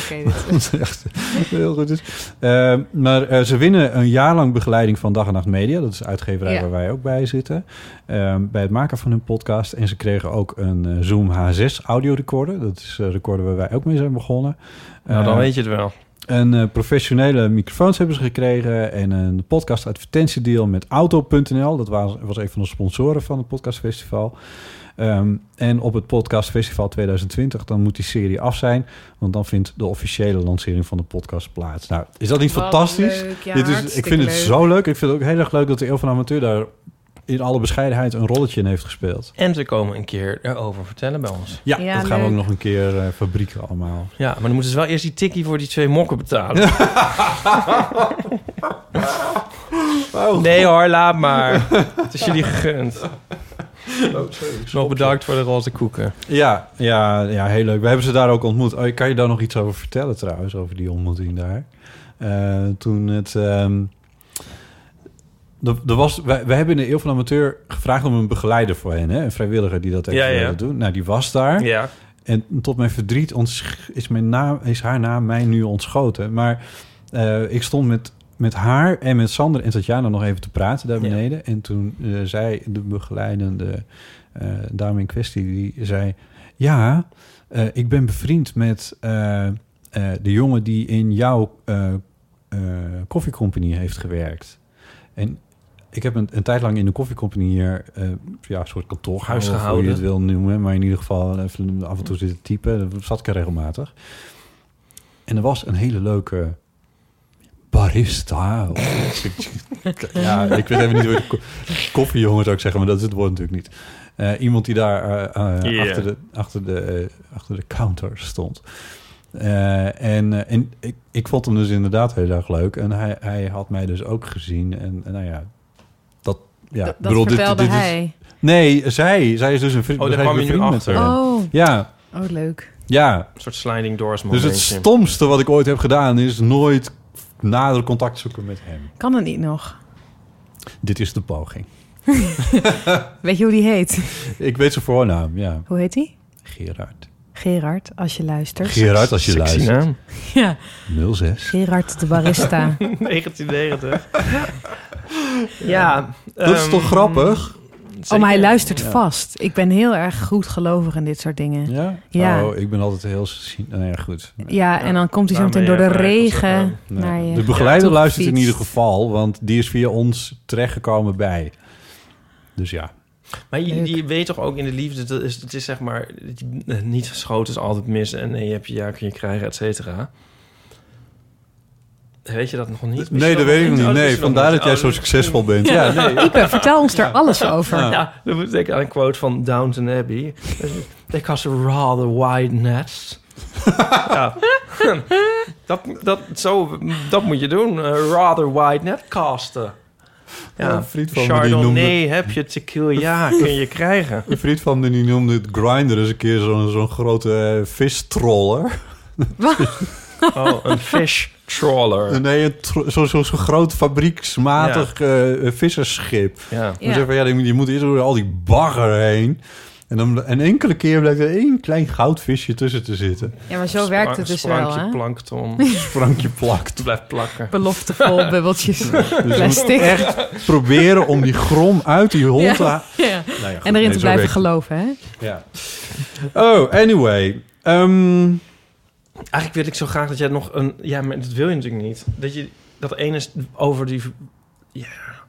D: Oké, dit-
C: Wat echt heel goed is. Eh, maar eh, ze winnen een jaar lang begeleiding van Dag en Nacht Media. Dat is de uitgeverij
D: Ja.
C: waar wij ook bij zitten. eh, bij het maken van hun podcast. En ze kregen ook een eh, Zoom H6 audiorecorder. Dat is een recorder waar wij ook mee zijn begonnen.
B: Nou, dan
C: Eh,
B: weet je het wel.
C: een eh, professionele microfoons hebben ze gekregen en een podcast advertentiedeal met auto.nl. Dat was, was een van de sponsoren van het podcastfestival. Ehm, en op het podcastfestival 2020, dan moet die serie af zijn, want dan vindt de officiële lancering van de podcast plaats. Nou, is dat niet
D: Wat
C: fantastisch?
D: leuk. Ja,
C: Dit is, ik
D: hartstikke
C: vind het
D: leuk.
C: zo leuk. Ik vind het ook heel erg leuk dat de Eeuw van Amateur daar in alle bescheidenheid een rolletje in heeft gespeeld.
B: En ze komen een keer erover vertellen bij ons.
C: Ja,
D: Ja,
C: dat gaan we ook
D: leuk.
C: nog een keer eh, fabrieken allemaal.
B: Ja, maar dan moeten ze wel eerst die tikkie voor die twee mokken betalen.
D: Oh.
B: Nee hoor, laat maar. Het is jullie
C: Oh,
B: gegund. Nog bedankt voor de roze koeken.
C: Ja, ja, ja, heel leuk. We hebben ze daar ook ontmoet. Oh, ik kan je daar nog iets over vertellen trouwens, over die ontmoeting daar? Eh, toen het... ehm, er- er was, wij, wij hebben in de Eeuw van de Amateur gevraagd om een begeleider voor hen. Hè? Een vrijwilliger die dat heeft
B: Ja, ja.
C: willen doen. Nou, die was daar.
B: Ja.
C: En tot mijn verdriet ontsch- is, mijn naam, is haar naam mij nu ontschoten. Maar eh, ik stond met, met haar en met Sander en Tatjana nog even te praten daar
B: Ja.
C: beneden. En toen eh, zei de begeleidende eh, dame in kwestie, die zei... Ja, eh, ik ben bevriend met eh, eh, de jongen die in jouw eh eh, koffiecompagnie heeft gewerkt. En ik heb een, een tijd lang in de koffiecompagnie hier... eh, ja, een soort kantoorhuis
B: Huis
C: gehouden. Hoe je
B: gehouden.
C: het wil noemen. Maar in ieder geval eh, even af en toe zitten typen. Dan zat ik er regelmatig. En er was een hele leuke barista. ja, ik weet even niet hoe je ko- koffiejongen zou ik zeggen, maar dat is het woord natuurlijk niet. Eh, iemand die daar eh, eh,
K: Ja.
C: achter, de, achter, de, eh, achter de counter stond. Eh, en eh, en ik, ik vond hem dus inderdaad heel erg leuk. En hij, hij had mij dus ook gezien. En, en nou ja, dat... Ja, ik
D: dat vertelde
C: is-
D: hij.
C: nee, zij. Zij is dus een vriend,
B: Oh, daar
C: zij is
B: kwam
C: een
B: je nu
C: vriend met
B: achter.
C: haar.
D: Oh.
C: Ja,
D: Oh, leuk.
C: ja.
B: Een soort sliding doors
C: Dus
B: momentje.
C: het stomste wat ik ooit heb gedaan is nooit nader contact zoeken met hem.
D: Kan dat niet nog?
C: Dit is de poging.
D: Weet je hoe die heet?
C: Ik weet zijn voornaam, ja.
D: Hoe heet die?
C: Gerard.
D: Gerard, als je luistert.
C: Gerard, als je
B: Sexy
C: luistert.
B: naam.
D: Ja.
C: 06.
D: Gerard de barista.
B: 1990. ja.
C: Dat is
B: ehm,
C: toch grappig?
D: Oh, maar hij luistert
C: Ja.
D: vast. Ik ben heel erg goed gelovig in dit soort dingen.
C: Ja?
D: Ja,
C: Oh, ik ben altijd heel... cy- Nou ja, eh, goed.
D: ja en dan komt hij zo
B: Daarmee
D: meteen door de
B: heb ik ons ook
D: regen
C: Nee.
D: naar je.
C: De begeleider
D: toe
C: luistert in
D: gefietst.
C: ieder geval, want die is via ons terechtgekomen bij. Dus ja.
B: Maar je, je weet toch ook in de liefde, dat is, dat is zeg maar, eh, niet geschoten is altijd mis en nee, je hebt je ja kun je krijgen, et cetera. Weet je dat nog niet? Wist je
C: Nee, dat
B: nog
C: weet ik
B: niet?
C: nog
B: Oh,
C: niet.
B: wist
C: Nee,
B: je nog
C: vandaar
B: niet?
C: dat jij
B: Oh,
C: zo succesvol bent.
B: Ja.
C: Ja, nee.
D: Ipe, vertel ons daar alles over.
B: Ja, dan moet ik denken aan een quote van Downton Abbey. They cast a rather wide net. ja. dat, dat, zo, dat moet je doen. A rather wide net casten. Ja,
C: Een vriend van me die
B: Chardonnay
C: noemde-
B: heb je tequila, ja, kun je krijgen.
C: Een vriend van me die noemde het grinder eens een keer zo'n zo'n grote eh, vistroller.
B: Oh, een fish trawler.
C: Nee, een tro- zo- zo- zo'n groot fabrieksmatig eh, vissersschip.
B: Ja.
C: Dan zeg je van, ja, die- je moet eerst door al die bagger heen. En dan en enkele keer blijkt er één klein goudvisje tussen te zitten.
D: Ja, maar zo werkt het dus wel,
B: sprankje
D: hè?
B: plankton.
C: Sprankje plakt.
B: Het blijft plakken.
D: Beloftevol bubbeltjes
C: Dus je moet
D: plastic.
C: echt proberen om die grom uit die hond
D: Ja.
C: te ha-
D: Ja.
C: Nou ja, goed,
D: en erin
C: nee,
D: te
C: zo
D: blijven
C: werkt het.
D: geloven, hè?
C: Ja. Oh, anyway. Ehm,
B: Eigenlijk wil ik zo graag dat jij nog een... Ja, maar dat wil je natuurlijk niet. Dat je dat ene is over die... Ja,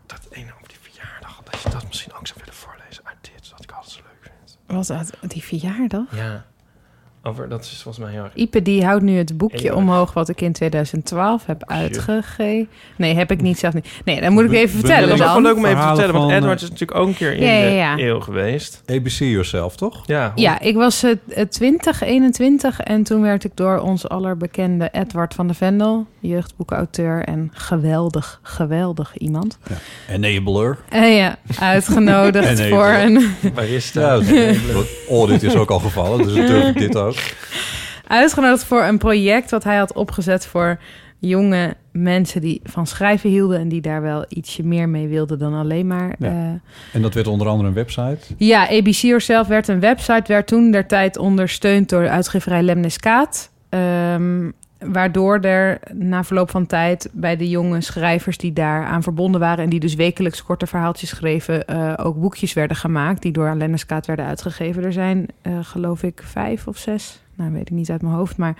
B: dat ene over die verjaardag. Dat je dat misschien ook zou willen voorlezen uit dit. Dat ik altijd zo leuk vind.
D: Wat, uit- die verjaardag?
B: Ja. Over, dat is volgens mij heel erg...
D: Ipe die houdt nu het boekje
B: Eeuwig.
C: eh.
D: omhoog wat ik in 2012 heb uitgegeven. Nee, heb ik niet zelf niet. Nee, dat moet ik even
C: We-
D: vertellen.
C: we-
B: Dat is
D: dan.
B: wel leuk om even te
C: Verhalen
B: vertellen, want
C: van,
B: Edward
C: eh,
B: is natuurlijk ook een keer in
D: Ja, ja,
B: de
D: ja.
B: eeuw geweest.
C: ABC yourself, toch?
B: Ja, hoe-
D: Ja, ik was eh, eh, 20, 21 en toen werd ik door ons allerbekende Edward van de Vendel, jeugdboekauteur en geweldig, geweldig iemand,
C: Enabler.
D: eh, ja, uitgenodigd
C: En
D: voor
C: even.
D: een,
B: barista.
C: Ja, dat is- oh, dit is ook al gevallen, dus dat durf ik dit ook.
D: uitgenodigd voor een project wat hij had opgezet voor jonge mensen die van schrijven hielden en die daar wel ietsje meer mee wilden dan alleen maar
C: Ja.
D: eh,
C: En dat werd onder andere een website.
D: Ja, ABC Yourself werd een website, werd toen der tijd ondersteund door de uitgeverij Lemniskaat. Ehm, waardoor er na verloop van tijd bij de jonge schrijvers die daar aan verbonden waren... en die dus wekelijks korte verhaaltjes schreven, eh, ook boekjes werden gemaakt... die door Lemniskaat werden uitgegeven. Er zijn, eh, geloof ik, vijf of zes, nou weet ik niet uit mijn hoofd, maar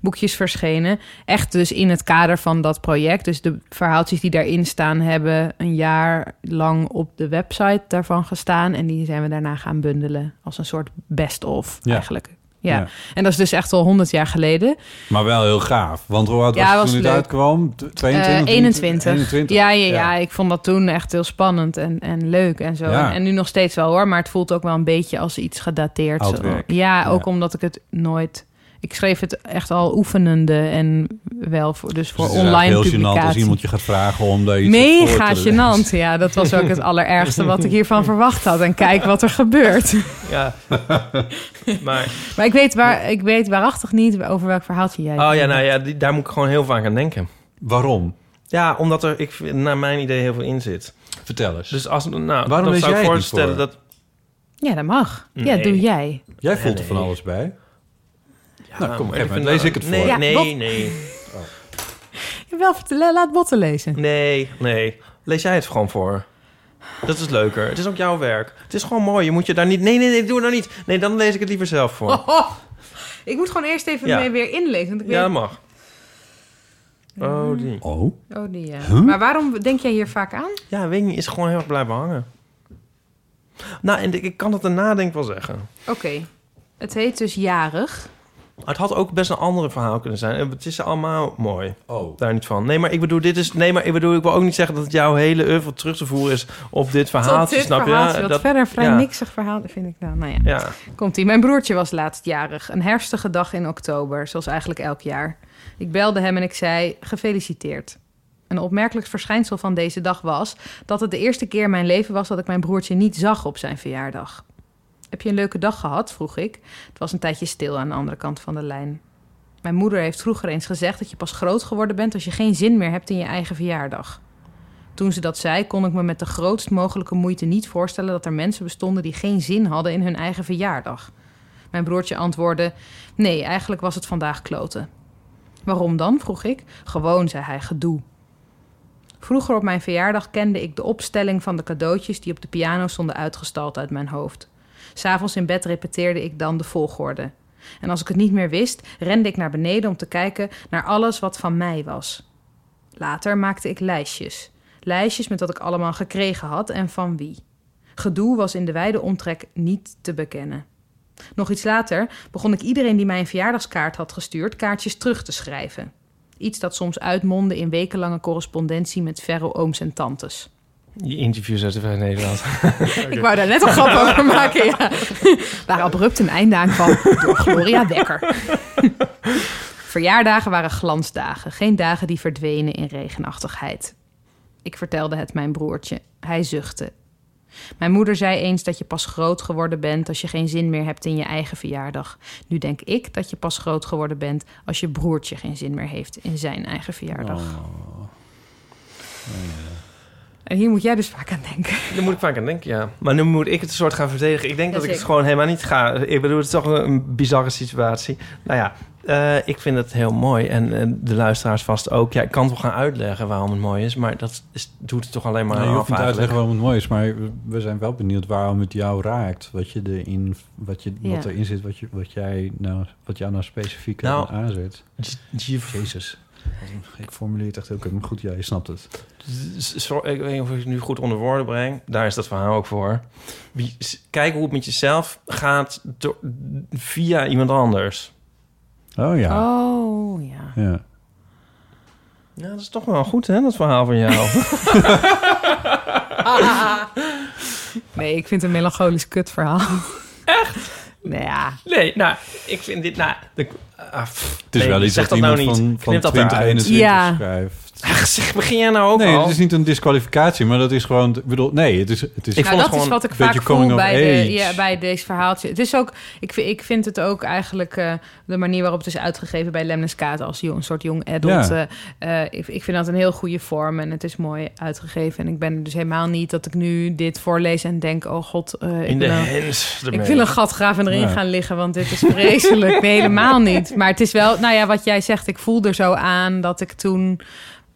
D: boekjes verschenen. Echt dus in het kader van dat project. Dus de verhaaltjes die daarin staan hebben een jaar lang op de website daarvan gestaan. En die zijn we daarna gaan bundelen als een soort best-of
C: Ja.
D: eigenlijk. Ja.
C: Ja.
D: en dat is dus echt al 100 jaar geleden.
C: Maar wel heel gaaf. Want hoe oud
D: Ja,
C: was het
D: was
C: toen het
D: leuk.
C: uitkwam? T- 22?
D: Eh, 21.
C: 21.
D: Ja, ja, ja, ik vond dat toen echt heel spannend en, en leuk en zo.
C: Ja.
D: En, en nu nog steeds wel hoor, maar het voelt ook wel een beetje als iets gedateerd.
C: Oud
D: Zo-
C: werk.
D: Ja, ook
C: Ja.
D: omdat ik het nooit... Ik schreef het echt al oefenende en wel voor, dus voor
C: Dus het is
D: online
C: heel
D: publicatie.
C: gênant als iemand je gaat vragen om daar iets op voor
D: Mega
C: te leggen.
D: gênant. Ja, dat was ook het allerergste wat ik hiervan verwacht had. En kijk wat er gebeurt.
B: Ja. maar,
D: Maar ik weet, waar, ik weet waarachtig niet over welk verhaaltje jij...
B: oh ja, nou ja, die- daar moet ik gewoon heel vaak aan denken.
C: Waarom?
B: Ja, omdat er, ik, vind- naar mijn idee, heel veel in zit.
C: Vertel eens.
B: Dus als, nou,
C: Waarom
B: dan
C: lees
B: zou ik
C: jij het niet
B: voorstellen
C: voor?
B: dat...
D: Ja, dat mag. Ja,
B: Nee.
D: doe jij.
C: Jij voelt
B: nee.
C: er van alles bij. nou, kom op,
B: maar
C: even.
B: ik vind
C: lees
B: dat-
C: ik het voor.
B: Nee,
D: Ja, wat-
B: nee, nee.
D: Wel, vertel- laat botten lezen.
B: Nee, nee. Lees jij het gewoon voor. Dat is leuker. Het is ook jouw werk. Het is gewoon mooi. Je moet je daar niet... Nee, nee, nee, doe het nou niet. Nee, dan lees ik het liever zelf voor.
D: Oh, oh. Ik moet gewoon eerst even
B: Ja.
D: mee weer inlezen. Want ik
B: ja, dat
D: weet...
B: mag. Oh, die.
C: Oh,
D: Oh, die, ja.
C: Huh?
D: Maar waarom denk jij hier vaak aan?
B: Ja, weet ik niet. Is gewoon heel erg blijven hangen. Nou, en ik ik kan het daarna denk ik wel zeggen.
D: Oké. Het heet dus Jarig.
B: Het had ook best een ander verhaal kunnen zijn. En Het is allemaal mooi.
C: Oh.
B: Daar niet van. Nee, maar ik bedoel, dit is. Nee, maar ik bedoel, ik wil ook niet zeggen dat het jouw hele oeuvre terug te voeren is op dit verhaal.
D: Tot dit
B: snap
D: verhaaltje,
B: je?
D: wat verder vrij
B: ja.
D: niksig verhaal vind ik dan. Nou ja.
B: Ja.
D: Komt ie. Mijn broertje was laatst jarig. Een herfstige dag in oktober, zoals eigenlijk elk jaar. Ik belde hem en ik zei: Gefeliciteerd. Een opmerkelijk verschijnsel van deze dag was dat het de eerste keer in mijn leven was dat ik mijn broertje niet zag op zijn verjaardag. Heb je een leuke dag gehad? vroeg ik. Het was een tijdje stil aan de andere kant van de lijn. Mijn moeder heeft vroeger eens gezegd dat je pas groot geworden bent als je geen zin meer hebt in je eigen verjaardag. Toen ze dat zei, kon ik me met de grootst mogelijke moeite niet voorstellen dat er mensen bestonden die geen zin hadden in hun eigen verjaardag. Mijn broertje antwoordde: Nee, eigenlijk was het vandaag kloten. Waarom dan? vroeg ik. Gewoon, zei hij, gedoe. Vroeger op mijn verjaardag kende ik de opstelling van de cadeautjes die op de piano stonden uitgestald uit mijn hoofd. S'avonds in bed repeteerde ik dan de volgorde. En als ik het niet meer wist, rende ik naar beneden om te kijken naar alles wat van mij was. Later maakte ik lijstjes. Lijstjes met wat ik allemaal gekregen had en van wie. Gedoe was in de wijde omtrek niet te bekennen. Nog iets later begon ik iedereen die mij een verjaardagskaart had gestuurd kaartjes terug te schrijven. Iets dat soms uitmondde in wekenlange correspondentie met verre ooms en tantes.
B: Die interviews uit de Vrij Nederland.
D: Ik wou daar net een grap over maken, ja. Waar abrupt een einde aan kwam door Gloria Dekker. Verjaardagen waren glansdagen, geen dagen die verdwenen in regenachtigheid. Ik vertelde het mijn broertje. Hij zuchtte. Mijn moeder zei eens dat je pas groot geworden bent als je geen zin meer hebt in je eigen verjaardag. Nu denk ik dat je pas groot geworden bent als je broertje geen zin meer heeft in zijn eigen verjaardag. En hier moet jij dus vaak aan denken.
B: Daar moet ik vaak aan denken, ja. Maar nu moet ik het een soort gaan verdedigen. Ik denk dat ik het
D: Jazeker.
B: gewoon helemaal niet ga. Ik bedoel, het is toch een bizarre situatie. Nou ja, eh, ik vind het heel mooi. En eh, de luisteraars vast ook. Ja, ik kan het wel gaan uitleggen waarom het mooi is. Maar dat is, doet het toch alleen maar
C: Nee, Nou, je
B: af
C: hoeft niet uit te
B: eigenlijk.
C: leggen waarom het mooi is, maar we zijn wel benieuwd waarom het jou raakt. Wat, je erin, wat, je, wat
B: Ja.
C: erin zit, wat, je, wat, jij nou, wat jou nou specifiek
B: Nou,
C: aanzet. Jezus. Ik formuleer het echt heel kut, maar goed, ja, je snapt het.
B: Dus Z- zo- ik weet niet of ik het nu goed onder woorden breng. Daar is dat verhaal ook voor. Wie, s- kijk hoe het met jezelf gaat door- via iemand anders.
C: Oh ja.
D: Oh ja.
C: ja.
B: Ja, dat is toch wel goed, hè, dat verhaal van jou.
D: Nee, ik vind het een melancholisch kutverhaal. Echt? Nou ja.
B: nee, nou, ik vind dit... Nou, de, ah, pff,
C: Het is
B: nee,
C: wel iets
B: zeg
C: dat,
B: nou
C: iemand
B: niet.
C: van, van
B: Knip dat
C: 20,
B: eruit.
C: 21
D: Ja.
C: schrijft.
B: Ach, zeg, begin jij nou ook
C: nee,
B: al?
C: het is niet een disqualificatie, maar dat is gewoon... Ik bedoel, nee, het is... Het is
D: nou, dat is wat ik
C: een
D: vaak
C: beetje coming
D: voel
C: of
D: bij,
C: age.
D: de, ja, bij deze verhaaltje. Het is ook, ik, vind- ik vind het ook eigenlijk eh, de manier waarop het is uitgegeven bij Lemnes Kaat als jong, een soort jong adult.
C: Ja.
D: eh, eh, ik, ik vind dat een heel goede vorm en het is mooi uitgegeven. En ik ben dus helemaal niet dat ik nu dit voorlees en denk, oh god, eh, ik
B: In de
D: wil een-
B: hens ermee.
D: Ik wil een gat graven en erin
B: Ja.
D: gaan liggen, want dit is vreselijk. Nee, helemaal niet. Maar het is wel, nou ja, wat jij zegt, ik voel er zo aan dat ik toen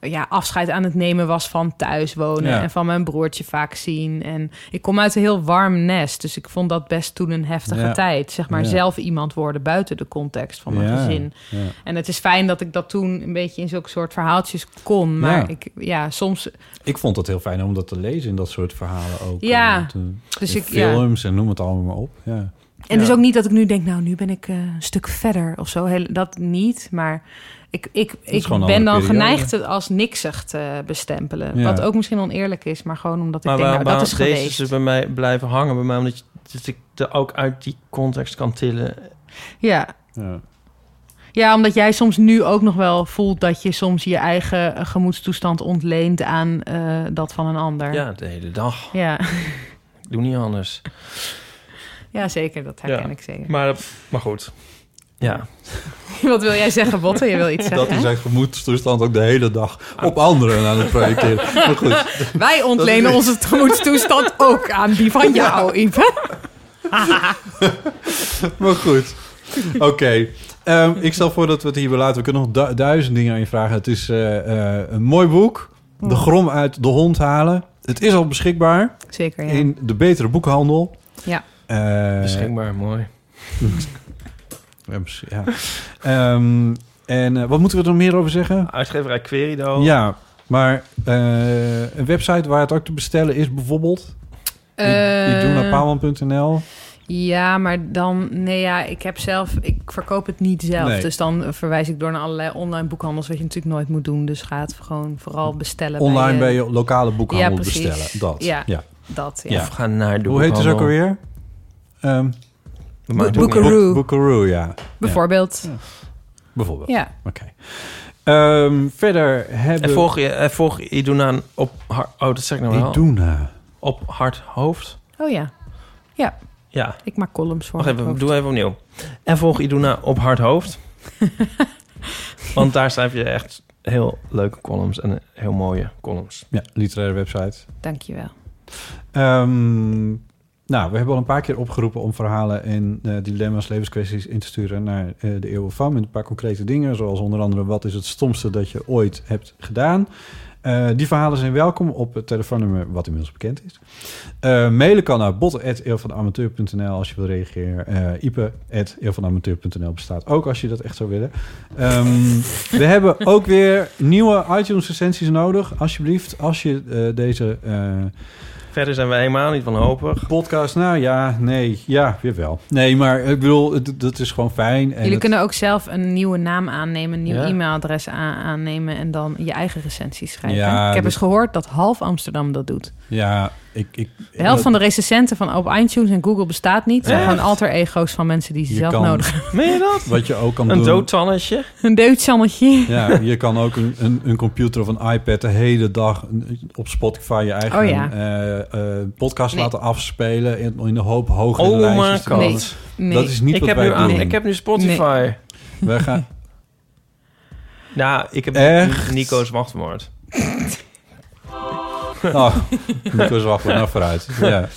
D: ja, afscheid aan het nemen was van thuis wonen
K: Ja.
D: en van mijn broertje vaak zien. En ik kom uit een heel warm nest, dus ik vond dat best toen een heftige
K: Ja.
D: tijd. Zeg maar
K: Ja.
D: zelf iemand worden buiten de context van mijn
K: Ja.
D: gezin.
K: Ja.
D: En het is fijn dat ik dat toen een beetje in zulke soort verhaaltjes kon. Maar
C: Ja.
D: ik, ja, soms
C: Ik vond het heel fijn om dat te lezen in dat soort verhalen ook.
D: Ja,
C: eh, te-
D: dus
C: in
D: ik- ja.
C: films en noem het allemaal maar op. Ja.
D: En het is ook niet dat ik nu denk, nou, nu ben ik eh, een stuk verder of zo. Heel, dat niet, maar ik, ik, ik
C: gewoon
D: ben
C: een
D: dan
C: andere periode.
D: geneigd het als niksig te bestempelen.
B: Ja.
D: Wat ook misschien oneerlijk is, maar gewoon omdat ik
B: Maar
D: denk,
B: waar,
D: nou,
B: waar
D: dat is
B: deze
D: geweest.
B: dus bij mij blijven hangen, bij mij, omdat je, dat ik er ook uit die context kan tillen.
D: Ja.
C: Ja.
D: ja, omdat jij soms nu ook nog wel voelt dat je soms je eigen eh, gemoedstoestand ontleent aan eh, dat van een ander.
B: Ja, de hele dag.
D: Ja.
B: Ik doe niet anders.
D: ja zeker. Dat herken
B: Ja.
D: ik zeker.
B: Maar, maar goed. Ja.
D: Wat wil jij zeggen, Botte? Je wil iets zeggen,
C: Dat is
D: hè?
C: zijn gemoedstoestand ook de hele dag op anderen aan het projecteren. Maar goed,
D: Wij ontlenen
C: Dat is-
D: onze gemoedstoestand ook aan die van jou, Ipe.
C: maar goed. Oké. Ehm, ik stel voor dat we het hierbij laten. We kunnen nog du- duizend dingen aan je vragen. Het is eh, eh, een mooi boek.
D: Hm.
C: De grom uit de hond halen. Het is al beschikbaar.
D: Zeker, ja.
C: In de betere boekhandel.
D: Ja.
C: Eh,
B: Beschikbaar, mooi.
C: Ja, misschien, ja. Ehm, en eh, wat moeten we er nog meer over zeggen?
B: Uitgeverij Querido.
C: Ja, maar eh,
D: Eh, Ehm,
C: een website waar het ook te bestellen is bijvoorbeeld. Ik doe naar paalman.nl.
D: Ja, maar dan, nee ja, ik heb zelf, ik verkoop het niet zelf.
C: Nee.
D: Dus dan verwijs ik door naar allerlei online boekhandels, wat je natuurlijk nooit moet doen. Dus ga het gewoon vooral bestellen.
C: Online bij
D: eh,
C: je lokale boekhandel
D: Ja, precies.
C: bestellen. Dat.
D: Ja, dat, ja.
B: Of gaan naar de
C: Hoe heet het dus ook
B: boekhandel.
C: alweer? Ehm
B: Dat maakt
C: Boek-
B: ook niet uit.
C: Boek- Boekaroo, ja.
D: Bijvoorbeeld. Ja.
C: Ja, bijvoorbeeld.
D: Ja.
C: Oké. Ehm, verder hebben
B: En volg je, en volg je Iduna op haar... Oh, dat zeg ik nou wel.
C: Iduna.
B: Op hard hoofd.
D: Oh ja. Ja,
B: Ja.
D: ik maak columns voor.
B: Wacht
D: mijn
B: even,
D: hoofd.
B: doe even opnieuw. En volg Iduna op hard hoofd. Want daar schrijf je echt heel leuke columns en heel mooie columns.
C: Ja, literaire website.
D: Dankjewel.
C: Ehm, nou, we hebben al een paar keer opgeroepen om verhalen en eh, dilemma's, levenskwesties in te sturen naar eh, de Eeuw van. Met een paar concrete dingen, zoals onder andere wat is het stomste dat je ooit hebt gedaan. Eh, die verhalen zijn welkom op het telefoonnummer wat inmiddels bekend is. Eh, mailen kan naar bot.eeuwvanamateur.nl als je wil reageren. Eh Ipe.eeuwvanamateur.nl bestaat ook als je dat echt zou willen. Ehm, we hebben ook weer nieuwe iTunes recensies nodig. Alsjeblieft, als je eh, deze... eh,
B: Verder zijn we helemaal niet van hopig.
C: Podcast, nou ja, nee, ja, weer wel. Nee, maar ik bedoel, het- dat is gewoon fijn. En
D: Jullie
C: het-
D: kunnen ook zelf een nieuwe naam aannemen, een nieuw
C: Ja.
D: e-mailadres aan- aannemen en dan je eigen recensies schrijven.
C: Ja,
D: ik heb
C: dat-
D: eens gehoord dat half Amsterdam dat doet.
C: Ja, ik... ik
D: De helft van de recensenten van op iTunes en Google bestaat niet. Het zijn
C: Echt?
D: gewoon alter ego's van mensen die ze
C: Je
D: zelf
C: kan-
D: nodig hebben.
B: Meen je dat?
C: Wat je ook kan
B: Een
C: doen...
B: doodtannetje.
D: Een deutschannetje.
C: Ja, je kan ook een, een, een computer of een iPad de hele dag op Spotify je eigen
D: Oh ja.
C: eh, eh, podcast
D: Nee.
C: laten afspelen... in, in de hoop hoger
B: Oh
C: lijstjes
B: my
C: te komen.
B: god. Nee.
C: Dat is niet
B: ik
C: wat
B: heb
C: wij
B: nu aan-
C: doen.
B: Ik heb nu Spotify.
C: Wij gaan...
B: Nou, ik heb
C: Echt?
B: Nico's wachtwoord.
C: Oh, Nico Zwaffler, nou vooruit. Ja.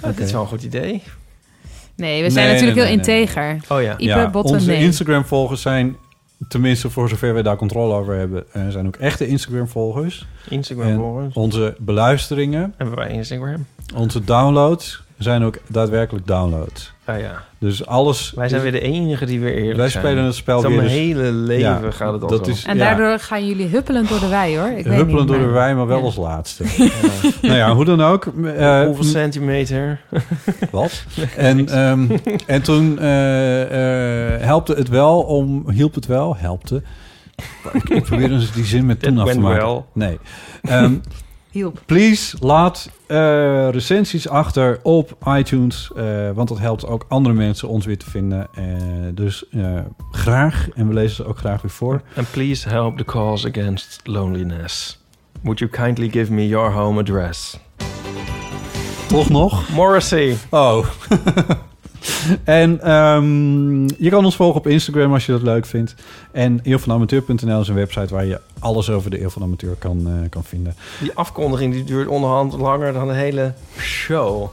B: Oh, Dit
C: Oké.
B: is wel een goed idee.
D: Nee, we zijn
C: Nee,
D: natuurlijk
C: nee,
D: heel
C: nee, nee.
D: integer.
B: Oh ja.
D: Ipe, Botten,
C: onze
D: nee.
C: Instagram-volgers zijn, tenminste voor zover we daar controle over hebben, eh, zijn ook echte Instagram-volgers.
B: Instagram-volgers.
C: En Onze beluisteringen,
B: Hebben wij Instagram?
C: onze downloads zijn ook daadwerkelijk downloads.
B: Ah ja.
C: Dus alles.
B: Wij zijn weer de enige die weer eerlijk
C: Wij
B: zijn.
C: spelen het spel
B: Zo'n
C: weer. dus-
B: hele leven
C: Ja,
B: gaat het al
C: dat
B: zo.
C: is,
D: En
C: ja.
D: daardoor gaan jullie huppelend door de wei, hoor. Ik weet
C: Huppelend
D: niet,
C: door de
D: maar-
C: wei, maar wel
D: Ja.
C: als laatste. nou ja, hoe dan ook. eh,
B: Hoeveel centimeter?
C: Wat? En, ehm, en toen eh eh helpte het wel om... Hielp het wel? Helpte. Ik, ik probeer eens die zin met toen
B: It
C: af te
B: went
C: maken.
B: well.
C: Nee. Ehm,
D: Hielp.
C: Please, laat eh, recensies achter op iTunes. eh, want dat helpt ook andere mensen ons weer te vinden. Eh, dus eh, graag. En we lezen ze ook graag weer voor.
B: And please help the cause against loneliness. Would you kindly give me your home address?
C: Toch nog?
B: Morrissey.
C: Oh. en ehm, je kan ons volgen op Instagram als je dat leuk vindt. En eeuwvanamateur.nl is een website waar je alles over de Eeuw van de Amateur kan, eh, kan vinden.
B: Die afkondiging die duurt onderhand langer dan de hele show.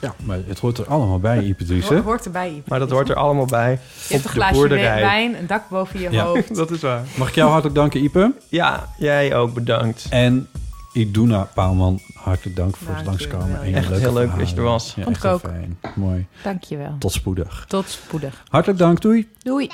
C: Ja, maar het hoort er allemaal bij,
D: Ho-
C: Ipatrice.
D: Hoort erbij, Ipe.
B: Maar dat hoort er allemaal bij.
D: Je hebt een glaasje wijn, een dak boven je
C: Ja.
D: hoofd.
B: Dat is waar.
C: Mag ik jou hartelijk danken, Ipe?
B: Ja, jij ook bedankt.
C: En Iduna Paalman, hartelijk dank voor het
D: Dank je
C: langskomen.
D: wel.
C: En je
B: Echt
C: leuke
B: heel leuk
C: verhalen.
B: dat je er was.
C: Ja,
D: Vond
C: echt
D: ik
C: heel
D: ook.
C: fijn. Mooi.
D: Dankjewel.
C: Tot spoedig.
D: Tot spoedig.
C: Hartelijk dank, doei.
D: Doei.